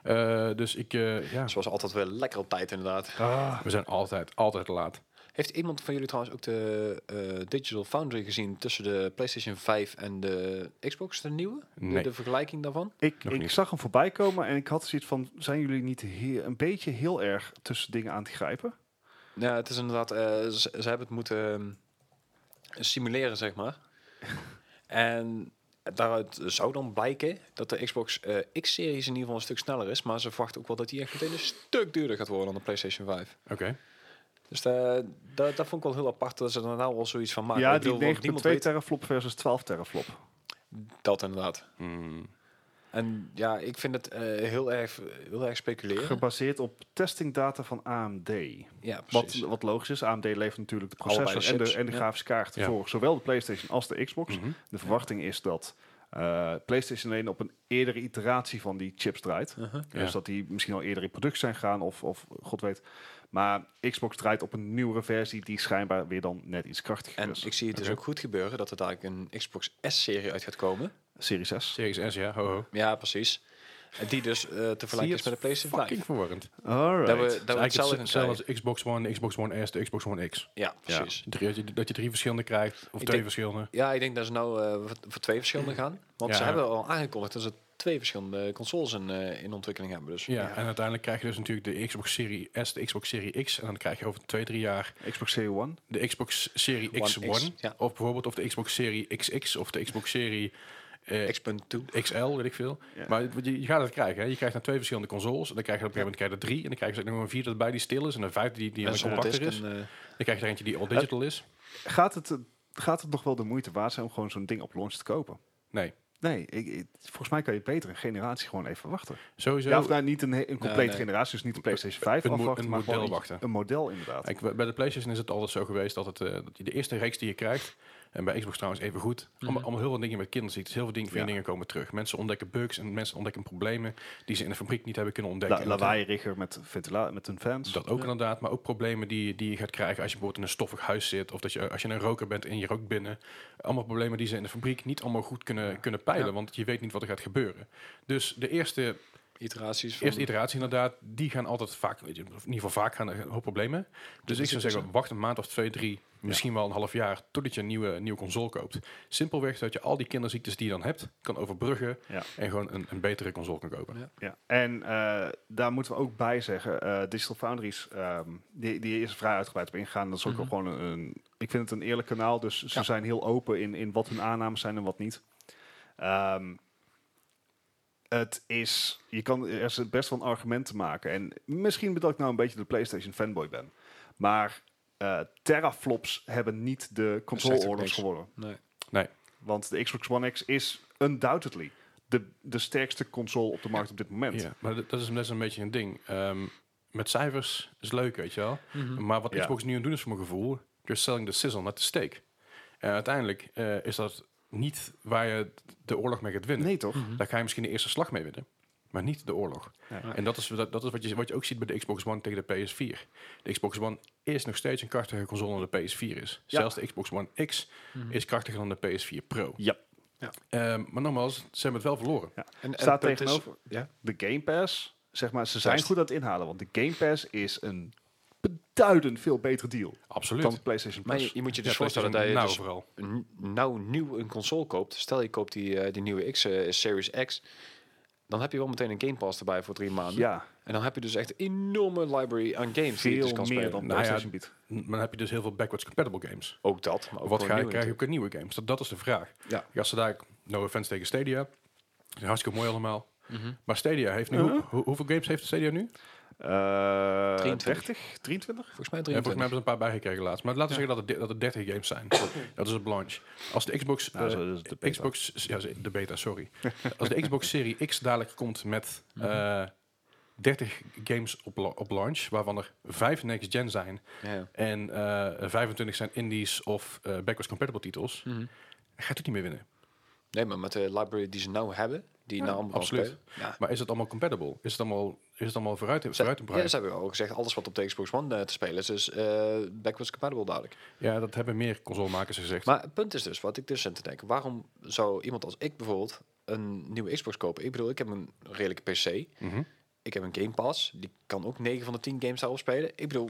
Speaker 1: Eh, dus ik, eh, ja,
Speaker 3: Zoals altijd wel lekker op tijd, inderdaad.
Speaker 1: we zijn altijd, altijd laat.
Speaker 3: Heeft iemand van jullie trouwens ook de eh, Digital Foundry gezien tussen de PlayStation 5 en de Xbox, de nieuwe? De-
Speaker 1: Nee.
Speaker 3: De, vergelijking daarvan?
Speaker 2: Ik,
Speaker 1: Nog
Speaker 2: ik
Speaker 1: niet.
Speaker 2: zag hem voorbij komen en ik had zoiets van, zijn jullie niet he- een beetje heel erg tussen dingen aan te grijpen?
Speaker 3: Ja, het is inderdaad, eh, ze, ze hebben het moeten ehm, simuleren, zeg
Speaker 2: <laughs>
Speaker 3: maar. en daaruit zou dan blijken dat de Xbox eh, X-series in ieder geval een stuk sneller is. Maar ze verwachten ook wel dat die echt meteen een stuk duurder gaat worden dan de PlayStation 5.
Speaker 1: Oké.
Speaker 3: Dus eh, dat, dat vond ik wel heel apart dat ze er nou al zoiets van maken.
Speaker 2: ja,
Speaker 3: Ik bedoel,
Speaker 2: die
Speaker 3: want
Speaker 2: 9.2
Speaker 3: niemand weet
Speaker 2: teraflop versus 12 teraflop.
Speaker 3: dat inderdaad.
Speaker 1: Hmm.
Speaker 3: En ja, ik vind het eh, heel, erg, heel erg speculeren.
Speaker 2: Gebaseerd op testingdata van AMD.
Speaker 3: ja,
Speaker 2: Wat,
Speaker 3: precies.
Speaker 2: wat logisch is, AMD levert natuurlijk de
Speaker 3: Allebei de
Speaker 2: processor en de,
Speaker 3: chips,
Speaker 2: en de
Speaker 3: ja.
Speaker 2: grafische kaart
Speaker 1: Ja.
Speaker 2: voor zowel de PlayStation als de Xbox.
Speaker 1: Mhm.
Speaker 2: De verwachting is dat eh, PlayStation 1 op een eerdere iteratie van die chips draait.
Speaker 3: Uh-huh.
Speaker 1: Ja.
Speaker 2: Dus dat die misschien al eerder in productie zijn gegaan of, of god weet. Maar Xbox draait op een nieuwere versie die schijnbaar weer dan net iets krachtiger
Speaker 3: En
Speaker 2: is.
Speaker 3: ik zie het dus
Speaker 1: Oké.
Speaker 3: ook goed gebeuren dat er dadelijk een Xbox S-serie uit gaat komen.
Speaker 2: Series 6.
Speaker 1: Series S, ja, ho ho.
Speaker 3: Ja, precies. En Die dus eh, te vergelijken is met de PlayStation 5.
Speaker 1: Fucking verwarrend. Het
Speaker 2: Alright.
Speaker 3: Dat we, dat we
Speaker 1: is
Speaker 3: hetzelfde
Speaker 1: eigenlijk
Speaker 3: gaan
Speaker 1: hetzelfde
Speaker 3: krijgen.
Speaker 1: als de Xbox One, de Xbox One S, de Xbox One X.
Speaker 3: Ja, precies.
Speaker 1: Drie- dat je- dat je drie verschillende krijgt, of
Speaker 3: Ik
Speaker 1: twee
Speaker 3: denk-
Speaker 1: verschillende.
Speaker 3: Ja, ik denk dat ze nou eh, voor, voor twee verschillende gaan. Want
Speaker 1: Ja.
Speaker 3: ze hebben al aangekondigd dat ze twee verschillende consoles in, eh, in ontwikkeling hebben. Dus
Speaker 1: Ja, en uiteindelijk krijg je dus natuurlijk de Xbox Series S, de Xbox Series X. En dan krijg je over twee, drie jaar
Speaker 2: Xbox Series 1.
Speaker 1: de Xbox Series
Speaker 3: One
Speaker 1: X1.
Speaker 3: X, ja.
Speaker 1: Of bijvoorbeeld of de Xbox Series XX of de Xbox Series eh,
Speaker 3: X.2.
Speaker 1: XL, weet ik veel.
Speaker 2: Ja.
Speaker 1: Maar je, je gaat het krijgen. Hè? Je krijgt naar twee verschillende consoles. En dan krijg je op een gegeven moment krijg je er drie. En dan krijg je er nog een vierde erbij die stil is. En een vijfde die, die
Speaker 3: En
Speaker 1: een
Speaker 3: zonder disk
Speaker 1: compacter is.
Speaker 3: en, eh,
Speaker 1: Dan krijg je er eentje die all digital is.
Speaker 2: Gaat het, eh, gaat het nog wel de moeite waard zijn om gewoon zo'n ding op launch te kopen?
Speaker 1: Nee,
Speaker 2: Nee, ik, ik- volgens mij kan je beter een generatie gewoon even wachten.
Speaker 1: sowieso.
Speaker 2: Ja, of nou, niet een, he- een complete
Speaker 3: Nee, nee.
Speaker 2: generatie, dus niet de PlayStation 5
Speaker 1: Een mo-
Speaker 2: afwachten,
Speaker 1: een
Speaker 2: maar
Speaker 1: model
Speaker 2: gewoon iets-
Speaker 1: wachten.
Speaker 2: Een model inderdaad.
Speaker 1: Kijk, bij- bij de PlayStation is het altijd zo geweest dat, het, eh, dat je de eerste reeks die je krijgt, en bij Xbox trouwens even goed, allemaal, allemaal heel veel dingen met kinderen ziet. Dus heel veel dingen, veel
Speaker 2: Ja.
Speaker 1: dingen komen terug. Mensen ontdekken bugs en mensen ontdekken problemen die ze in de fabriek niet hebben kunnen ontdekken.
Speaker 2: La, lawaairiger met, ventila- met hun fans.
Speaker 1: Dat ook inderdaad, maar ook problemen die, die je gaat krijgen als je bijvoorbeeld in een stoffig huis zit. Of dat je, als je een roker bent en je rookt binnen. Allemaal problemen die ze in de fabriek niet allemaal goed kunnen, kunnen peilen,
Speaker 3: Ja.
Speaker 1: want je weet niet wat er gaat gebeuren. Dus de eerste
Speaker 3: iteraties. Van,
Speaker 1: eerste iteratie inderdaad, die gaan altijd vaak, in ieder geval vaak gaan er een hoop problemen. Dus ik zou zeggen, wacht een maand of twee, drie, misschien wel een half jaar, totdat je een nieuwe, nieuwe console koopt. Simpelweg zodat je al die kinderziektes die je dan hebt, kan overbruggen
Speaker 2: Ja.
Speaker 1: en gewoon een, een betere console kan kopen.
Speaker 3: Ja.
Speaker 2: Ja. En eh, daar moeten we ook bij zeggen, eh, Digital Foundries, ehm, die, die is er vrij uitgebreid op ingegaan. Dat is ook wel gewoon een, een- ik vind het een eerlijk kanaal, dus ze
Speaker 3: Mhm. Ja.
Speaker 2: zijn heel open in, in wat hun aannames zijn en wat niet. Ehm, het is, je kan er is best wel een argument te maken. En misschien dat ik nou een beetje de PlayStation fanboy ben, maar eh, teraflops hebben niet de
Speaker 3: zegt ook
Speaker 2: consoleoorlogs
Speaker 3: niks.
Speaker 2: gewonnen.
Speaker 3: Nee.
Speaker 2: Want de Xbox One X is undoubtedly de, de sterkste console op de markt op dit moment.
Speaker 1: Ja, maar dat dat is, dat is een beetje een ding. Ehm, met cijfers is leuk, weet je wel. Maar wat
Speaker 2: Ja.
Speaker 1: Xbox nu aan het doen is voor mijn gevoel, you're selling the sizzle, not the steak. En uiteindelijk eh, is dat niet waar je de oorlog mee gaat winnen.
Speaker 2: Nee toch?
Speaker 3: Mhm.
Speaker 1: Daar ga je misschien de eerste slag mee winnen. Maar niet de oorlog.
Speaker 2: Ja.
Speaker 1: En dat is, dat, dat is wat, je, wat je ook ziet bij de Xbox One tegen de PS4. De Xbox One is nog steeds een krachtiger console dan de PS4 is.
Speaker 2: Ja.
Speaker 1: Zelfs de Xbox One X is krachtiger dan de PS4 Pro.
Speaker 2: Ja.
Speaker 1: Ehm, maar nogmaals, ze hebben het wel verloren.
Speaker 3: En, en
Speaker 2: Staat
Speaker 3: dat is-
Speaker 2: tegenover
Speaker 3: ja?
Speaker 2: de Game Pass zeg maar, ze zijn
Speaker 3: Juist.
Speaker 2: goed aan het inhalen. Want de Game Pass is een beduidend veel betere deal
Speaker 1: Absoluut.
Speaker 2: dan PlayStation
Speaker 3: Maar je,
Speaker 2: Plus.
Speaker 3: je moet je
Speaker 1: Ja,
Speaker 3: dus voorstellen dat je
Speaker 1: PlayStation nou
Speaker 3: dus
Speaker 1: vooral.
Speaker 3: n- nou nieuw een console koopt. Stel je koopt die, eh, die nieuwe X, eh, Series X. Dan heb je wel meteen een Game Pass erbij voor drie maanden.
Speaker 2: Ja,
Speaker 3: En dan heb je dus echt een enorme library aan games die je
Speaker 2: veel
Speaker 3: dus kan
Speaker 2: meer
Speaker 3: spelen.
Speaker 2: dan
Speaker 1: Nou ja,
Speaker 2: PlayStation biedt.
Speaker 1: Maar dan heb je dus heel veel backwards compatible games.
Speaker 3: Ook dat. Maar
Speaker 1: Wat
Speaker 3: ook gewoon
Speaker 1: ga je,
Speaker 3: nieuwe
Speaker 1: krijg je ook in nieuwe games? Dat, dat is de vraag.
Speaker 3: Ja.
Speaker 1: Als ze daar, no offense tegen Stadia, is hartstikke mooi allemaal. Maar Stadia heeft nu,
Speaker 2: Uh-huh.
Speaker 1: hoe- hoe- hoeveel games heeft Stadia nu?
Speaker 2: Eh
Speaker 3: 23.
Speaker 2: 30, 23?
Speaker 3: Volgens mij
Speaker 1: Ja, volgens mij
Speaker 3: 23.
Speaker 1: hebben ze een paar bijgekregen laatst. Maar laten we zeggen dat het, di- dat het 30 games zijn. dat is het launch. Als de Xbox...
Speaker 2: Nou,
Speaker 1: eh,
Speaker 2: zo, dat is de beta.
Speaker 1: Xbox, ja, de beta,
Speaker 2: <laughs>
Speaker 1: sorry. Als de Xbox Serie X dadelijk komt met eh, 30 games op, la- op launch, waarvan er 5 next-gen zijn
Speaker 3: Ja, ja.
Speaker 1: en eh, 25 zijn indies of eh, backwards compatible titels,
Speaker 3: Mhm.
Speaker 1: gaat het niet meer winnen.
Speaker 3: Nee, maar met de library die ze nou hebben, die nou allemaal kan
Speaker 1: absoluut.
Speaker 3: spelen. Ja.
Speaker 1: Maar is het allemaal compatible? Is het allemaal, is het allemaal vooruit,
Speaker 3: Ze-
Speaker 1: vooruit te
Speaker 3: ja,
Speaker 1: brengen?
Speaker 3: ze hebben al gezegd, alles wat op de Xbox One eh, te spelen is, is eh, backwards compatible dadelijk.
Speaker 1: Ja, dat hebben meer consolemakers gezegd.
Speaker 3: Maar het punt is dus, wat ik dus zit te denken, waarom zou iemand als ik bijvoorbeeld een nieuwe Xbox kopen? Ik bedoel, ik heb een redelijke PC,
Speaker 1: Mhm.
Speaker 3: ik heb een Game Pass, die kan ook 9 van de 10 games daarop spelen. Ik bedoel,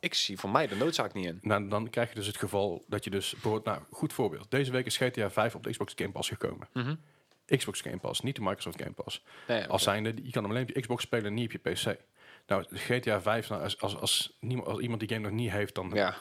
Speaker 3: ik zie voor mij de noodzaak niet in.
Speaker 1: Nou, dan krijg je dus het geval dat je dus... Bijvoorbeeld, nou, goed voorbeeld. Deze week is GTA 5 op de Xbox Game Pass gekomen.
Speaker 3: Mhm.
Speaker 1: Xbox Game Pass, niet de Microsoft Game Pass.
Speaker 3: Nee,
Speaker 1: Als zijnde, je kan hem alleen op je Xbox spelen, niet op je PC. Nou, GTA 5, nou, als, als, als, niemand, als iemand die game nog niet heeft, dan,
Speaker 3: ja,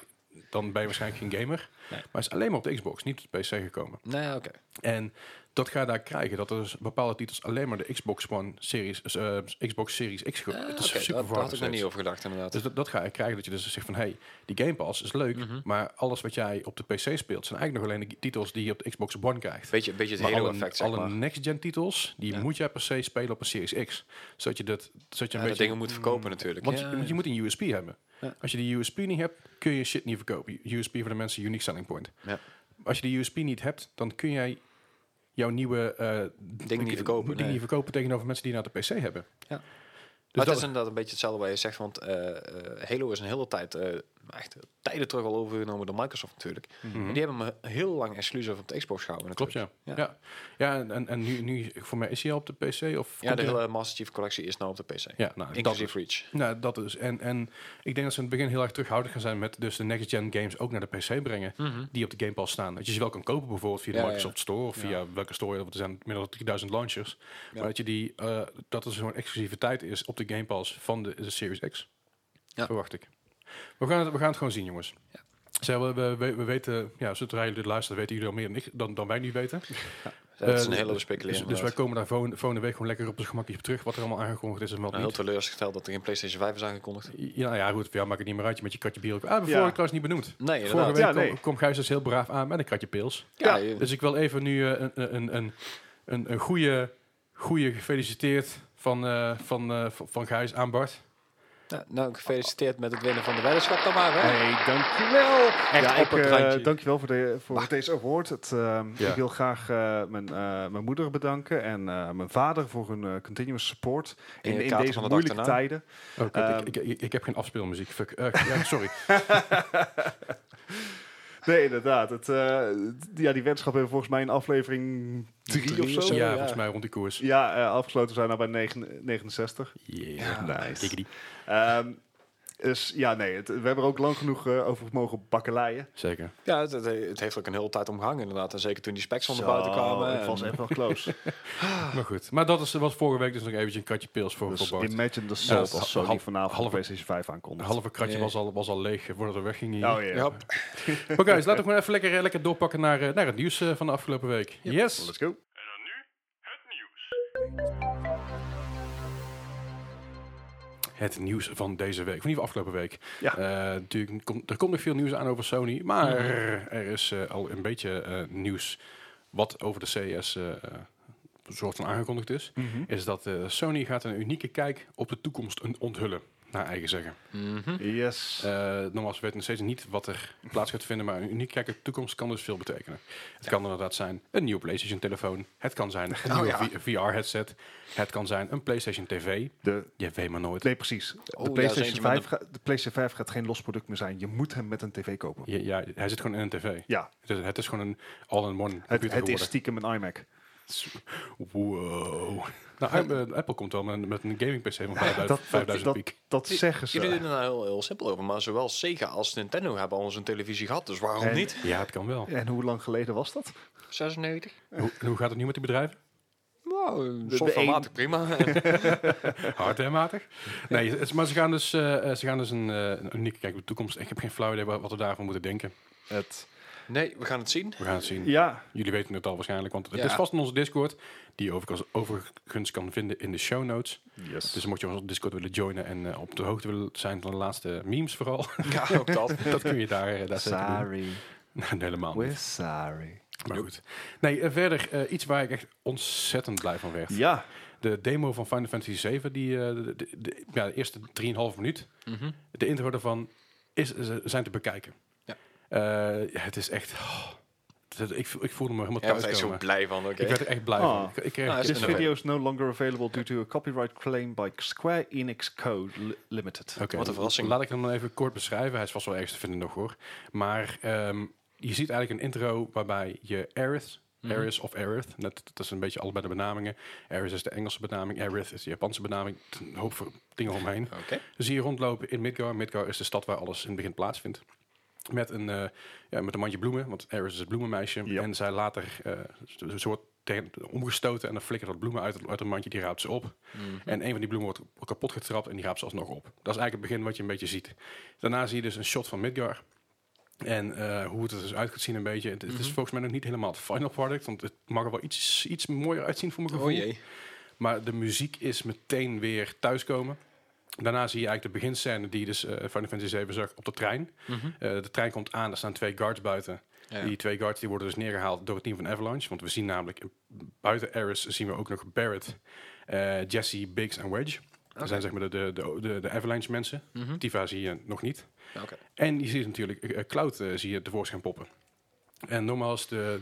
Speaker 1: dan ben je waarschijnlijk geen gamer.
Speaker 3: Nee.
Speaker 1: Maar hij is alleen maar op de Xbox, niet op de PC gekomen.
Speaker 3: nee, Nou oké.
Speaker 1: En dat ga je daar krijgen, dat er dus bepaalde titels alleen maar de Xbox One Series, eh, Xbox Series X... ge-
Speaker 3: Ah,
Speaker 1: het
Speaker 3: oké, daar- daar
Speaker 1: verwarrend
Speaker 3: had ik nog
Speaker 1: steeds.
Speaker 3: niet over gedacht, inderdaad.
Speaker 1: Dus dat, dat ga je krijgen, dat je dus zegt van... hé, hey, die Game Pass is leuk,
Speaker 3: Mhm.
Speaker 1: maar alles wat jij op de PC speelt... zijn eigenlijk nog alleen de titels die je op de Xbox One krijgt.
Speaker 3: beetje, beetje het
Speaker 1: Maar
Speaker 3: hele
Speaker 1: alle,
Speaker 3: effect, zeg
Speaker 1: alle
Speaker 3: maar.
Speaker 1: next-gen titels, die
Speaker 3: Ja.
Speaker 1: moet jij per se spelen op een Series X. Zodat je, dat, zodat je
Speaker 3: Ja,
Speaker 1: een
Speaker 3: dat
Speaker 1: beetje...
Speaker 3: dingen moet verkopen natuurlijk.
Speaker 1: Want
Speaker 3: Ja,
Speaker 1: je, je moet een USP hebben.
Speaker 3: Ja.
Speaker 1: Als je die USP niet hebt, kun je shit niet verkopen. USP voor de mensen, unique selling point.
Speaker 3: Ja.
Speaker 1: Als je die USP niet hebt, dan kun jij jouw nieuwe... eh
Speaker 3: Dingen niet verkopen,
Speaker 1: Dingen
Speaker 3: nee.
Speaker 1: niet verkopen tegenover mensen die naar de PC hebben.
Speaker 3: Ja.
Speaker 1: Dus
Speaker 3: maar het
Speaker 1: dat,
Speaker 3: is inderdaad een beetje hetzelfde wat je zegt, want eh, eh, Halo is een hele tijd, eh, echt tijden terug al overgenomen door Microsoft natuurlijk. En die hebben hem heel lang exclusief op de Xbox gehouden
Speaker 1: Mhm. Klopt,
Speaker 3: natuurlijk.
Speaker 1: ja.
Speaker 3: Ja.
Speaker 1: Ja, ja. en, en, en nu, nu, voor mij is hij al op de PC? Of
Speaker 3: Ja,
Speaker 1: komt
Speaker 3: de
Speaker 1: hij-
Speaker 3: hele Master Chief collectie is nou op de PC.
Speaker 1: Ja, nou, dat
Speaker 3: Inclusief
Speaker 1: is.
Speaker 3: Reach.
Speaker 1: Nou, dat is. En, en ik denk dat ze in het begin heel erg terughoudend gaan zijn met dus de next-gen games ook naar de PC
Speaker 3: Hm.
Speaker 1: brengen. Die op de Game Pass staan. Dat je ze wel kan kopen bijvoorbeeld via de
Speaker 3: Ja, ja.
Speaker 1: Microsoft Store of via welke store. Want er zijn inmiddels 3000 launchers. Maar dat, je die, eh, dat er zo'n exclusiviteit is op de Game Pass van de, de Series X.
Speaker 3: Ja.
Speaker 1: Verwacht ik. We gaan, het, we gaan het gewoon zien, jongens.
Speaker 3: Ja.
Speaker 1: Zeg, we, we, we- we weten, ja, zodra jullie dit luisteren, weten jullie al meer dan, ik- dan, dan wij nu weten.
Speaker 3: Dat is
Speaker 1: Eh,
Speaker 3: een hele
Speaker 1: dus-
Speaker 3: speculering.
Speaker 1: Dus, dus wij komen daar volgende, volgende week gewoon lekker op ons gemakje op terug. Wat er allemaal aangekondigd is en wat
Speaker 3: nou, heel
Speaker 1: niet.
Speaker 3: teleurgesteld dat er geen PlayStation 5 is aangekondigd.
Speaker 1: Ja, nou ja, goed. Voor jou maakt het niet meer uit. Je met je katje bier ook. Ah,
Speaker 2: Ja.
Speaker 1: bevor ik trouwens niet benoemd.
Speaker 3: Nee,
Speaker 1: Vorige
Speaker 3: inderdaad.
Speaker 1: week
Speaker 2: Ja,
Speaker 1: kwam-
Speaker 2: nee.
Speaker 1: kwam Gijs dus heel braaf aan met een katje pils.
Speaker 3: Ja,
Speaker 2: Ja.
Speaker 3: je-
Speaker 1: Dus ik wil even nu eh, een, een, een, een, een goede, goede gefeliciteerd van, eh, van, eh, van- van Gijs aan Bart.
Speaker 3: nou, nou, gefeliciteerd met het winnen van de weddenschap dan maar. Hè?
Speaker 2: Hey, dankjewel. ja,
Speaker 3: op
Speaker 2: ik,
Speaker 3: het
Speaker 2: eh,
Speaker 3: randje.
Speaker 2: dankjewel voor, de, voor deze award. Het, ehm,
Speaker 1: Ja.
Speaker 2: Ik wil graag eh, mijn, eh, mijn moeder bedanken en eh, mijn vader voor hun eh, continuous support
Speaker 3: En je
Speaker 2: in, in
Speaker 3: kater
Speaker 2: deze
Speaker 3: van de dag
Speaker 2: moeilijke
Speaker 3: daarna.
Speaker 2: tijden.
Speaker 1: Oh, kut,
Speaker 2: Ehm.
Speaker 1: ik, ik, ik- ik heb geen afspeelmuziek. Fuck. Eh, ja, sorry. <laughs>
Speaker 2: Nee, inderdaad. Het, eh, d- ja, die wetenschap hebben volgens mij in aflevering 3 of
Speaker 3: Drie of
Speaker 2: zo.
Speaker 3: zo.
Speaker 2: Ja,
Speaker 1: ja,
Speaker 3: ja.
Speaker 1: volgens mij rond die koers.
Speaker 2: eh, afgesloten zijn we bij negen- 69.
Speaker 1: Yeah.
Speaker 2: Nice.
Speaker 1: Diggity.
Speaker 2: Ehm, dus ja, nee, het- we hebben er ook lang genoeg eh, over mogen bakkeleien.
Speaker 1: Zeker.
Speaker 3: Ja, het, het- het heeft ook een hele tijd omgehangen inderdaad. En zeker toen die specs van de
Speaker 2: Zo,
Speaker 3: buiten kwamen.
Speaker 2: Ik was
Speaker 3: en-
Speaker 2: echt wel close.
Speaker 1: Maar goed. Maar dat is, was vorige week dus nog eventjes een katje pils voor,
Speaker 2: dus
Speaker 1: voor Bart.
Speaker 2: imagine the
Speaker 1: Ja,
Speaker 2: salt
Speaker 1: dat
Speaker 2: als
Speaker 1: is
Speaker 2: Sony
Speaker 1: half-
Speaker 2: vanavond
Speaker 1: half-
Speaker 2: PlayStation 5
Speaker 1: Een
Speaker 2: aankondigt.
Speaker 1: halve kratje
Speaker 3: Nee.
Speaker 1: was, al, was al leeg voordat we weggingen hier.
Speaker 2: Oh ja.
Speaker 3: Ja.
Speaker 1: Maar guys, laten we gewoon even lekker, eh, lekker doorpakken naar, eh, naar het nieuws eh, van de afgelopen week. Yes!
Speaker 2: Let's go.
Speaker 1: Het nieuws van deze week, of in ieder geval afgelopen week.
Speaker 2: Ja.
Speaker 1: Eh, natuurlijk, komt- er komt nog veel nieuws aan over Sony, maar er is eh, al een beetje eh, nieuws wat over de CES eh, eh, soort van aangekondigd is. Is dat eh, Sony gaat een unieke kijk op de toekomst on- onthullen, naar eigen zeggen.
Speaker 3: Mhm.
Speaker 2: Hm? Yes.
Speaker 1: Eh nogmaals, we weten nog steeds niet wat er plaats gaat vinden, maar een uniek kijken op de toekomst kan dus veel betekenen. Het kan inderdaad zijn een nieuwe PlayStation-telefoon, het kan zijn een
Speaker 3: Oh,
Speaker 1: nieuwe VR-headset, het kan zijn een PlayStation-TV,
Speaker 2: De,
Speaker 1: je weet maar nooit.
Speaker 2: nee, precies.
Speaker 3: Oh,
Speaker 2: de,
Speaker 3: daar is
Speaker 2: PlayStation
Speaker 3: eentje met
Speaker 2: 5 ga- de PlayStation 5 gaat geen los product meer zijn. Je moet hem met een tv kopen.
Speaker 1: Ja, ja, hij zit gewoon in een tv.
Speaker 2: Ja,
Speaker 1: Het is, het is gewoon een all-in-one
Speaker 2: het,
Speaker 1: computer
Speaker 2: het is
Speaker 1: geworden.
Speaker 2: stiekem een iMac.
Speaker 1: Wow. <laughs> Nou, Apple- Apple komt wel met, met een gaming PC van 5000,
Speaker 2: dat, dat,
Speaker 1: 5000
Speaker 2: dat,
Speaker 1: piek.
Speaker 2: dat zeggen ze.
Speaker 3: Jullie doen er nou heel, heel simpel over, maar zowel Sega als Nintendo hebben al eens een televisie gehad, dus waarom
Speaker 2: En-
Speaker 3: niet?
Speaker 1: Ja, het kan wel.
Speaker 2: En hoe lang geleden was dat?
Speaker 3: 96?
Speaker 1: Hoe, hoe gaat het nu met die bedrijven?
Speaker 3: Nou,
Speaker 2: de
Speaker 3: softwarematig prima.
Speaker 1: Hardwarematig? Nee, het is- maar ze gaan dus, eh, eh, ze gaan dus een, eh, een unieke kijk op de toekomst. Ik heb geen flauw idee wa- wat we daarvan moeten denken.
Speaker 2: Het,
Speaker 3: nee, we gaan het zien.
Speaker 1: We gaan het zien.
Speaker 2: ja,
Speaker 1: Jullie weten het al waarschijnlijk, want het
Speaker 3: Ja.
Speaker 1: is vast in onze Discord. Die je overigens, overigens kan vinden in de show notes.
Speaker 2: yes.
Speaker 1: Dus mocht je onze Discord willen joinen en eh, op de hoogte willen zijn van de laatste memes vooral. <laughs>
Speaker 3: Ja, ook dat.
Speaker 1: dat kun je daar, eh, daar zeker <laughs> doen.
Speaker 2: sorry,
Speaker 1: Nee, helemaal niet.
Speaker 2: we're sorry.
Speaker 1: Maar goed. Nee, eh, verder eh, iets waar ik echt ontzettend blij van werd.
Speaker 2: Ja,
Speaker 1: De demo van Final Fantasy 7, die, eh, de, de- de- ja, de eerste 3,5 minuut,
Speaker 3: Mhm.
Speaker 1: de intro daarvan, is, is- zijn te bekijken.
Speaker 3: Ja.
Speaker 1: Eh, ja, het is echt... oh, het- ik, voel- ik voelde me helemaal
Speaker 3: Ja, daar ben
Speaker 1: thuis
Speaker 3: ik zo
Speaker 1: komen.
Speaker 3: blij van, oké.
Speaker 1: Ik werd er echt blij
Speaker 2: Oh.
Speaker 1: van. Ik, ik kreeg,
Speaker 3: Nou, is
Speaker 2: this
Speaker 3: het een-
Speaker 2: video is no longer available due to a copyright claim by Square Enix Co. Li- Limited.
Speaker 1: Oké,
Speaker 3: Wat een verrassing.
Speaker 1: Laat ik hem dan even kort beschrijven. Hij is vast wel ergens te vinden nog hoor. Maar ehm, je ziet eigenlijk een intro waarbij je Aerith,
Speaker 3: Mhm.
Speaker 1: Aerith of Aerith, net, dat is een beetje allebei de benamingen. Aerith is de Engelse benaming, Aerith is de Japanse benaming. Een hoop voor dingen omheen.
Speaker 3: Oké.
Speaker 1: Zie je rondlopen in Midgar. Midgar is de stad waar alles in het begin plaatsvindt. Met een, eh, ja, met een mandje bloemen, want Aerith is het bloemenmeisje.
Speaker 2: Ja.
Speaker 1: En zij later, eh, ze ze wordt tegen, omgestoten en dan flikkert dat bloemen uit, het- uit het mandje, die raapt ze op.
Speaker 3: Mhm.
Speaker 1: En een van die bloemen wordt kapot getrapt en die raapt ze alsnog op. Dat is eigenlijk het begin wat je een beetje ziet. Daarna zie je dus een shot van Midgar. En eh, hoe het er dus uit gaat zien een beetje. Het, het is
Speaker 3: Mhm.
Speaker 1: volgens mij nog niet helemaal het final product. Want het mag er wel iets, iets mooier uitzien voor mijn gevoel.
Speaker 3: Oh jee.
Speaker 1: Maar de muziek is meteen weer thuiskomen. Daarna zie je eigenlijk de beginscène die je dus eh, Final Fantasy 7 zag op de trein. Eh, de trein komt aan, er staan twee guards buiten.
Speaker 3: Mhm. Ja.
Speaker 1: Die twee guards die worden dus neergehaald door het team van Avalanche. Want we zien namelijk, eh, buiten Eris zien we ook nog Barrett, eh, Jesse, Biggs en Wedge.
Speaker 3: Oké.
Speaker 1: Dat zijn zeg maar de, de, de, de Avalanche mensen.
Speaker 3: Mhm.
Speaker 1: Tifa zie je nog niet.
Speaker 3: Ja, oké.
Speaker 1: En je ziet natuurlijk eh, eh, Cloud eh, zie je tevoorschijn poppen. En nogmaals, de,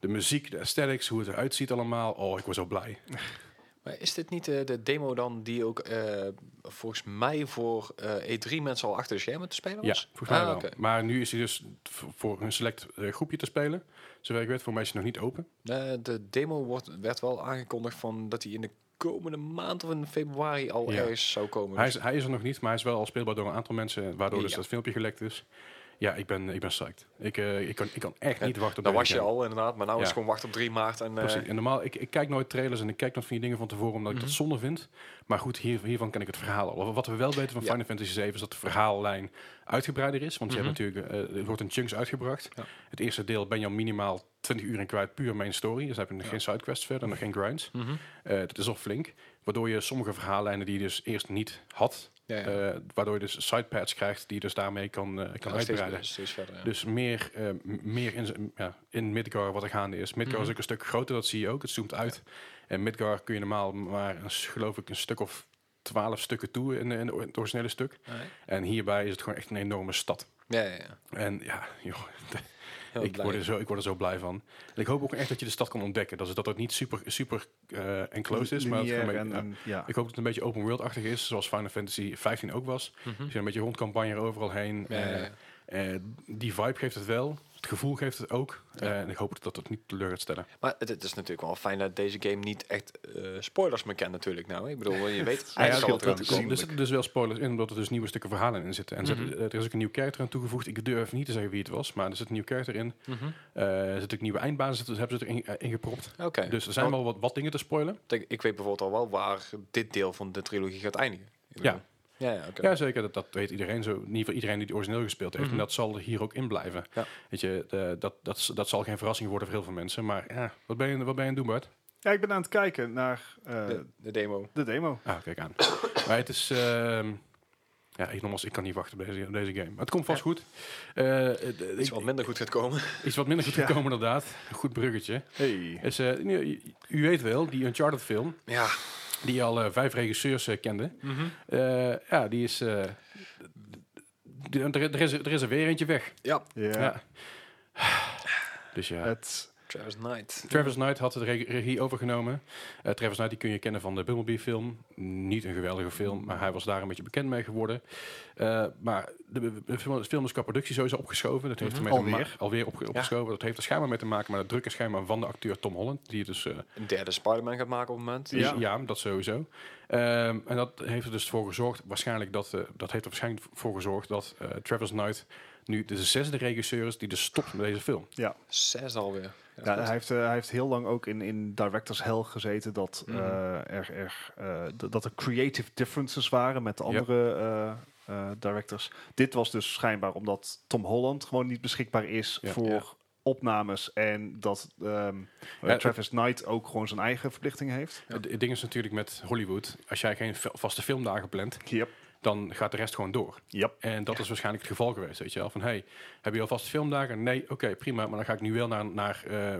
Speaker 1: de muziek, de aesthetics, hoe het eruit ziet allemaal. Oh, ik word zo blij.
Speaker 3: Maar is dit niet eh, de demo dan die ook eh, volgens mij voor eh, E3 mensen al achter de schermen te spelen
Speaker 1: Ja,
Speaker 3: was?
Speaker 1: volgens mij
Speaker 3: Ah,
Speaker 1: wel.
Speaker 3: oké.
Speaker 1: Maar nu is hij dus v- voor een select eh, groepje te spelen. Zover ik weet, voor mij is hij nog niet open.
Speaker 3: Eh, de demo wordt, werd wel aangekondigd van dat hij in de komende maand of in februari al
Speaker 1: Ja.
Speaker 3: ergens zou komen.
Speaker 1: Hij
Speaker 3: Dus-
Speaker 1: is, hij is er nog niet, maar hij is wel al speelbaar door een aantal mensen. Waardoor dus
Speaker 3: Ja.
Speaker 1: dat filmpje gelekt is. Ja, ik ben, ik ben psyched. Ik, eh, ik, kan, ik kan echt
Speaker 3: Ja,
Speaker 1: niet wachten op
Speaker 3: dat was
Speaker 1: deze
Speaker 3: je
Speaker 1: game.
Speaker 3: al inderdaad, maar nu is
Speaker 1: Ja.
Speaker 3: het gewoon wachten op 3 maart. En, eh,
Speaker 1: Precies. En normaal, ik, ik kijk nooit trailers en ik kijk nooit van die dingen van tevoren omdat
Speaker 3: Mhm.
Speaker 1: ik dat zonde vind. Maar goed, hier, hiervan ken ik het verhaal al. Wat we wel weten van
Speaker 3: Ja. Mhm.
Speaker 1: Final Fantasy 7 is dat de verhaallijn uitgebreider is. Want je hebt natuurlijk, eh, er wordt in chunks uitgebracht.
Speaker 3: Ja.
Speaker 1: Het eerste deel ben je al minimaal 20 uur in kwijt, puur main story. Dus dan heb je nog geen sidequests verder, nog geen grinds.
Speaker 3: Mhm.
Speaker 1: Eh, dat is al flink. Waardoor je sommige verhaallijnen die je dus eerst niet had,
Speaker 3: ja, ja.
Speaker 1: eh, waardoor je dus sidepads krijgt die je dus daarmee kan, eh, kan
Speaker 3: Ja, steeds-
Speaker 1: uitbreiden.
Speaker 3: steeds verder, ja.
Speaker 1: Dus meer, eh, m- meer in, z- ja, in Midgar wat er gaande is. Midgar
Speaker 3: Mhm.
Speaker 1: is ook een stuk groter, dat zie je ook. Het zoomt uit. En Midgar kun je normaal maar, een s- geloof ik, een stuk of twaalf stukken toe in, de- in de o- het originele stuk.
Speaker 3: Ah,
Speaker 1: En hierbij is het gewoon echt een enorme stad.
Speaker 3: ja, ja, ja.
Speaker 1: En ja, joh, <laughs>
Speaker 3: Heel
Speaker 1: ik,
Speaker 3: blij.
Speaker 1: word er zo, ik word er zo blij van. En ik hoop ook echt dat je de stad kan ontdekken. Dat, is, dat het niet super, super eh enclosed is. Maar dat het
Speaker 2: Lineair
Speaker 1: gewoon een
Speaker 2: en-
Speaker 1: beetje- ja.
Speaker 2: en- ja.
Speaker 1: Ik hoop dat het een beetje open world-achtig is, zoals Final Fantasy 15 ook was. Dus je een beetje rondcampagne overal heen.
Speaker 3: Mhm. Ja, ja,
Speaker 1: Eh,
Speaker 3: ja.
Speaker 1: eh, die vibe geeft het wel. Het gevoel geeft het ook. Eh, en ik hoop dat het niet teleur gaat stellen.
Speaker 3: Maar het, het is natuurlijk wel fijn dat deze game niet echt eh, spoilers meer kent natuurlijk nou. Ik bedoel,
Speaker 1: <laughs>
Speaker 3: je weet
Speaker 2: Ja, ja,
Speaker 3: eigenlijk al
Speaker 2: scheelt
Speaker 3: wat er aan te
Speaker 2: dat
Speaker 3: komen.
Speaker 2: natuurlijk.
Speaker 1: Er zitten dus wel spoilers in, omdat er dus nieuwe stukken verhalen in zitten. En er zit-
Speaker 3: Mhm.
Speaker 1: er is ook een nieuw karakter aan toegevoegd. Ik durf niet te zeggen wie het was, maar er zit een nieuw karakter in.
Speaker 3: Mhm.
Speaker 1: Eh, er zitten ook nieuwe eindbazen, dus hebben ze erin eh, ingepropt.
Speaker 3: Oké,
Speaker 1: Dus er zijn
Speaker 3: Want
Speaker 1: wel wat, wat dingen te spoilen.
Speaker 3: ik- ik weet bijvoorbeeld al wel waar dit deel van de trilogie gaat eindigen.
Speaker 1: Ja.
Speaker 3: Ik bedoel, Ja, ja, oké.
Speaker 1: Ja, zeker. Dat, dat weet iedereen zo. In ieder geval iedereen die het origineel gespeeld heeft. En dat zal er hier ook in blijven.
Speaker 3: Ja.
Speaker 1: Weet je, eh, dat, dat, dat zal geen verrassing worden voor heel veel mensen. Maar ja, wat ben je, wat ben je aan het doen, Bart?
Speaker 2: Ja, ik ben aan het kijken naar eh,
Speaker 3: De, de demo.
Speaker 2: de demo.
Speaker 1: Ah, kijk aan. maar het is... ehm, ja, ik, nogmaals, ik kan niet wachten op deze, op deze game. Maar het komt vast goed. Eh, eh, d- ik-
Speaker 3: Iets wat minder goed gaat komen.
Speaker 1: iets wat minder goed
Speaker 2: Ja.
Speaker 1: gekomen, inderdaad. Een goed bruggetje.
Speaker 2: Hey.
Speaker 1: Is, eh, nu- u, weet wel, die Uncharted film,
Speaker 3: <laughs> Ja,
Speaker 1: die al eh, vijf regisseurs eh, kende. eh, ja, die is... eh, d- d- d- er, er is er is er weer eentje weg.
Speaker 3: ja.
Speaker 2: Ja.
Speaker 1: Ja. <sighs> Dus ja,
Speaker 2: Het,
Speaker 3: Travis Knight.
Speaker 1: Travis Knight had de re- regie overgenomen. Eh, Travis Knight die kun je kennen van de Bumblebee-film. Niet een geweldige film, maar hij was daar een beetje bekend mee geworden. Eh, maar de, de film, de film is qua productie sowieso opgeschoven. Dat heeft
Speaker 3: Mhm.
Speaker 1: ermee te ma-
Speaker 2: Alweer.
Speaker 1: alweer opge- opgeschoven. Dat heeft er schijnbaar mee te maken met het drukke schijnbaar van de acteur Tom Holland. Die dus eh,
Speaker 3: Een derde Spider-Man gaat maken op het moment.
Speaker 1: ja.
Speaker 2: Ja.
Speaker 1: ja, dat sowieso. Ehm, en dat heeft er dus voor gezorgd, waarschijnlijk dat, eh, dat heeft er waarschijnlijk voor gezorgd dat eh, Travis Knight nu de zesde regisseur is die dus stopt met deze film.
Speaker 3: Zes alweer.
Speaker 2: Ja, hij, heeft, eh, hij heeft heel lang ook in, in Directors Hell gezeten dat, eh,
Speaker 3: Mhm.
Speaker 2: er, er, eh, d- dat er creative differences waren met de
Speaker 1: Ja.
Speaker 2: andere eh, eh, directors. Dit was dus schijnbaar omdat Tom Holland gewoon niet beschikbaar is
Speaker 1: Ja.
Speaker 2: voor
Speaker 3: Ja.
Speaker 2: opnames en dat ehm,
Speaker 1: Ja,
Speaker 2: Travis Knight ook gewoon zijn eigen verplichting heeft.
Speaker 3: Ja.
Speaker 1: Het het ding is natuurlijk met Hollywood, als jij geen fe- vaste filmdagen plant,
Speaker 2: Yep.
Speaker 1: dan gaat de rest gewoon door.
Speaker 2: Yep.
Speaker 1: En dat is waarschijnlijk het geval geweest, weet je wel. Van, hey, heb je al vaste filmdagen? Nee, oké, prima, maar dan ga ik nu wel naar, naar, eh,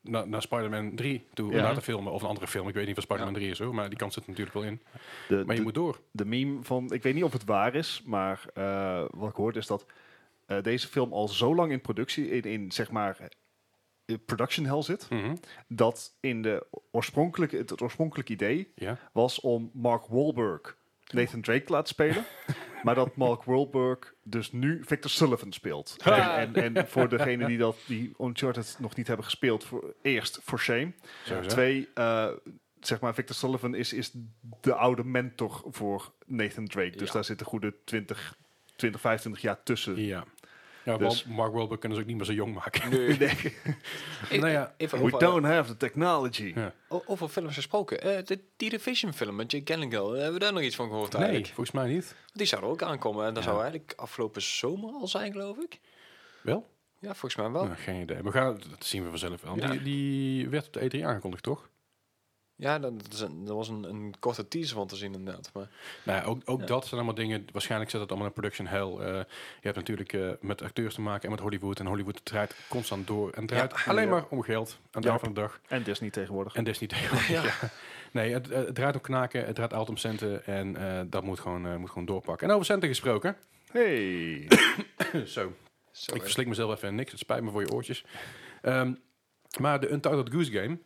Speaker 1: naar, naar Spider-Man 3 toe, om
Speaker 2: Ja.
Speaker 1: daar te filmen. Of een andere film, ik weet niet of Spider-Man 3 is hoor, maar die kans zit er natuurlijk wel in.
Speaker 2: De,
Speaker 1: Maar je
Speaker 2: de-
Speaker 1: moet door.
Speaker 2: de meme van, ik weet niet of het waar is, maar eh, wat ik hoorde is dat eh, deze film al zo lang in productie, in, in zeg maar eh, production hell zit.
Speaker 1: Mhm,
Speaker 2: dat in de oorspronkelijke, het, het oorspronkelijke idee
Speaker 1: Ja.
Speaker 2: was om Mark Wahlberg Nathan Drake te laten spelen. maar dat Mark Wahlberg dus nu Victor Sullivan speelt.
Speaker 3: Ha!
Speaker 2: En, en, en voor degenen die, dat, die Uncharted nog niet hebben gespeeld, voor, eerst for shame.
Speaker 1: Sowieso.
Speaker 2: Twee, eh, zeg maar, Victor Sullivan is, is de oude mentor voor Nathan Drake. Dus
Speaker 3: Ja.
Speaker 2: daar zit een goede 20, 20 25 jaar tussen.
Speaker 1: Ja. Ja,
Speaker 2: Dus-
Speaker 1: Wal- Mark Wahlberg kunnen ze ook niet meer zo jong maken. <laughs>
Speaker 3: Nee.
Speaker 2: Nee.
Speaker 1: Nou ja.
Speaker 3: Even
Speaker 2: We
Speaker 3: over, eh,
Speaker 2: don't have the technology.
Speaker 1: Ja.
Speaker 3: o- over films gesproken. Eh, de die Division film met Jake Gyllenhaal. eh, Hebben we daar nog iets van gehoord
Speaker 1: Nee,
Speaker 3: eigenlijk?
Speaker 1: volgens mij niet.
Speaker 3: Die zou er ook aankomen. En dat
Speaker 1: Ja.
Speaker 3: zou eigenlijk afgelopen zomer al zijn, geloof ik.
Speaker 1: Wel?
Speaker 3: Ja, volgens mij wel.
Speaker 1: Nou, geen idee. We gaan, dat zien we vanzelf wel.
Speaker 3: Ja.
Speaker 1: Die, die werd op de E3 aangekondigd, toch?
Speaker 3: Ja, dat, dat is een- dat was een, een korte teaser van te zien inderdaad. Maar
Speaker 1: Nou ja, ook, ook
Speaker 3: Ja.
Speaker 1: dat zijn allemaal dingen. Waarschijnlijk zit dat allemaal in production hell. Eh, je hebt natuurlijk eh, met acteurs te maken en met Hollywood. En Hollywood draait constant door. En draait
Speaker 3: Ja.
Speaker 1: alleen
Speaker 2: Ja.
Speaker 1: maar om geld aan het
Speaker 2: Ja.
Speaker 1: einde van de dag.
Speaker 2: En Disney tegenwoordig.
Speaker 1: En Disney tegenwoordig.
Speaker 3: <laughs> Ja.
Speaker 1: Ja. Nee, het, eh, het draait om knaken. Het draait altijd om centen. En eh, dat moet gewoon, eh, moet gewoon doorpakken. En over centen gesproken.
Speaker 2: Hey!
Speaker 1: Zo.
Speaker 3: <laughs> zo,
Speaker 1: Ik
Speaker 3: eh,
Speaker 1: verslik mezelf even in niks. Het spijt me voor je oortjes. Ehm, maar de Untitled Goose Game,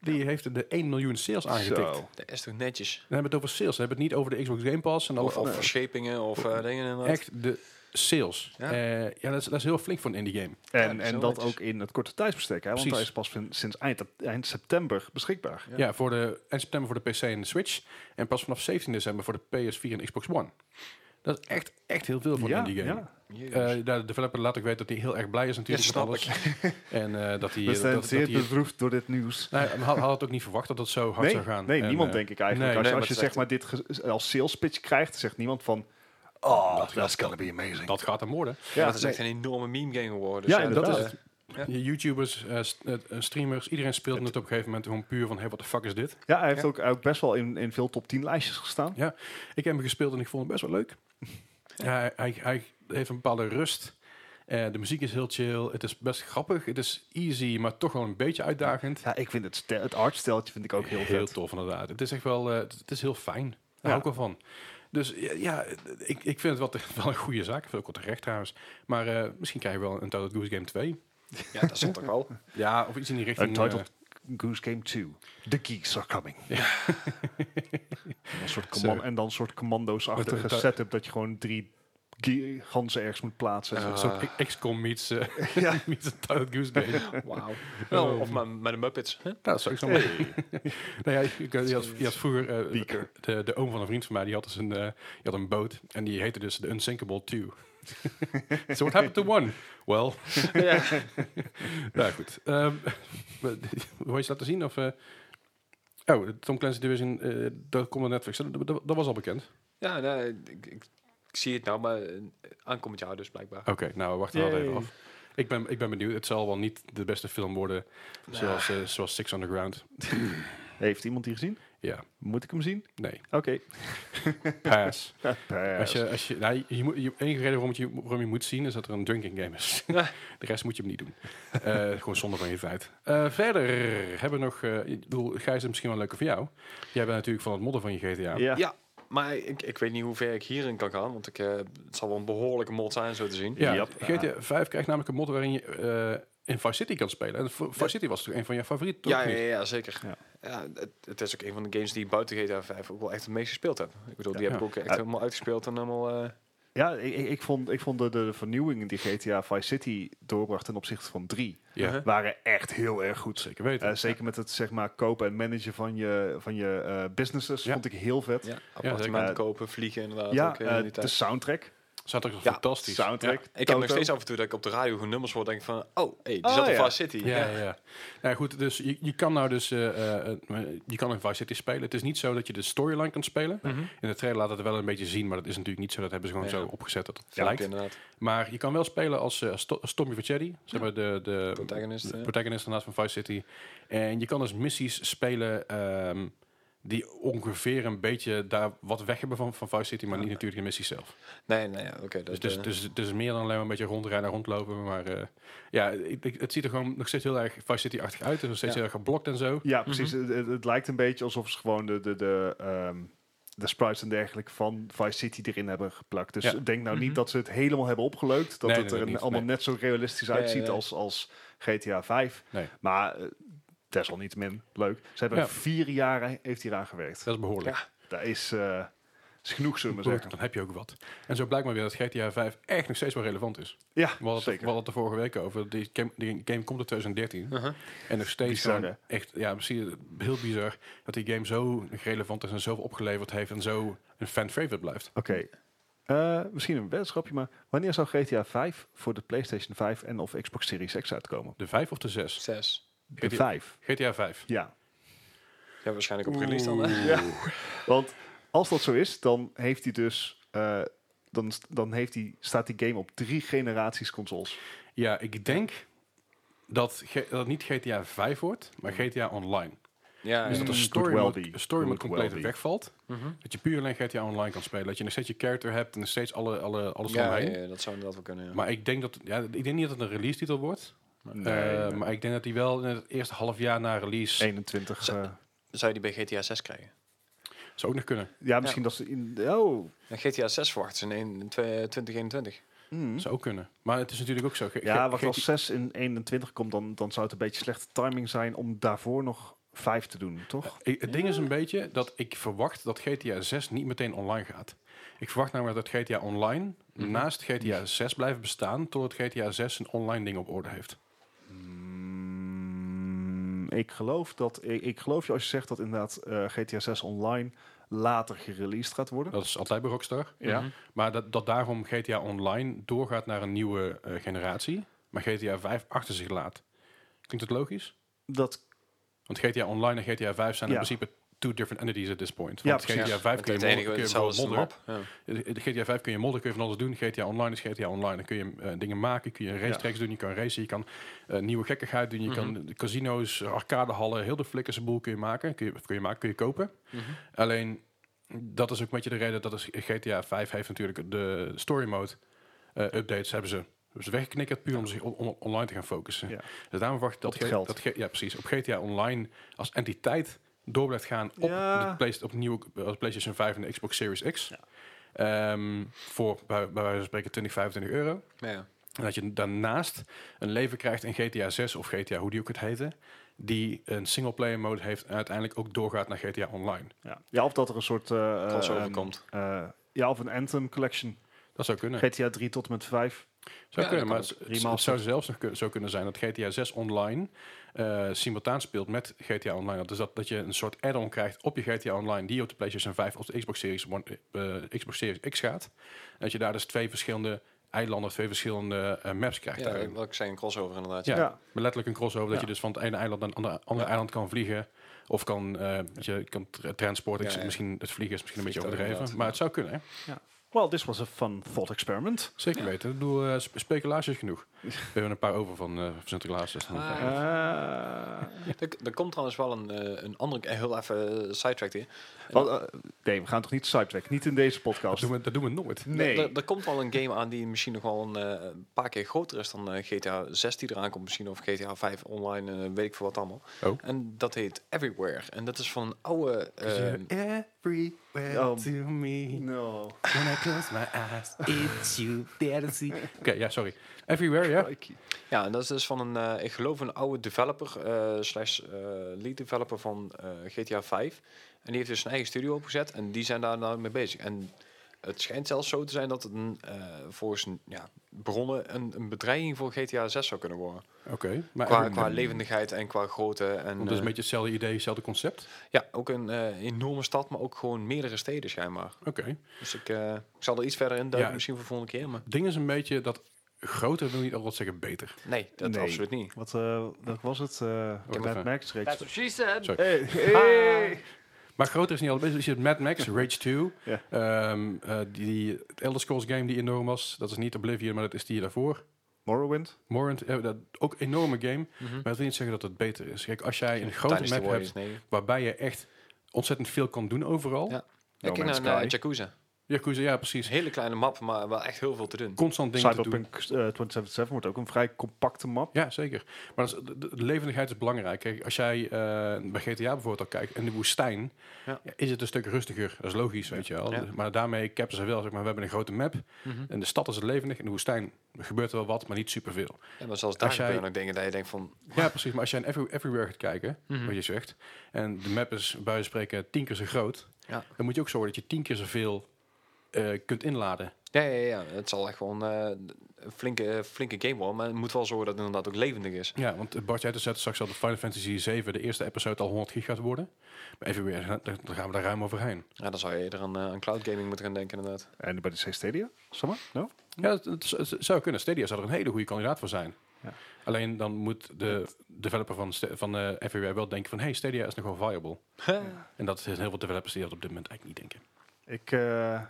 Speaker 1: die heeft de 1 miljoen sales aangetikt.
Speaker 2: Zo.
Speaker 3: dat is toch netjes.
Speaker 1: Dan hebben we het over sales. Dan hebben we het niet over de Xbox Game Pass en alle
Speaker 3: Of, of verschepingen of eh, dingen inderdaad.
Speaker 1: Nou, Echt de sales.
Speaker 3: Ja.
Speaker 1: Ja, ja dat, is, dat is heel flink voor een indie game.
Speaker 2: En,
Speaker 3: Ja, zo
Speaker 2: en dat
Speaker 3: netjes.
Speaker 2: ook in het korte tijdsbestek, hè? want
Speaker 1: Precies.
Speaker 2: hij is pas vin- sinds eind, eind september beschikbaar.
Speaker 1: Ja, voor de, eind september voor de PC en de Switch. En pas vanaf 17 december voor de PS4 en Xbox One. Dat is echt, echt heel veel voor
Speaker 2: ja,
Speaker 1: een indie game.
Speaker 2: ja.
Speaker 3: Jezus.
Speaker 1: Eh, daar de developer laat ik weten dat hij heel erg blij is natuurlijk
Speaker 3: Ja,
Speaker 1: met
Speaker 3: snap
Speaker 1: alles. <laughs> En eh, dat hij...
Speaker 2: We
Speaker 1: dat,
Speaker 2: zijn
Speaker 1: dat,
Speaker 2: Dus zeer
Speaker 1: hij-
Speaker 2: bedroefd door dit nieuws.
Speaker 1: Nee, hij had, hij had ook niet verwacht dat dat zo hard
Speaker 2: Nee,
Speaker 1: zou gaan.
Speaker 2: nee
Speaker 1: En,
Speaker 2: niemand
Speaker 1: eh,
Speaker 2: denk ik eigenlijk.
Speaker 1: nee,
Speaker 2: als
Speaker 3: nee,
Speaker 2: als je
Speaker 3: maar
Speaker 2: zeg maar dit ge- eh, als sales pitch krijgt, zegt niemand van... Oh, that's gonna be amazing.
Speaker 1: dat gaat hem worden.
Speaker 3: ja,
Speaker 2: ja,
Speaker 3: dat is
Speaker 2: nee.
Speaker 3: echt een enorme meme game geworden.
Speaker 2: Ja,
Speaker 3: eh,
Speaker 2: inderdaad.
Speaker 3: dat is het. Ja.
Speaker 1: YouTubers, eh, st- eh, streamers, iedereen speelt het op een gegeven moment gewoon puur van... Hey, wat de fuck is dit?
Speaker 2: ja, hij heeft ook, ook best wel in, in veel top 10 lijstjes gestaan.
Speaker 1: Ik heb hem gespeeld en ik vond hem best wel leuk. hij, hij, hij heeft een bepaalde rust. Eh, de muziek is heel chill. Het is best grappig. Het is easy, maar toch wel een beetje uitdagend.
Speaker 2: Ja, ik vind het, stel- het artsteltje vind ik ook heel, vet.
Speaker 1: tof, inderdaad. Het is echt wel eh, het het is heel fijn. Daar
Speaker 2: Ja.
Speaker 1: hou ik wel van. Dus ja, ja, ik, ik vind het wel, te- <laughs> wel een goede zaak. Ik vind het ook wel terecht trouwens. Maar eh, misschien krijg je wel een Total Goose Game 2.
Speaker 3: Ja, dat zal toch wel.
Speaker 1: Ja, of iets in die richting. eh,
Speaker 2: Untitled Goose Game 2. The geeks are coming. En <laughs> een soort command-
Speaker 1: Zo.
Speaker 2: en dan een soort commando's-achtige
Speaker 1: Wat- wat-
Speaker 2: setup dat je gewoon drie ge- ganzen ergens moet plaatsen.
Speaker 1: eh, Zo'n XCOM meets, eh
Speaker 2: Ah. Ja.
Speaker 1: <laughs> meets een Total Goose Game.
Speaker 2: <laughs>
Speaker 3: Wauw.
Speaker 1: <laughs>
Speaker 3: Nou, of met, met de Muppets. Hè?
Speaker 1: Nou, dat zou ik zo maar. <laughs> nou ja, ik, eh, die, had, die had vroeger... eh,
Speaker 2: Beaker.
Speaker 1: de, de oom van een vriend van mij, die had, dus een, eh, die had een boot. En die heette dus de Unsinkable 2. <laughs> so what happened to one? Well,
Speaker 3: ja.
Speaker 1: <laughs> nou goed. Ehm, <laughs> maar dit- Wil je ze laten zien? Of, eh, oh, de Tom Clancy Division, eh dat komt op Netflix. Dat, dat- dat was al bekend.
Speaker 3: ja nee, ik, ik, ik zie het nou, maar eh, aankomend jaar dus blijkbaar.
Speaker 1: Oké, nou, we wachten wel
Speaker 2: Yay.
Speaker 1: even af. Ik ben, ik ben benieuwd. Het zal wel niet de beste film worden zoals, eh, zoals Six Underground.
Speaker 2: Heeft iemand die gezien?
Speaker 1: Ja,
Speaker 2: Moet ik hem zien?
Speaker 1: nee.
Speaker 2: Oké.
Speaker 3: <laughs>
Speaker 1: Pass. Als
Speaker 2: Pass.
Speaker 1: je, als je, nou, je, moet- je- enige reden waarom, het je, waarom je moet zien is dat er een drinking game is.
Speaker 3: Ja.
Speaker 1: <laughs> De rest moet je hem niet doen. Eh, gewoon zonder van je tijd. Eh, verder hebben we nog, eh, ik bedoel, Gijs is misschien wel leuker voor jou. Jij bent natuurlijk van het modden van je GTA.
Speaker 2: Ja.
Speaker 3: Ja, maar ik, ik weet niet hoe ver ik hierin kan gaan, want ik, eh, het zal wel een behoorlijke mod zijn, zo te zien.
Speaker 1: Ja,
Speaker 2: Yep.
Speaker 1: GTA 5 krijgt namelijk een mod waarin je eh, in Vice City kan spelen. En Vice City was toch een van je favorieten, toch?
Speaker 3: Ja, ja,
Speaker 1: Niet?
Speaker 3: ja, zeker.
Speaker 2: Ja.
Speaker 3: Ja. het, het is ook een van de games die buiten GTA 5 ook wel echt het meest gespeeld heb. Ik bedoel, die
Speaker 1: Ja.
Speaker 3: heb ik ook echt
Speaker 2: Ja.
Speaker 3: helemaal uitgespeeld en helemaal... eh,
Speaker 2: Ja, ik, ik, ik vond, ik vond de, de vernieuwingen die GTA Vice City doorbracht ten opzichte van 3
Speaker 1: Ja,
Speaker 3: Uh-huh.
Speaker 2: waren echt heel erg goed.
Speaker 1: zeker weten.
Speaker 2: Eh, zeker met het zeg maar, kopen en managen van je, van je eh, businesses
Speaker 1: Ja.
Speaker 2: vond ik heel vet.
Speaker 3: ja,
Speaker 1: zeker.
Speaker 3: appartementen
Speaker 2: Eh,
Speaker 3: kopen, vliegen inderdaad.
Speaker 2: Ja,
Speaker 3: ook, eh,
Speaker 2: eh,
Speaker 3: in die
Speaker 2: de
Speaker 3: tijd.
Speaker 2: soundtrack.
Speaker 1: Soundtrack is
Speaker 3: Ja,
Speaker 1: fantastisch.
Speaker 2: Soundtrack.
Speaker 3: Ik heb
Speaker 2: Toto.
Speaker 3: nog steeds af en toe dat ik op de radio gewoon nummers hoor, denk ik van, oh, hey, die
Speaker 2: Oh,
Speaker 3: zat in
Speaker 2: ja.
Speaker 3: Vice City.
Speaker 1: Ja, ja, ja. Nou ja, goed, dus je, je kan nou dus, eh, eh, eh, je kan in Vice City spelen. Het is niet zo dat je de storyline kan spelen.
Speaker 3: Mhm.
Speaker 1: In de trailer laat het wel een beetje zien, maar dat is natuurlijk niet zo. Dat hebben ze gewoon
Speaker 3: Nee,
Speaker 1: zo
Speaker 3: ja.
Speaker 1: opgezet dat het
Speaker 3: Ja,
Speaker 1: lijkt.
Speaker 3: inderdaad.
Speaker 1: Maar je kan wel spelen als, eh, als To- als Tommy Vercetti, zeg maar de, de
Speaker 3: Protagonist, eh.
Speaker 1: de
Speaker 3: ja.
Speaker 1: protagonist daarnaast van Vice City. En je kan dus missies spelen ehm, die ongeveer een beetje daar wat weg hebben van, van Vice City, maar niet natuurlijk de missie zelf.
Speaker 3: Nee, nee, ja, oké.
Speaker 1: Dus
Speaker 3: dat,
Speaker 1: het is
Speaker 3: eh,
Speaker 1: dus, dus meer dan alleen maar een beetje rondrijden en rondlopen. Maar eh, ja, ik- ik- het ziet er gewoon nog steeds heel erg Vice City-achtig uit. Er is nog steeds
Speaker 3: Ja.
Speaker 1: heel erg geblokt en zo.
Speaker 2: Ja, precies. Het- het, het lijkt een beetje alsof ze gewoon de, de, de, ehm, de sprites en dergelijke van Vice City erin hebben geplakt. Dus
Speaker 1: Ja.
Speaker 2: denk nou niet
Speaker 3: Mhm.
Speaker 2: dat ze het helemaal hebben opgeleukt.
Speaker 1: Nee,
Speaker 2: Dat het
Speaker 1: nee,
Speaker 2: er
Speaker 1: nee, niet,
Speaker 2: allemaal
Speaker 1: nee.
Speaker 2: net zo realistisch
Speaker 3: Ja, ja,
Speaker 2: uitziet
Speaker 3: ja.
Speaker 2: Als, als GTA 5.
Speaker 1: Nee.
Speaker 2: Maar eh, desalniettemin leuk. Ze hebben
Speaker 1: Ja.
Speaker 2: vier jaar heeft hieraan gewerkt.
Speaker 1: Dat is behoorlijk.
Speaker 2: Dat is, eh, is genoeg, zullen we maar
Speaker 1: Goed,
Speaker 2: zeggen.
Speaker 1: dan heb je ook wat. En zo blijkt maar weer dat GTA 5 echt nog steeds wel relevant is.
Speaker 2: Ja,
Speaker 1: We hadden, het, we
Speaker 2: zeker.
Speaker 1: hadden het er vorige week over. Die game, die game komt in 2013.
Speaker 3: uh-huh.
Speaker 1: En nog steeds
Speaker 2: Bizar,
Speaker 1: gewoon echt, ja, misschien heel bizar dat die game zo relevant is en zoveel opgeleverd heeft en zo een fan favorite blijft.
Speaker 2: Oké. Eh, misschien een weddenschapje, maar wanneer zou GTA 5 voor de PlayStation 5 en of Xbox Series X uitkomen?
Speaker 1: De 5 of de 6?
Speaker 3: Zes.
Speaker 2: De
Speaker 1: GTA
Speaker 2: 5.
Speaker 1: GTA 5.
Speaker 2: Ja,
Speaker 3: Ja, waarschijnlijk op release dan, <laughs> hè?
Speaker 2: Want als dat zo is, dan heeft hij dus. eh, dan st- dan heeft hij, staat die game op drie generaties consoles.
Speaker 1: Ja, ik denk dat, G- dat het niet GTA 5 wordt, maar GTA Online.
Speaker 3: Ja,
Speaker 1: Dus dat
Speaker 3: ja.
Speaker 1: de
Speaker 2: Could
Speaker 1: story
Speaker 2: well
Speaker 1: mode,
Speaker 2: be.
Speaker 1: story mode
Speaker 2: Could well
Speaker 1: compleet
Speaker 2: be.
Speaker 1: wegvalt.
Speaker 3: Mhm.
Speaker 1: Dat je puur alleen GTA Online kan spelen. Dat je nog steeds je character hebt en nog steeds alle, alle, alles
Speaker 3: ja,
Speaker 1: omheen.
Speaker 3: ja, ja, dat zou inderdaad wel kunnen, ja.
Speaker 1: Maar ik denk, dat, ja, ik denk niet dat het een release titel wordt. Eh, Maar ik denk dat die wel in het eerste half jaar na release
Speaker 2: 21.
Speaker 3: Zo-
Speaker 2: eh,
Speaker 3: Zou je die bij GTA 6 krijgen?
Speaker 1: zou ook nog kunnen.
Speaker 2: ja, misschien dat ze. In, oh.
Speaker 3: En GTA 6 verwachten ze in één- in twee- eh, 2021.
Speaker 2: hmm.
Speaker 1: Zou ook kunnen. Maar het is natuurlijk ook zo. Ge-
Speaker 2: Ja,
Speaker 1: ge-
Speaker 2: wat
Speaker 1: ge-
Speaker 2: als 6 in 21 komt, dan, dan zou het een beetje slechte timing zijn om daarvoor nog 5 te doen, toch?
Speaker 1: Ik- het ding is een beetje dat ik verwacht dat GTA 6 niet meteen online gaat. Ik verwacht namelijk dat GTA Online
Speaker 3: Mhm.
Speaker 1: naast GTA 6 blijft bestaan totdat GTA 6 een online ding op orde heeft.
Speaker 2: Mm, ik, geloof dat, ik, ik geloof je als je zegt dat inderdaad eh, GTA 6 online later gereleased gaat worden.
Speaker 1: Dat is altijd bij Rockstar.
Speaker 2: Ja.
Speaker 3: Mhm.
Speaker 1: Maar dat, dat daarom GTA Online doorgaat naar een nieuwe eh, generatie, maar GTA 5 achter zich laat. Klinkt het logisch?
Speaker 2: Dat,
Speaker 1: Want GTA Online en GTA 5 zijn
Speaker 2: Ja.
Speaker 1: in principe two different entities at this point.
Speaker 2: Ja,
Speaker 1: Want
Speaker 2: precies.
Speaker 1: GTA 5 kun je,
Speaker 3: het
Speaker 1: modder,
Speaker 3: enige
Speaker 1: kun je
Speaker 3: hetzelfde is de
Speaker 1: modder.
Speaker 3: map. Ja.
Speaker 1: Eh, de GTA 5 kun je modder, kun je van alles doen. GTA Online is GTA Online. Dan kun je eh, dingen maken, kun je racetracks doen, je kan racen, je kan eh, nieuwe gekkigheid
Speaker 2: Mhm.
Speaker 1: doen, je kan de casino's, eh, arcadehallen, heel de flikkerse boel kun je maken, kun je, kun je, maken, kun je kopen.
Speaker 3: Mhm.
Speaker 1: Alleen, dat is ook met je de reden dat is, eh, GTA 5 heeft natuurlijk de story mode eh, updates hebben ze, hebben ze weggeknikkerd puur om zich on- on- online te gaan focussen.
Speaker 2: Ja.
Speaker 1: Dus daarom verwacht ik dat,
Speaker 2: Op het
Speaker 1: G-
Speaker 2: geld.
Speaker 1: dat G- ja, precies, op GTA Online als entiteit door blijft gaan op,
Speaker 2: Ja.
Speaker 1: de play, op de nieuwe eh, als PlayStation 5 en de Xbox Series X. Ehm, voor bij, bij wijze van spreken 20, 25 euro.
Speaker 3: Ja.
Speaker 1: En dat je daarnaast een leven krijgt in GTA 6 of GTA, hoe die ook het heette. Die een singleplayer mode heeft en uiteindelijk ook doorgaat naar GTA Online.
Speaker 2: ja. ja, of dat er een soort... eh,
Speaker 3: Crossover
Speaker 2: een-
Speaker 3: komt.
Speaker 2: eh, ja, of een Anthem Collection.
Speaker 1: Dat zou kunnen.
Speaker 2: GTA 3 tot en met 5.
Speaker 1: Zou
Speaker 3: Ja,
Speaker 1: kunnen, maar
Speaker 3: dat
Speaker 1: het,
Speaker 3: kan
Speaker 1: het- het zou zelfs nog kun- zo kunnen zijn dat GTA 6 online eh, simultaan speelt met GTA Online. Dus dat, dat je een soort add-on krijgt op je GTA Online die op de PlayStation 5 of de Xbox Series, One, eh, eh, Xbox Series X gaat. En dat je daar dus twee verschillende eilanden, twee verschillende eh, maps krijgt.
Speaker 3: Ja,
Speaker 1: daarin.
Speaker 3: wat ik zei, een crossover inderdaad.
Speaker 1: Ja,
Speaker 2: Ja.
Speaker 1: maar letterlijk een crossover dat
Speaker 2: Ja.
Speaker 1: je dus van het ene eiland naar het andere, andere eiland kan vliegen. Of kan, eh, dat je kan tra- transporten. Ik
Speaker 3: Ja,
Speaker 1: zeg
Speaker 3: ja.
Speaker 1: Misschien, het vliegen is misschien een beetje
Speaker 3: Vliegtuig
Speaker 1: overdreven.
Speaker 3: inderdaad.
Speaker 1: Maar het zou kunnen, hè?
Speaker 2: Well, this was a fun thought experiment.
Speaker 1: Zeker
Speaker 3: Ja.
Speaker 1: weten. Ik bedoel, eh, sp- speculatie is
Speaker 3: <laughs>
Speaker 1: genoeg. We hebben er een paar over van, eh van Sinterklaas. dus dan-
Speaker 3: Ah,
Speaker 1: eh,
Speaker 3: ja.
Speaker 2: Eh,
Speaker 3: Er, er komt trouwens wel een, eh, een andere, eh, heel even eh, sidetrack hier.
Speaker 2: wat, eh, nee, we gaan toch niet sidetrack? Niet in deze
Speaker 1: dat,
Speaker 2: podcast.
Speaker 1: doen we, dat doen we nooit.
Speaker 2: Nee.
Speaker 3: Er, er komt wel een game aan die misschien nog wel een eh, een paar keer groter is dan eh, GTA 6 die eraan komt misschien. Of GTA 5 online, eh, weet ik veel wat allemaal.
Speaker 1: Oh.
Speaker 3: En dat heet Everywhere. En dat is van een oude... eh,
Speaker 1: Everywhere.
Speaker 2: Oh.
Speaker 1: to me.
Speaker 2: No.
Speaker 1: When I close my eyes, it's you that I see. Oké, ja, sorry. Everywhere, ja.
Speaker 2: Crikey.
Speaker 3: Ja, en dat is dus van een, eh, ik geloof een oude developer, eh, slash eh, lead developer van eh, GTA 5. En die heeft dus zijn eigen studio opgezet en die zijn daar nou mee bezig. En het schijnt zelfs zo te zijn dat het een, eh, volgens ja, bronnen een, een bedreiging voor GTA 6 zou kunnen worden.
Speaker 1: Oké. maar
Speaker 3: Qua,
Speaker 1: Everywhere-
Speaker 3: qua levendigheid en qua grootte. En,
Speaker 1: Want het is
Speaker 3: eh,
Speaker 1: een beetje hetzelfde idee, hetzelfde concept.
Speaker 3: Ja, ook een eh, enorme stad, maar ook gewoon meerdere steden schijnbaar.
Speaker 1: Oké.
Speaker 3: Dus ik, eh, ik zal er iets verder in duiken,
Speaker 1: Ja.
Speaker 3: misschien voor de volgende keer. Maar
Speaker 1: ding is een beetje dat groter wil niet altijd zeggen beter.
Speaker 3: nee, dat
Speaker 2: Nee.
Speaker 3: absoluut niet.
Speaker 2: Wat eh, dat was het? eh
Speaker 1: Wacht
Speaker 2: Mad
Speaker 1: even.
Speaker 2: Max reeks.
Speaker 4: That's what she said.
Speaker 1: Sorry.
Speaker 2: Hey, hey.
Speaker 1: Maar groter is niet altijd beter. Dus je hebt Mad Max, Rage 2,
Speaker 2: Ja.
Speaker 1: ehm, eh, die, die het Elder Scrolls game die enorm was. Dat is niet Oblivion, maar dat is die daarvoor.
Speaker 2: Morrowind.
Speaker 1: Morrowind, eh, dat, ook een enorme game.
Speaker 3: Mhm.
Speaker 1: Maar dat wil niet zeggen dat het beter is. Kijk, als jij een grote
Speaker 3: Dynasty
Speaker 1: map
Speaker 3: Warriors,
Speaker 1: hebt
Speaker 3: nee.
Speaker 1: waarbij je echt ontzettend veel kan doen overal.
Speaker 3: Ja.
Speaker 2: No
Speaker 3: ik kijk
Speaker 2: Man's
Speaker 3: naar eh,
Speaker 2: Sky.
Speaker 3: Yakuza.
Speaker 1: Yakuza, ja
Speaker 3: Is
Speaker 1: precies.
Speaker 3: een hele kleine map, maar wel echt heel veel te doen.
Speaker 1: Constant dingen te doen.
Speaker 2: Cyberpunk eh, 2077 wordt ook een vrij compacte map.
Speaker 1: Ja, zeker. Maar dat is- de, de- de levendigheid is belangrijk. Kijk, als jij eh, bij GTA bijvoorbeeld al kijkt, in de woestijn,
Speaker 3: Ja.
Speaker 1: ja, is het een stuk rustiger. Dat is logisch, weet je wel.
Speaker 3: Ja.
Speaker 1: Maar daarmee cappen ze wel, zeg maar, we hebben een grote map.
Speaker 3: Mhm.
Speaker 1: In de stad is het levendig, in de woestijn gebeurt er wel wat, maar niet superveel.
Speaker 3: Ja, maar zelfs daar
Speaker 1: Als jij-
Speaker 3: gebeuren nog dingen dat je denkt van...
Speaker 1: Ja, precies. Maar als je in Every- Everywhere gaat kijken,
Speaker 3: Mhm.
Speaker 1: wat je zegt, en de map is bij wijze van spreken tien keer zo groot,
Speaker 3: Ja.
Speaker 1: dan moet je ook zorgen dat je tien keer zoveel eh, kunt inladen.
Speaker 3: Ja, ja, ja, het zal echt gewoon eh, een flinke, eh, flinke game worden. Maar het moet wel zorgen dat het inderdaad ook levendig is.
Speaker 1: Ja, want eh, Bart, jij had het straks al dat Final Fantasy 7 de eerste episode al 100 gig gaat worden. Maar Everywhere, eh, daar daar gaan we daar ruim overheen.
Speaker 3: Ja, dan zou je eerder aan, eh, aan cloud gaming moeten gaan denken inderdaad.
Speaker 2: En bij de C Stadia. Summer? No?
Speaker 1: Ja, het, het- het zou kunnen. Stadia zou er een hele goede kandidaat voor zijn.
Speaker 2: Ja.
Speaker 1: Alleen dan moet de developer van, Sta- van eh Everywhere wel denken van... hey, Stadia is nog wel viable. En dat zijn heel veel developers die dat op dit moment eigenlijk niet denken.
Speaker 2: Ik, eh,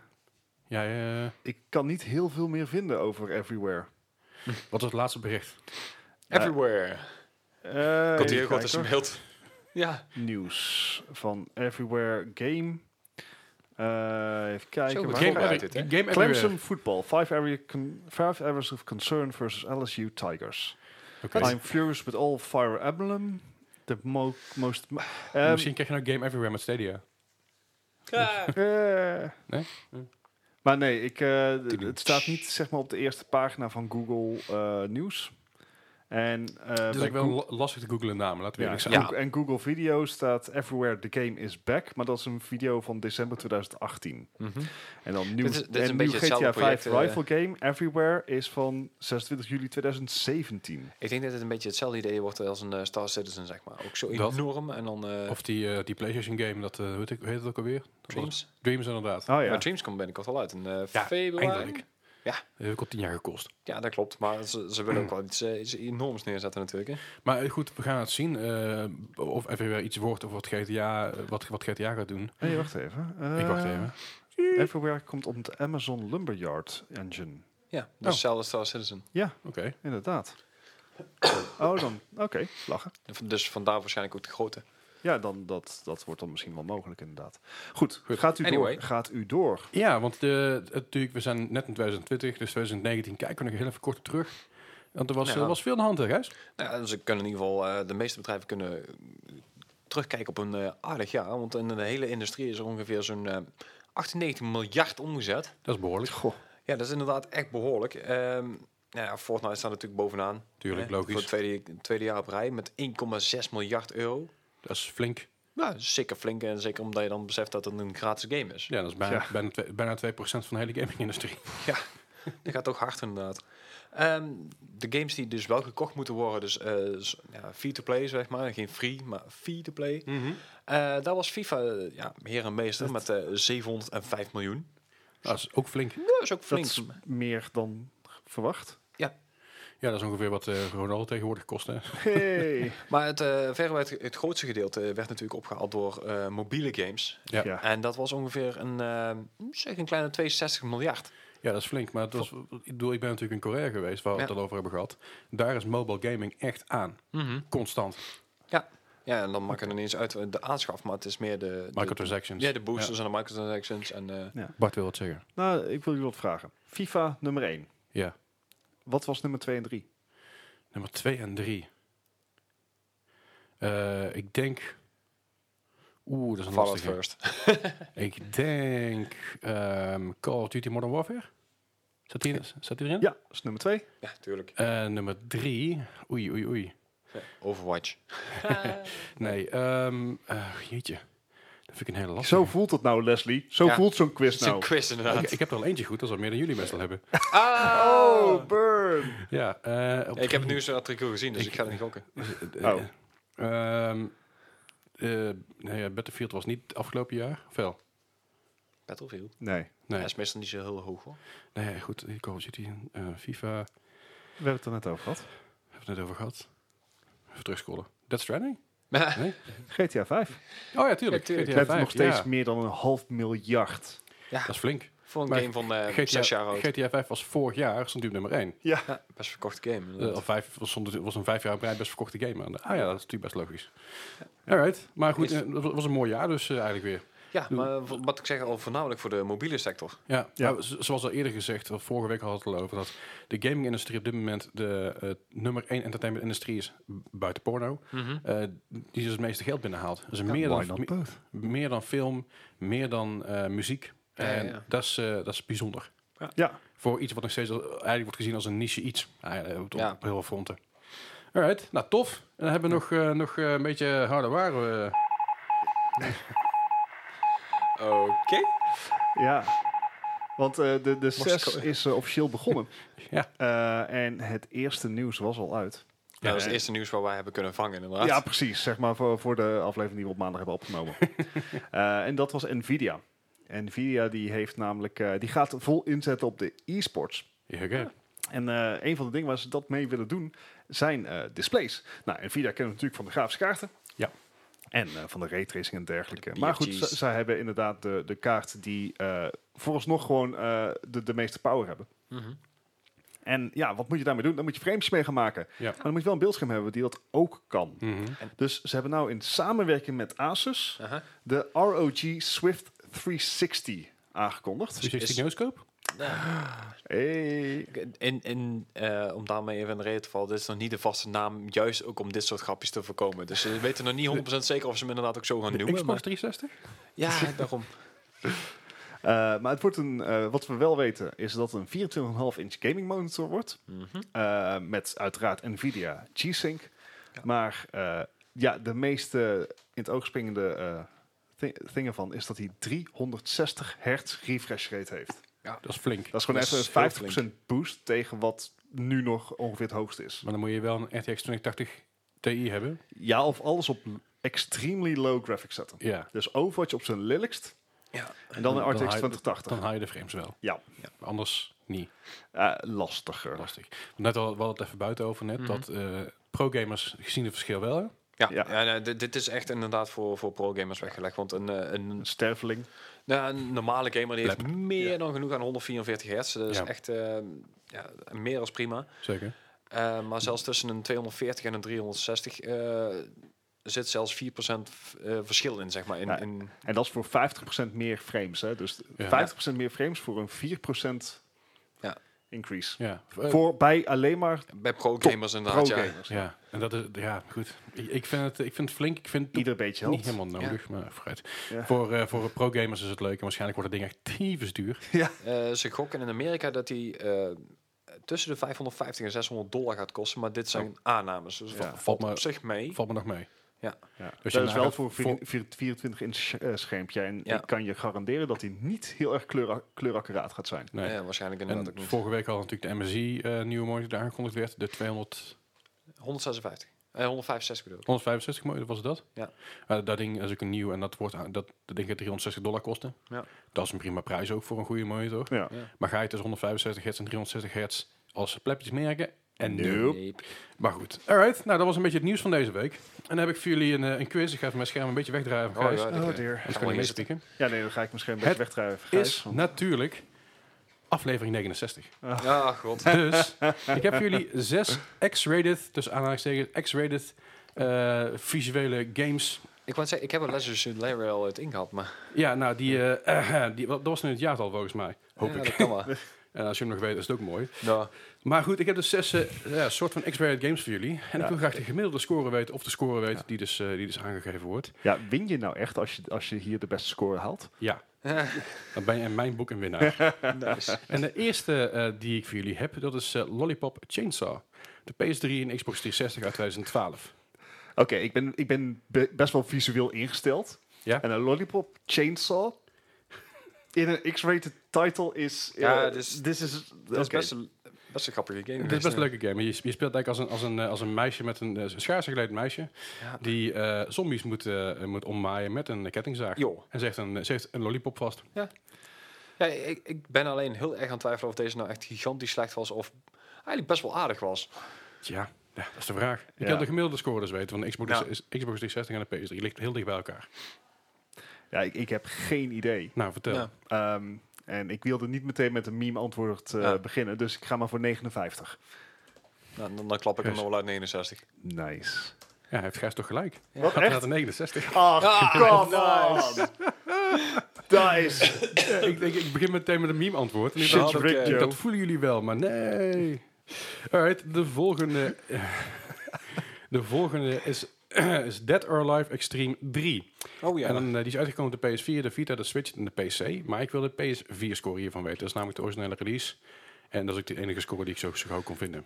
Speaker 1: Ja, eh,
Speaker 2: ik kan niet heel veel meer vinden over Everywhere.
Speaker 1: wat is het laatste bericht?
Speaker 3: Everywhere.
Speaker 2: Eh,
Speaker 3: Komt hier
Speaker 2: even
Speaker 3: ook wat tussen
Speaker 2: kijken.
Speaker 3: beeld. Ja,
Speaker 2: Nieuws van Everywhere Game. Eh, even kijken. waar-
Speaker 3: Zo, Game
Speaker 1: Game,
Speaker 3: voorbereid
Speaker 1: Every-
Speaker 3: dit, hè?
Speaker 1: Game Everywhere.
Speaker 2: Clemson Football. Five, area con- five areas of concern versus LSU Tigers.
Speaker 1: Oké. Eh,
Speaker 2: I'm furious with all Fire Emblem. The mo most... mo-
Speaker 1: Maar
Speaker 2: Ehm,
Speaker 1: Misschien krijg Ah, je nou Game Everywhere met Stadia.
Speaker 2: eh.
Speaker 1: Nee?
Speaker 2: Maar nee, ik, eh, d- het staat niet zeg maar, op de eerste pagina van Google eh, Nieuws. En, eh,
Speaker 1: Het is
Speaker 2: bij
Speaker 1: ook wel
Speaker 2: Goo-
Speaker 1: la- lastig te googlen namen, laten we
Speaker 2: ja,
Speaker 1: eerlijk zijn.
Speaker 2: Google- En Google Video staat Everywhere the Game is Back. Maar dat is een video van december 2018.
Speaker 3: Mhm.
Speaker 2: En dan nieuw,
Speaker 3: Dit is- dit is
Speaker 2: en
Speaker 3: een
Speaker 2: nieuw
Speaker 3: beetje hetzelfde
Speaker 2: GTA 5
Speaker 3: project, eh.
Speaker 2: Rifle Game Everywhere is van 26 juli 2017.
Speaker 3: ik denk dat het een beetje hetzelfde idee wordt als een eh, Star Citizen, zeg maar. Ook zo
Speaker 1: Dat.
Speaker 3: enorm en dan eh
Speaker 1: Of die, eh, die PlayStation game, dat, eh, hoe, heet, ik- hoe heet het ook alweer? Dat was-
Speaker 3: Dreams.
Speaker 1: Dreams inderdaad.
Speaker 2: Oh ja.
Speaker 3: Maar Dreams komt binnenkort al uit in eh,
Speaker 1: Ja,
Speaker 3: februari.
Speaker 1: eindelijk.
Speaker 3: Ja.
Speaker 1: Dat heeft ook al tien jaar gekost.
Speaker 3: Ja, dat klopt. Maar ze, ze willen ook wel iets, eh, iets enorms neerzetten natuurlijk. Hè.
Speaker 1: Maar eh, goed, we gaan het zien. eh, of Everywhere iets wordt of wat GTA, eh, wat, wat GTA gaat doen.
Speaker 2: Nee, wacht even. Eh,
Speaker 1: ik wacht even.
Speaker 2: Everywhere komt op de Amazon Lumberyard engine.
Speaker 3: Ja, dus
Speaker 1: Oh.
Speaker 3: hetzelfde als Star Citizen.
Speaker 1: Oké.
Speaker 2: Inderdaad. <coughs> oh, dan. Oké, lachen.
Speaker 3: V- Dus vandaar waarschijnlijk ook de grote.
Speaker 2: Ja, dan, dat, dat wordt dan misschien wel mogelijk, inderdaad. Goed,
Speaker 1: Goed.
Speaker 2: Gaat, u
Speaker 3: Anyway.
Speaker 2: door, gaat u door.
Speaker 1: Ja, want de, het- natuurlijk, we zijn net in 2020, dus 2019 kijken we nog heel even kort op terug. Want er was,
Speaker 3: Ja.
Speaker 1: er was veel aan de hand, hè, Gijs?
Speaker 3: Nou, ja, ze kunnen in ieder geval, eh, de meeste bedrijven kunnen eh, terugkijken op een eh, aardig jaar. Want in de hele industrie is er ongeveer zo'n eh 98 miljard omgezet.
Speaker 1: Dat is behoorlijk.
Speaker 2: Goh,
Speaker 3: Ja, dat is inderdaad echt behoorlijk. Ehm nou ja, Fortnite staat natuurlijk bovenaan.
Speaker 1: Tuurlijk,
Speaker 3: Hè,
Speaker 1: logisch.
Speaker 3: Voor het tweede, tweede jaar op rij met 1,6 miljard euro.
Speaker 1: Dat is flink.
Speaker 3: Nou, zeker flink. En zeker omdat je dan beseft dat het een gratis game is.
Speaker 1: Ja, dat is bijna,
Speaker 2: Ja.
Speaker 1: bijna, twee- bijna 2% van de hele gaming-industrie. <laughs>
Speaker 3: Dat gaat ook hard inderdaad. Ehm, de games die dus wel gekocht moeten worden, dus eh, s- ja, free-to-play zeg maar, geen free, maar free-to-play. Eh daar was FIFA eh, ja, heer en meester met eh 705 miljoen.
Speaker 1: Dat is ook flink.
Speaker 3: Ja, Dat is ook
Speaker 2: dat
Speaker 3: flink.
Speaker 2: is meer dan verwacht.
Speaker 1: Ja, dat is ongeveer wat eh Ronaldo tegenwoordig kost, hè?
Speaker 2: Hey.
Speaker 3: Maar het, eh verreweg het, het grootste gedeelte werd natuurlijk opgehaald door eh, mobiele games.
Speaker 1: Ja.
Speaker 2: Ja.
Speaker 3: En dat was ongeveer een, eh, zeg een kleine 62 miljard.
Speaker 1: Ja, dat is flink. Maar het was, ik bedoel, ik ben natuurlijk in Korea geweest, waar we het
Speaker 3: Ja.
Speaker 1: al over hebben gehad. Daar is mobile gaming echt aan. Constant.
Speaker 3: Ja, en dan maakt het ineens uit eh, de aanschaf, maar het is meer de... de-
Speaker 1: Microtransactions.
Speaker 3: ja, de boosters en de microtransactions. En, eh,
Speaker 1: Bart wil wat zeggen.
Speaker 2: Nou, ik wil jullie wat vragen. FIFA nummer 1.
Speaker 1: Ja.
Speaker 2: Wat was nummer 2 en 3?
Speaker 1: Nummer 2 en 3. ik denk. Eh, Oeh, dat is een
Speaker 3: Fallout
Speaker 1: lastige.
Speaker 3: First.
Speaker 1: Ik denk ehm, Call of Duty Modern Warfare. Zat die, zat die erin?
Speaker 2: Ja, dat is nummer twee.
Speaker 3: Ja, tuurlijk.
Speaker 1: Eh, nummer drie. Oei, oei, oei.
Speaker 3: Overwatch.
Speaker 1: Nee, ehm, eh, jeetje. Dat vind ik een hele lastige.
Speaker 2: Zo voelt het nou, Leslie. Zo
Speaker 3: Ja.
Speaker 2: voelt zo'n quiz
Speaker 3: Het is een
Speaker 2: nou.
Speaker 3: quiz inderdaad.
Speaker 1: Ik, ik heb er al eentje goed, dat is al meer dan jullie meestal hebben.
Speaker 3: Ah,
Speaker 2: Oh, burn.
Speaker 1: Ja, eh, op
Speaker 3: Ja, ik heb het nu eens een artikel gezien, dus ik, ga er niet gokken.
Speaker 1: Eh,
Speaker 2: Oh.
Speaker 1: ehm, eh, nee, eh, Battlefield was niet afgelopen jaar. Of wel?
Speaker 3: Battlefield.
Speaker 2: Nee,
Speaker 3: Hij
Speaker 1: Nee,
Speaker 3: is meestal niet zo heel hoog hoor.
Speaker 1: nee goed. eh, Call of Duty, eh, FIFA, hebben
Speaker 2: we hebben het er net over gehad.
Speaker 1: we het net over gehad. Even terugscrollen. Death Stranding?
Speaker 3: <laughs> Maar
Speaker 2: GTA 5.
Speaker 1: Oh ja, tuurlijk.
Speaker 3: Ja, tuurlijk.
Speaker 1: GTA
Speaker 2: Met nog
Speaker 1: 5,
Speaker 2: steeds
Speaker 1: ja.
Speaker 2: meer dan een half miljard.
Speaker 1: Dat is flink.
Speaker 3: voor een
Speaker 1: Maar
Speaker 3: game van eh
Speaker 1: GTA,
Speaker 3: zes jaar oud.
Speaker 1: GTA 5 was vorig jaar, stond die op nummer 1.
Speaker 2: Ja.
Speaker 3: Ja, best verkocht game. inderdaad.
Speaker 1: Eh, Al vijf, was, stond het- was een vijf jaar op rij best verkochte game. En, ah ja, dat is natuurlijk best logisch. Alright, maar goed,
Speaker 3: Is-
Speaker 1: eh, dat was een mooi jaar dus eh, eigenlijk weer.
Speaker 3: ja, maar v- wat ik zeg, al voornamelijk voor de mobiele sector.
Speaker 1: Ja,
Speaker 2: Ja.
Speaker 1: nou, z- zoals al eerder gezegd, wel vorige week hadden we het al over dat de gaming-industrie op dit moment de eh, nummer één entertainment-industrie is b- buiten porno.
Speaker 3: Mhm.
Speaker 1: eh, die dus het meeste geld binnenhaalt. Dus meer, dan,
Speaker 2: why not
Speaker 1: me-
Speaker 2: both?
Speaker 1: meer dan film, meer dan eh, muziek.
Speaker 3: Ja, ja,
Speaker 1: en
Speaker 3: ja.
Speaker 1: Dat, is, eh, dat is bijzonder.
Speaker 2: Ja,
Speaker 1: Voor iets wat nog steeds al- eigenlijk wordt gezien als een niche iets. Ah, ja, op,
Speaker 3: Ja.
Speaker 1: op heel veel fronten. Alright, nou tof. En dan hebben we nog, eh, nog eh, een beetje harde waren. eh.
Speaker 3: Oké.
Speaker 2: ja. Want eh, de, de
Speaker 3: ik
Speaker 2: 6 is eh, officieel <laughs> begonnen.
Speaker 1: Ja.
Speaker 2: Eh, en het eerste nieuws was al uit.
Speaker 3: Ja, dat is het eerste nieuws waar wij hebben kunnen vangen inderdaad.
Speaker 2: Ja, precies. Zeg maar voor, voor de aflevering die we op maandag hebben opgenomen. Eh, en dat was Nvidia. Nvidia die heeft namelijk, eh, die gaat vol inzetten op de e-sports.
Speaker 1: Ja, oké.
Speaker 2: En eh, een van de dingen waar ze dat mee willen doen, zijn eh, displays. Nou, Nvidia kennen we natuurlijk van de grafische kaarten.
Speaker 1: Ja.
Speaker 2: En eh, van de raytracing en dergelijke.
Speaker 3: De
Speaker 2: maar goed,
Speaker 3: BFG's.
Speaker 2: z- zij hebben inderdaad de, de kaart die eh vooralsnog gewoon eh, de, de meeste power hebben.
Speaker 3: Mhm.
Speaker 2: En ja, wat moet je daarmee doen? Dan moet je frames mee gaan maken.
Speaker 1: Ja.
Speaker 2: Maar dan moet je wel een beeldscherm hebben die dat ook kan.
Speaker 1: Mhm.
Speaker 2: Dus ze hebben nou in samenwerking met Asus
Speaker 3: Aha.
Speaker 2: de ROG Swift 360 aangekondigd.
Speaker 1: 360 Noscope?
Speaker 2: Hey.
Speaker 3: En, en eh, om daarmee even in de reden te vallen, dit is nog niet de vaste naam, juist ook om dit soort grapjes te voorkomen. Dus we weten nog niet 100% zeker of ze hem inderdaad ook zo gaan
Speaker 1: De
Speaker 3: noemen.
Speaker 1: Xbox
Speaker 3: maar-
Speaker 1: 360?
Speaker 3: Ja, daarom.
Speaker 2: Eh, maar het wordt een, eh, wat we wel weten is dat het een 24,5 inch gaming monitor wordt.
Speaker 3: Mhm.
Speaker 2: Eh, met uiteraard Nvidia G-Sync.
Speaker 3: Ja.
Speaker 2: Maar eh, ja, de meest eh, in het oog springende eh thi- thing ervan is dat hij 360 hertz refresh rate heeft.
Speaker 1: Dat is flink.
Speaker 2: Dat is gewoon
Speaker 3: Dat is heel
Speaker 2: even een 50% boost tegen wat nu nog ongeveer het hoogste is.
Speaker 1: Maar dan moet je wel een RTX 2080 Ti hebben.
Speaker 2: Ja, of alles op extremely low graphics zetten.
Speaker 1: Ja.
Speaker 2: Dus Overwatch op zijn lilligst
Speaker 3: Ja.
Speaker 2: en dan een
Speaker 1: Dan
Speaker 2: RTX
Speaker 1: haal je-
Speaker 2: 2080.
Speaker 1: Dan haal je de frames wel.
Speaker 2: Ja,
Speaker 1: Anders niet.
Speaker 2: Eh, lastiger.
Speaker 1: Lastig. Want Net al, we hadden het even buiten over net.
Speaker 3: Mhm.
Speaker 1: Dat eh pro-gamers gezien het verschil wel. hè?
Speaker 3: Ja,
Speaker 2: Ja.
Speaker 3: ja. nee, dit, dit is echt inderdaad voor, voor pro-gamers weggelegd. Want een, eh, een,
Speaker 2: Een sterveling.
Speaker 3: nou, een normale gamer die heeft
Speaker 1: Lep.
Speaker 3: meer dan genoeg aan 144 hertz. Dat is
Speaker 1: Ja.
Speaker 3: echt eh, ja, meer als prima.
Speaker 1: Zeker.
Speaker 3: Eh, maar zelfs tussen een 240 en een 360 eh, zit zelfs 4% v- eh, verschil in, zeg maar. In,
Speaker 2: Ja.
Speaker 3: in,
Speaker 2: En dat is voor 50% meer frames. Hè? Dus
Speaker 1: Ja.
Speaker 2: 50% meer frames voor een 4%
Speaker 3: Ja.
Speaker 2: increase.
Speaker 1: Ja. V- eh,
Speaker 2: Voor bij alleen maar
Speaker 3: bij pro-gamers inderdaad, ja.
Speaker 2: pro-gamers.
Speaker 1: ja. En dat is, ja, goed. Ik, ik, vind het, ik vind het flink. Ik vind het
Speaker 2: Ieder beetje
Speaker 1: niet
Speaker 2: helpt.
Speaker 1: helemaal nodig, maar vooruit.
Speaker 2: Ja.
Speaker 1: Voor, eh, voor pro-gamers is het leuk. En waarschijnlijk wordt het ding echt tyfus duur.
Speaker 3: Eh, ze gokken in Amerika dat die eh, tussen de 550 en 600 dollar gaat kosten. Maar dit zijn aannames. Dus dat
Speaker 2: Ja.
Speaker 3: valt
Speaker 1: Maar-
Speaker 3: op zich mee.
Speaker 1: Valt me nog mee.
Speaker 2: Ja.
Speaker 1: Dus je
Speaker 2: dat is
Speaker 1: nagaat
Speaker 2: wel voor
Speaker 1: voor-
Speaker 2: een 24 inch sch- eh, schermpje. En
Speaker 3: Ja.
Speaker 2: ik kan je garanderen dat hij niet heel erg kleura- kleuraccuraat gaat zijn.
Speaker 1: Nee.
Speaker 3: Ja, waarschijnlijk inderdaad
Speaker 1: en
Speaker 3: ook niet.
Speaker 1: vorige week had natuurlijk de MSI eh, nieuwe monitor die aangekondigd werd. De 200...
Speaker 3: 156. Eh, 165 bedoel ik.
Speaker 1: 165 miljoen, was dat?
Speaker 3: Ja.
Speaker 1: Eh, dat ding is ook een nieuw en dat wordt aan- dat, dat ding gaat 360 dollar kosten.
Speaker 3: Ja.
Speaker 1: Dat is een prima prijs ook voor een goede monitor.
Speaker 2: Ja.
Speaker 1: Maar ga je tussen 165 hertz en 360 hertz als plepjes merken? En
Speaker 2: Nope.
Speaker 1: nu. Maar goed. Alright, nou dat was een beetje het nieuws van deze week. En dan heb ik voor jullie een, eh, een quiz. Ik ga even mijn scherm een beetje wegdraaien van
Speaker 3: Oh,
Speaker 1: Gijs.
Speaker 3: ja,
Speaker 2: Oh
Speaker 3: dat-
Speaker 2: dear.
Speaker 1: Anders kan ik
Speaker 3: Ja,
Speaker 1: meespieken.
Speaker 2: Ja, nee, dan ga ik misschien een
Speaker 1: Het
Speaker 2: beetje wegdrijven.
Speaker 1: Is
Speaker 2: Gijs, want-
Speaker 1: natuurlijk aflevering 69.
Speaker 3: Ah, god. <laughs>
Speaker 1: Dus ik heb voor jullie zes X-rated, dus aanhalingstekens X-rated eh, visuele games
Speaker 3: Ik wou zeggen, ik heb wel lessen Simulator al het ingehad, maar...
Speaker 1: Ja, nou, die, eh, die, dat was nu het jaartal volgens mij. Hoop
Speaker 3: Ja,
Speaker 1: ik.
Speaker 3: Dat kan <laughs> wel.
Speaker 1: En als je hem nog weet, is het ook mooi.
Speaker 3: nou,
Speaker 1: Maar goed, ik heb dus zes eh, ja, soort van X-rated games voor jullie. En ik wil graag de gemiddelde score weten, of de score weten die, dus, eh, die dus aangegeven wordt.
Speaker 2: Ja, win je nou echt als je, als je hier de beste score haalt?
Speaker 1: Ja, dan ben je in mijn boek een winnaar.
Speaker 3: nice.
Speaker 1: en de eerste eh, die ik voor jullie heb, dat is eh, Lollipop Chainsaw. De PS3 en Xbox 360 uit 2012.
Speaker 2: Oké, ik ben, ik ben be- best wel visueel ingesteld.
Speaker 1: Ja?
Speaker 2: En een lollipop chainsaw in een X-rated title is... eh,
Speaker 3: Ja, dus-
Speaker 2: Dit is...
Speaker 3: Dat is
Speaker 2: oké.
Speaker 3: best een, best een grappige game.
Speaker 1: Het is best
Speaker 3: geweest,
Speaker 1: een leuke game. Je, je speelt eigenlijk als een, als een, eh, als een meisje met een, eh, een schaars gekleed meisje.
Speaker 3: Ja.
Speaker 1: Die eh, zombies moet, eh, moet ommaaien met een kettingzaag.
Speaker 3: Joh.
Speaker 1: En ze heeft, een, ze heeft een lollipop vast.
Speaker 3: Ja, ik, ik ben alleen heel erg aan het twijfelen of deze nou echt gigantisch slecht was of eigenlijk best wel aardig was.
Speaker 1: Ja, ja, dat is de vraag. Ik
Speaker 2: Ja.
Speaker 1: wil de gemiddelde scores weten van de Xbox,
Speaker 3: Ja.
Speaker 1: is- Xbox 360 en de PS3. Die ligt heel dicht bij elkaar.
Speaker 2: Ja, ik, ik heb geen idee.
Speaker 1: Nou, vertel.
Speaker 3: Ja.
Speaker 2: Ehm, en ik wilde niet meteen met een meme antwoord eh,
Speaker 3: Ja.
Speaker 2: beginnen, dus ik ga maar voor 59.
Speaker 3: Nou, dan, dan klap ik hem
Speaker 1: Yes.
Speaker 3: nog wel uit 69.
Speaker 2: Nice.
Speaker 1: Ja, hij heeft Gijs toch gelijk.
Speaker 2: Wat,
Speaker 1: Gaat naar
Speaker 2: echt?
Speaker 1: de <laughs> 69.
Speaker 2: Ach,
Speaker 3: <laughs> Ah,
Speaker 2: come
Speaker 1: Oh,
Speaker 2: on. Dat is...
Speaker 1: ik, denk, ik begin meteen met een meme-antwoord. En ik
Speaker 2: Shit,
Speaker 1: dacht,
Speaker 2: Rick,
Speaker 1: dat,
Speaker 2: joh.
Speaker 1: Eh, dat voelen jullie wel, maar nee. Alright, de volgende. <laughs> de volgende is, <clears throat> is Dead or Alive Extreme 3.
Speaker 3: Oh ja.
Speaker 1: En dan, eh, die is uitgekomen op de PS4, de Vita, de Switch en de PC. Maar ik wil de PS4-score hiervan weten. Dat is namelijk de originele release. En dat is ook de enige score die ik zo, zo gauw kon vinden.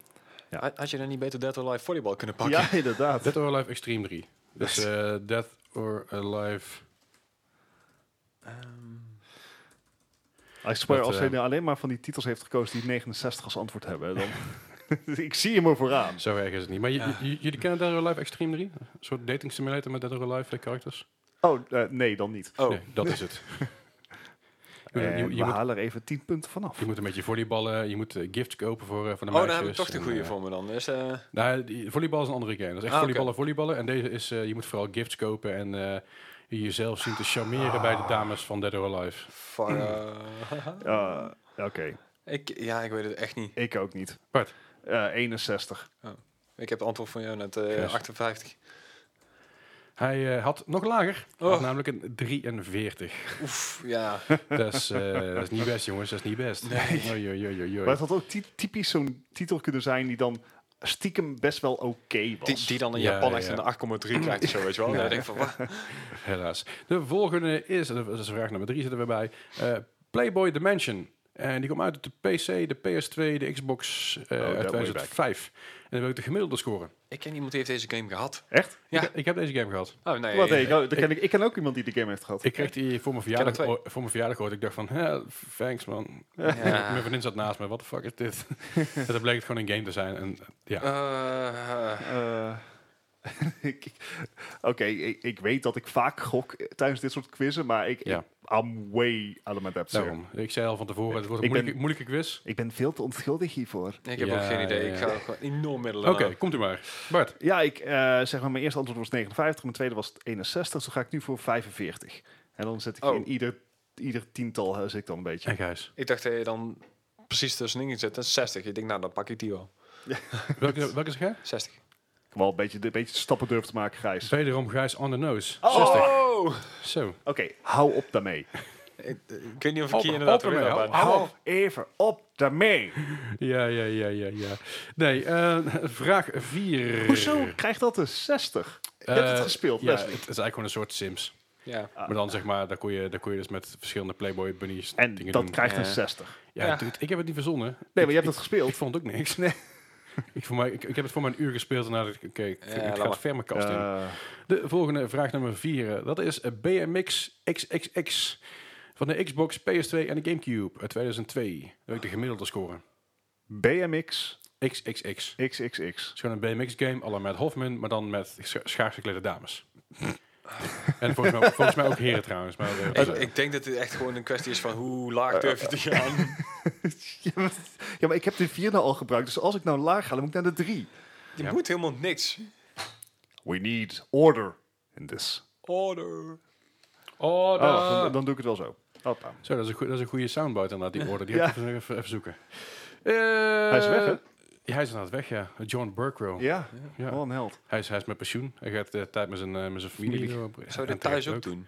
Speaker 3: Had had je dan niet beter Dead or Alive volleybal kunnen pakken?
Speaker 2: Ja, inderdaad.
Speaker 1: Dead or Alive Extreme 3. Dus
Speaker 3: <laughs>
Speaker 1: eh Dead or Alive...
Speaker 3: Ehm,
Speaker 2: Ik swear,
Speaker 1: Dat,
Speaker 2: als
Speaker 1: eh,
Speaker 2: hij nou alleen maar van die titels heeft gekozen die 69 als antwoord hebben, dan... <laughs> ik zie hem er vooraan.
Speaker 1: Zo erg is het niet. Maar j-
Speaker 3: Ja.
Speaker 1: j- jullie kennen Dead or Alive Extreme 3? Een soort dating simulator met Dead or Alive eh, characters?
Speaker 2: Oh, eh, nee, dan niet.
Speaker 3: oh,
Speaker 1: Nee, dat is
Speaker 3: <laughs>
Speaker 1: het. je, je-
Speaker 2: En
Speaker 1: je
Speaker 2: we
Speaker 1: moet,
Speaker 2: halen er even 10 punten vanaf.
Speaker 1: je moet een beetje volleyballen, je moet eh, gifts kopen voor, eh, voor de
Speaker 3: oh
Speaker 1: meisjes.
Speaker 3: dan heb ik toch de
Speaker 1: en,
Speaker 3: goede
Speaker 1: eh,
Speaker 3: voor me dan. Dus, eh,
Speaker 1: nou, die- volleybal is een andere game. Dat is echt
Speaker 3: Ah, oké.
Speaker 1: volleyballen, volleyballen. En deze is, eh, je moet vooral gifts kopen en eh, jezelf zien te charmeren bij de dames van Dead or Alive.
Speaker 3: <clears throat> fuck, eh, <laughs>
Speaker 2: Eh, Oké,
Speaker 3: ik, ja, ik weet het echt niet.
Speaker 2: ik ook niet.
Speaker 1: Bart,
Speaker 2: Eh, 61.
Speaker 3: Ik heb het antwoord van jou net eh,
Speaker 1: Yes.
Speaker 3: 58.
Speaker 1: hij eh, had nog lager. Hij had
Speaker 3: Oh.
Speaker 1: namelijk een 43.
Speaker 3: Oef, ja.
Speaker 1: dat, is,
Speaker 3: <laughs>
Speaker 1: eh, dat is niet best, jongens. Dat is niet best. Nee. <laughs> Oei, oei, oei, oei, oei.
Speaker 2: Maar het had ook ty- typisch zo'n titel kunnen zijn die dan stiekem best wel oké was.
Speaker 3: Die, die dan in
Speaker 1: Ja,
Speaker 3: Japan echt
Speaker 1: ja.
Speaker 3: een 8,3 krijgt of zo, weet je wel.
Speaker 1: Ja.
Speaker 3: Dan denk ik van, wat?
Speaker 1: Helaas. De volgende is, dat is vraag nummer drie zitten we bij, eh, Playboy Dimension. En die komt uit op de PC, de PS2, de Xbox
Speaker 3: Oh,
Speaker 1: eh,
Speaker 2: that way
Speaker 1: uit 2005. En dan wil ik de gemiddelde scoren.
Speaker 3: Ik ken iemand die heeft deze game gehad.
Speaker 2: Echt?
Speaker 3: Ja.
Speaker 1: Ik, ik heb deze game gehad.
Speaker 3: Oh nee.
Speaker 2: Wat, hey, ik, dan ken ik, ik ken ook iemand die de game heeft gehad.
Speaker 1: Ik kreeg die voor mijn
Speaker 3: er
Speaker 1: verjaardag,
Speaker 3: twee.
Speaker 1: ooit- voor mijn verjaardag ooit. Ik dacht van, hè, thanks man.
Speaker 3: Ja.
Speaker 1: <laughs> Mijn vriendin zat naast me, what the fuck is
Speaker 2: <laughs>
Speaker 1: dit? en dan bleek het gewoon een game te zijn. En, eh, ja.
Speaker 3: Eh,
Speaker 2: Eh, <laughs> ik- ik- Oké, ik, ik weet dat ik vaak gok eh, tijdens dit soort quizzen, maar ik,
Speaker 1: Ja.
Speaker 2: ik- I'm way out of my depth. sir.
Speaker 1: Daarom. Ik zei al van tevoren, het wordt een
Speaker 2: Ik ben-
Speaker 1: moeilijke, moeilijke quiz.
Speaker 2: Ik ben veel te onschuldig hiervoor.
Speaker 3: ik heb
Speaker 1: Ja,
Speaker 3: ook geen idee.
Speaker 1: ja,
Speaker 3: Ik
Speaker 1: ja.
Speaker 3: ga er gewoon enorm middelen.
Speaker 1: Oké, komt u maar. Bart,
Speaker 2: Ja, ik, eh, zeg maar, mijn eerste antwoord was 59, mijn tweede was 61, dus dan ga ik nu voor 45. En dan zet ik
Speaker 3: Oh.
Speaker 2: in ieder, ieder tiental eh, zit ik dan een beetje.
Speaker 1: en Gijs.
Speaker 3: Ik dacht dat je dan precies tussenin ging zitten. 60. Ik denk, nou, dan pak ik die wel.
Speaker 1: Welke, welke is Gijs?
Speaker 3: 60.
Speaker 2: Ik heb wel een beetje, een beetje stappen durf te maken, Gijs.
Speaker 1: Wederom Gijs on the nose.
Speaker 3: Oh!
Speaker 1: 60. Zo.
Speaker 2: Oké, hou op daarmee.
Speaker 3: Ik, eh, ik weet niet of ik
Speaker 1: Op-
Speaker 3: hier inderdaad
Speaker 1: op
Speaker 3: de winnaar
Speaker 1: ermee,
Speaker 3: ben.
Speaker 1: Hou op.
Speaker 2: even op daarmee.
Speaker 1: Ja, ja, ja, ja, ja. Nee, eh, vraag 4.
Speaker 2: Hoezo krijgt dat een 60? Je hebt het gespeeld,
Speaker 1: Eh, Ja, het
Speaker 2: Leslie. Ah.
Speaker 1: is eigenlijk gewoon een soort Sims.
Speaker 3: Ja.
Speaker 1: Maar dan zeg maar, daar kon je, daar kon je dus met verschillende Playboy bunnies
Speaker 2: En
Speaker 1: dingen
Speaker 2: dat
Speaker 1: doen.
Speaker 2: krijgt een
Speaker 3: Ja.
Speaker 2: 60.
Speaker 1: Ja,
Speaker 3: Ja.
Speaker 1: dude, ik heb het niet verzonnen. Nee,
Speaker 2: Nee, maar je hebt het
Speaker 1: ik,
Speaker 2: gespeeld.
Speaker 1: ik vond ook niks. <laughs> ik, voor mij, ik, ik heb het voor mijn uur gespeeld en dan dacht ik, oké, ik,
Speaker 3: Ja,
Speaker 1: ik
Speaker 3: laat
Speaker 1: ga het
Speaker 3: maar.
Speaker 1: ver mijn kast in.
Speaker 2: Eh,
Speaker 1: De volgende vraag nummer 4. Dat is eh, BMX XXX van de Xbox, PS2 en de Gamecube uit 2002. Dan wil ik de gemiddelde scoren.
Speaker 2: BMX
Speaker 1: XXX.
Speaker 2: XXX.
Speaker 1: Het is gewoon een BMX-game, alla met Hofman, maar dan met scha schaarsgeklede
Speaker 3: <laughs>
Speaker 1: dames. en volgens mij, volgens mij ook heren trouwens. Maar, eh,
Speaker 3: Ik, ik denk dat het echt gewoon een kwestie is van hoe laag durf je te gaan.
Speaker 2: ja, maar- ja, maar ik heb de 4 nou al gebruikt, dus als ik nou laag ga, dan moet ik naar de 3.
Speaker 3: Je
Speaker 1: Ja.
Speaker 3: moet helemaal niks.
Speaker 2: We need order in this.
Speaker 3: Order.
Speaker 1: oh,
Speaker 2: Oh,
Speaker 1: daar.
Speaker 2: wacht, dan, dan doe ik het wel zo. Hoppa. <laughs>
Speaker 1: Zo, dat is, een goe- dat is een goede soundbite inderdaad, die orde. Die
Speaker 2: Ja.
Speaker 1: had ik even, even, even zoeken. Eh,
Speaker 2: Hij is weg, hè?
Speaker 1: Ja, hij is aan het weg, ja. John Burkrow.
Speaker 2: Ja,
Speaker 1: Ja.
Speaker 2: wel een held.
Speaker 1: Hij, is, hij is met pensioen. Hij gaat eh, tijd met zijn, eh, met zijn familie.
Speaker 2: Familie.
Speaker 1: doorbrengen.
Speaker 3: Zou je
Speaker 1: En
Speaker 3: dit thuis ook
Speaker 1: terecht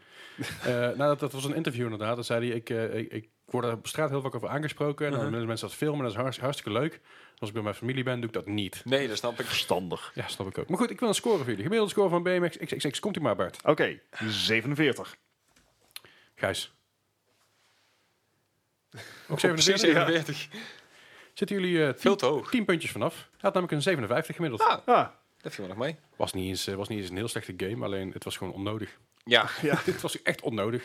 Speaker 3: doen?
Speaker 1: Eh, nou, dat, dat was een interview inderdaad. Dan zei hij, ik, eh, ik, ik word daar op straat heel vaak over aangesproken. En dan
Speaker 3: Mhm.
Speaker 2: Uh-huh.
Speaker 1: willen mensen dat filmen, dat is hartst- hartstikke leuk. Als ik bij mijn familie ben, doe ik dat niet.
Speaker 3: Nee, dat
Speaker 1: <laughs>
Speaker 3: snap ik.
Speaker 2: Verstandig.
Speaker 1: Ja, snap ik ook. Maar goed, ik wil een score voor jullie. Gemiddelde score van BMX XXX. Komt u maar, Bart.
Speaker 2: Oké, 47. <laughs>
Speaker 1: Gijs. Ook
Speaker 3: Precies
Speaker 1: 47?
Speaker 3: 47.
Speaker 1: Zitten jullie eh,
Speaker 3: Veel
Speaker 1: tien,
Speaker 3: te hoog.
Speaker 1: 10 puntjes vanaf. Hij had namelijk een 57 gemiddeld.
Speaker 3: Ah.
Speaker 2: Ah,
Speaker 3: Dat viel me nog mee.
Speaker 1: Was, niet eens, eh, was niet eens een heel slechte game, alleen het was gewoon onnodig.
Speaker 3: Ja,
Speaker 1: <laughs> het was echt onnodig.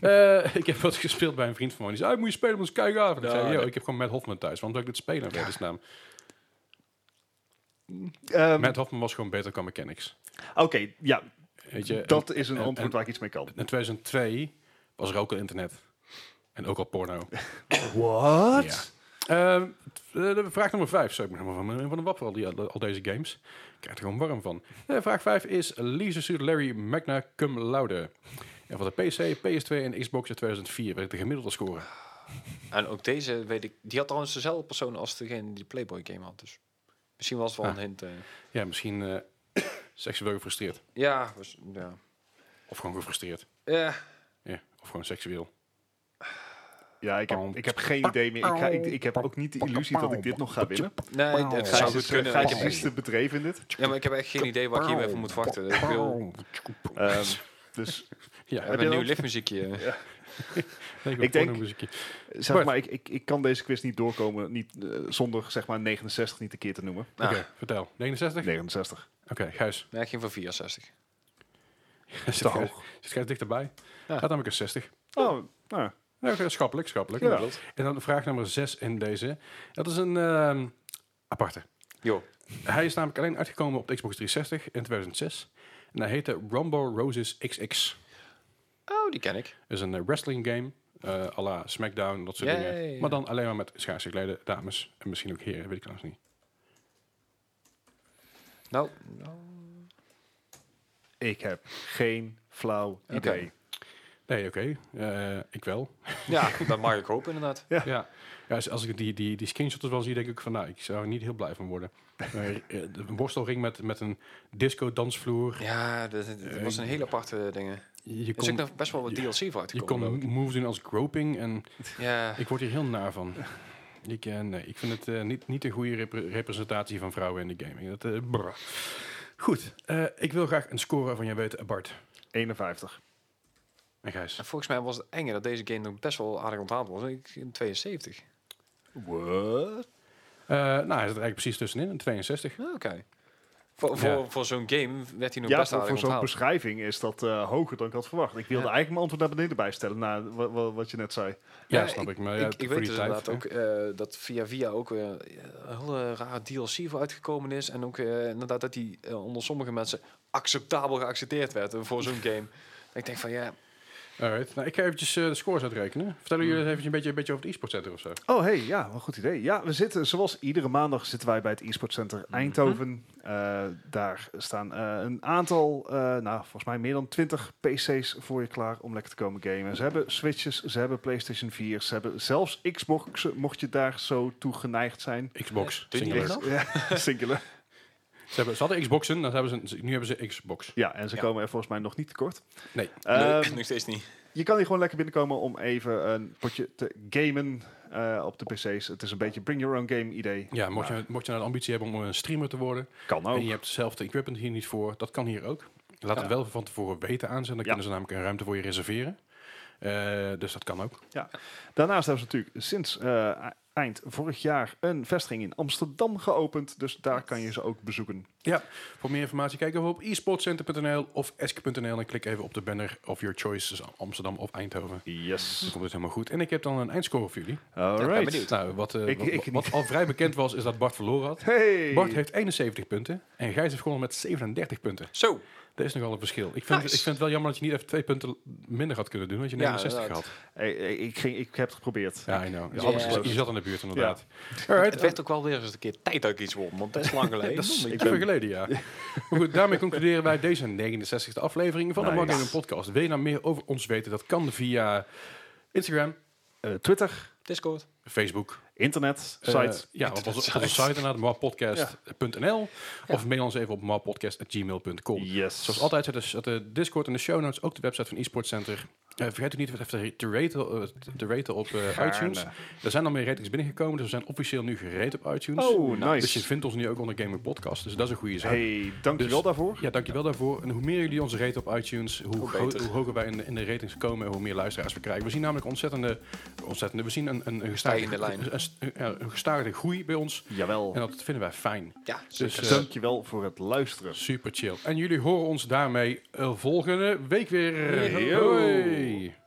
Speaker 1: Eh, ik heb wat gespeeld bij een vriend van mij. Die zei, "Ah, moet je spelen, moet je eens kijken. af." En ik
Speaker 3: Ja,
Speaker 1: zei, yo,
Speaker 3: nee.
Speaker 1: ik heb gewoon Matt Hoffman thuis. Waarom zou ik dit spelen? Ja. naam.
Speaker 2: ehm,
Speaker 1: Matt Hoffman was gewoon beter qua mechanics.
Speaker 2: Oké, ja,
Speaker 1: Weet je,
Speaker 2: dat is een
Speaker 1: en-
Speaker 2: antwoord
Speaker 1: en-
Speaker 2: waar ik iets mee kan.
Speaker 1: in 2002 was er ook al internet. En ook al porno.
Speaker 2: What?
Speaker 1: Ja. Ehm, t- eh, de vraag nummer 5. Zo, ik ben helemaal van, mijn- van de wap al, die, al deze games. Ik krijg er gewoon warm van. Eh, vraag 5 is Lisa Suit Larry Magna Cum Laude. En van de PC, PS2 en Xbox in 2004 werd de gemiddelde score.
Speaker 3: en ook deze weet ik. Die had trouwens dezelfde persoon als degene die de Playboy game had. Dus misschien was het wel
Speaker 1: Ah.
Speaker 3: een hint. eh.
Speaker 1: Ja, misschien eh, <clears throat> seksueel gefrustreerd.
Speaker 3: Ja, was, ja.
Speaker 1: Of gewoon gefrustreerd.
Speaker 3: Eh,
Speaker 1: Ja, of gewoon seksueel.
Speaker 2: Ja, ik heb, ik heb geen idee meer. Ik, ga, ik, ik heb ook niet de illusie dat ik dit nog ga winnen.
Speaker 3: nee, dat
Speaker 2: Gijs
Speaker 3: zou
Speaker 2: is,
Speaker 3: goed
Speaker 2: eh,
Speaker 3: kunnen.
Speaker 2: Gijs
Speaker 3: Ik
Speaker 2: is iets te bedreven in dit.
Speaker 3: heb- ja, maar ik heb echt geen idee waar ik hiermee voor moet wachten. Ik wil,
Speaker 2: Ehm, dus
Speaker 3: we
Speaker 1: Ja,
Speaker 2: Heb je
Speaker 3: hebben een nieuw
Speaker 2: dat?
Speaker 3: liftmuziekje.
Speaker 1: ik
Speaker 2: denk-
Speaker 1: denk... muziekje.
Speaker 2: zeg maar, ik, ik, ik kan deze quiz niet doorkomen niet, eh, zonder zeg maar 69 niet een keer te noemen.
Speaker 1: Oké,
Speaker 3: Nou,
Speaker 1: vertel. 69?
Speaker 2: 69.
Speaker 1: Oké, Gijs.
Speaker 3: nee, ik ging voor 64.
Speaker 1: Zit Gijs, zit Gijs dichterbij? Gaat namelijk een 60.
Speaker 2: Oh, nou,
Speaker 1: Nou, oké, schappelijk, schappelijk.
Speaker 2: Ja.
Speaker 1: En dan vraag nummer 6 in deze. Dat is een ehm, aparte.
Speaker 3: Jo.
Speaker 1: Hij is namelijk alleen uitgekomen op de Xbox 360 in 2006. En hij heette Rumble Roses XX.
Speaker 3: Oh, die ken ik.
Speaker 1: is een eh, wrestling game. eh à la Smackdown en dat soort
Speaker 3: Ja,
Speaker 1: dingen.
Speaker 3: ja, ja, ja.
Speaker 1: Maar dan alleen maar met schaarse geklede dames. En misschien ook heren, weet ik trouwens niet.
Speaker 3: Nou, nou,
Speaker 2: ik heb geen flauw
Speaker 3: Oké.
Speaker 2: idee.
Speaker 1: Nee, oké. eh, ik wel.
Speaker 3: ja, dat mag ik hopen inderdaad.
Speaker 1: Ja. <laughs> ja als, als ik die, die, die screenshots wel zie, denk ik van... Nou, ik zou er niet heel blij van worden. Maar, eh, een borstelring met, met een disco-dansvloer.
Speaker 3: Ja, dat, dat- dat was een hele aparte dingen.
Speaker 1: Je
Speaker 3: Er is ook
Speaker 1: kon,
Speaker 3: nog best wel wat
Speaker 1: je-
Speaker 3: DLC voor uit te
Speaker 1: je kon
Speaker 3: komen. ook.
Speaker 1: moves doen als groping. En
Speaker 3: Ja,
Speaker 1: ik word hier heel naar van. Ik, eh, nee, ik vind het eh, niet, niet een goede repre- representatie van vrouwen in de gaming. Dat, eh, brr. Goed, eh, ik wil graag een score van jou weten, Bart.
Speaker 2: 51.
Speaker 1: En Gijs.
Speaker 3: en volgens mij was het enge dat deze game nog best wel aardig onthaald was. Ik in 72.
Speaker 2: What?
Speaker 1: Eh, nou, hij zit er eigenlijk precies tussenin, een 62.
Speaker 3: Oh, Oké. Voor, voor,
Speaker 1: Ja.
Speaker 3: voor zo'n game werd hij nog
Speaker 2: Ja,
Speaker 3: best
Speaker 2: voor,
Speaker 3: aardig
Speaker 2: voor zo'n
Speaker 3: onthaald.
Speaker 2: beschrijving is dat eh, hoger dan ik had verwacht. Ik wilde
Speaker 3: Ja.
Speaker 2: eigenlijk mijn antwoord naar beneden bijstellen, na wa- wa- wat je net zei.
Speaker 1: Ja,
Speaker 3: Ja,
Speaker 1: snap ik. Maar ja,
Speaker 3: Ik, ik
Speaker 1: voor
Speaker 3: weet
Speaker 1: die
Speaker 3: dus
Speaker 1: tijd,
Speaker 3: inderdaad
Speaker 1: hè.
Speaker 3: ook eh, dat via via ook eh, een hele rare DLC voor uitgekomen is. En ook eh, inderdaad dat die eh, onder sommige mensen acceptabel geaccepteerd werd eh, voor
Speaker 1: <laughs>
Speaker 3: zo'n game. Ik denk van ja,
Speaker 1: Alright. Nou, ik ga eventjes eh, de scores uitrekenen. Vertellen jullie eens even een beetje, een beetje over het e-sport center of zo.
Speaker 2: Oh, hey, ja, wat een goed idee. Ja, we zitten, zoals iedere maandag, zitten wij bij het e-sport center
Speaker 3: Mhm.
Speaker 2: Eindhoven. Eh, daar staan eh, een aantal, eh, nou, volgens mij meer dan 20 PC's voor je klaar om lekker te komen gamen. Ze hebben Switches, ze hebben PlayStation 4, ze hebben zelfs Xbox, mocht je daar zo toe geneigd zijn.
Speaker 1: Xbox.
Speaker 3: Doe je niet
Speaker 1: singular.
Speaker 3: echt
Speaker 2: <laughs>
Speaker 3: nog?
Speaker 2: Ja, singular.
Speaker 1: Ze, hebben, ze hadden Xboxen, dan hebben ze, nu hebben ze Xbox.
Speaker 2: Ja, en ze
Speaker 3: Ja.
Speaker 2: komen er volgens mij nog niet tekort.
Speaker 1: Nee.
Speaker 3: leuk,
Speaker 2: Ehm,
Speaker 3: <laughs> nog steeds niet.
Speaker 2: Je kan hier gewoon lekker binnenkomen om even een potje te gamen eh, op de PC's. Het is een beetje bring your own game idee.
Speaker 1: Ja, mocht je, mocht je nou de ambitie hebben om een streamer te worden...
Speaker 2: Kan
Speaker 1: en je
Speaker 2: ook.
Speaker 1: hebt hetzelfde equipment hier niet voor, dat kan hier ook. Laat het wel van tevoren weten aan zijn. Dan
Speaker 2: Ja.
Speaker 1: kunnen ze namelijk een ruimte voor je reserveren. Eh, dus dat kan ook.
Speaker 2: Daarnaast hebben ze natuurlijk sinds eh, eind vorig jaar een vestiging in Amsterdam geopend. Dus daar kan je ze ook bezoeken.
Speaker 1: Ja, voor meer informatie kijk even op esportcenter.nl of esk.nl en klik even op de banner of your choice, dus Amsterdam of Eindhoven. Dan
Speaker 2: Yes.
Speaker 1: komt het helemaal goed. En ik heb dan een eindscore voor jullie.
Speaker 3: ben
Speaker 2: Alright.
Speaker 3: benieuwd.
Speaker 1: Nou, wat, eh,
Speaker 2: Ik-
Speaker 1: wat,
Speaker 2: ik
Speaker 1: wat al vrij bekend was, is dat Bart verloren had.
Speaker 2: Hey.
Speaker 1: Bart heeft 71 punten en Gijs heeft gewonnen met 37 punten.
Speaker 3: Zo,
Speaker 1: Dat is nogal een verschil. Ik vind,
Speaker 3: Nice.
Speaker 1: ik vind het wel jammer dat je niet even twee punten minder had kunnen doen, want je
Speaker 3: Ja,
Speaker 1: 69 had.
Speaker 3: inderdaad.
Speaker 2: Hey, hey, ik, ging, ik heb het geprobeerd.
Speaker 1: Ja, I know.
Speaker 2: Ja,
Speaker 1: Alles-
Speaker 3: absoluut.
Speaker 1: Je zat in de buurt, inderdaad. Alright.
Speaker 3: het werd ook wel weer eens een keer tijd dat ik iets won, want dat
Speaker 1: <laughs>
Speaker 3: is lang geleden.
Speaker 1: ehm, Dat is
Speaker 3: Ik-
Speaker 1: eh, even geleden, ja. Maar goed, daarmee concluderen wij deze 69e aflevering van de
Speaker 2: Nice.
Speaker 1: Marketing Podcast. Wil je nou meer over ons weten? Dat kan via Instagram,
Speaker 2: eh, Twitter,
Speaker 3: Discord.
Speaker 1: Facebook.
Speaker 2: internet,
Speaker 1: eh,
Speaker 2: site.
Speaker 1: ja, op onze, op onze
Speaker 3: Internet-site.
Speaker 1: site inderdaad, marpodcast.nl. Of mail ons even op marpodcast.gmail.com.
Speaker 2: yes.
Speaker 1: Zoals altijd zet dus de Discord en de show notes, ook de website van eSports Center. Eh, vergeet ook niet even te raten, eh, te raten op eh,
Speaker 2: Gaarne.
Speaker 1: iTunes. Er zijn al meer ratings binnengekomen, dus we zijn officieel nu gereed op iTunes.
Speaker 2: Oh, nice.
Speaker 1: Dus je vindt ons nu ook onder Gamer Podcast, dus dat is een goede zaak.
Speaker 2: Hey, dankjewel
Speaker 1: Dus-
Speaker 2: daarvoor.
Speaker 1: Ja, dankjewel daarvoor. En hoe meer jullie ons raten op iTunes, hoe,
Speaker 3: Hoe
Speaker 1: gro-
Speaker 3: beter.
Speaker 1: hoe hoger wij in de, in de ratings komen en hoe meer luisteraars we krijgen. We zien namelijk ontzettende, ontzettende we zien een, een, een, gestaarde,
Speaker 3: Stijgende lijn.
Speaker 1: een, een- ja, een gestaarde groei bij ons.
Speaker 2: Jawel.
Speaker 1: En dat vinden wij fijn.
Speaker 3: Ja,
Speaker 1: Dus eh,
Speaker 2: Dankjewel voor het luisteren.
Speaker 1: super chill. En jullie horen ons daarmee eh, volgende week weer.
Speaker 2: Yo.
Speaker 1: Hoi.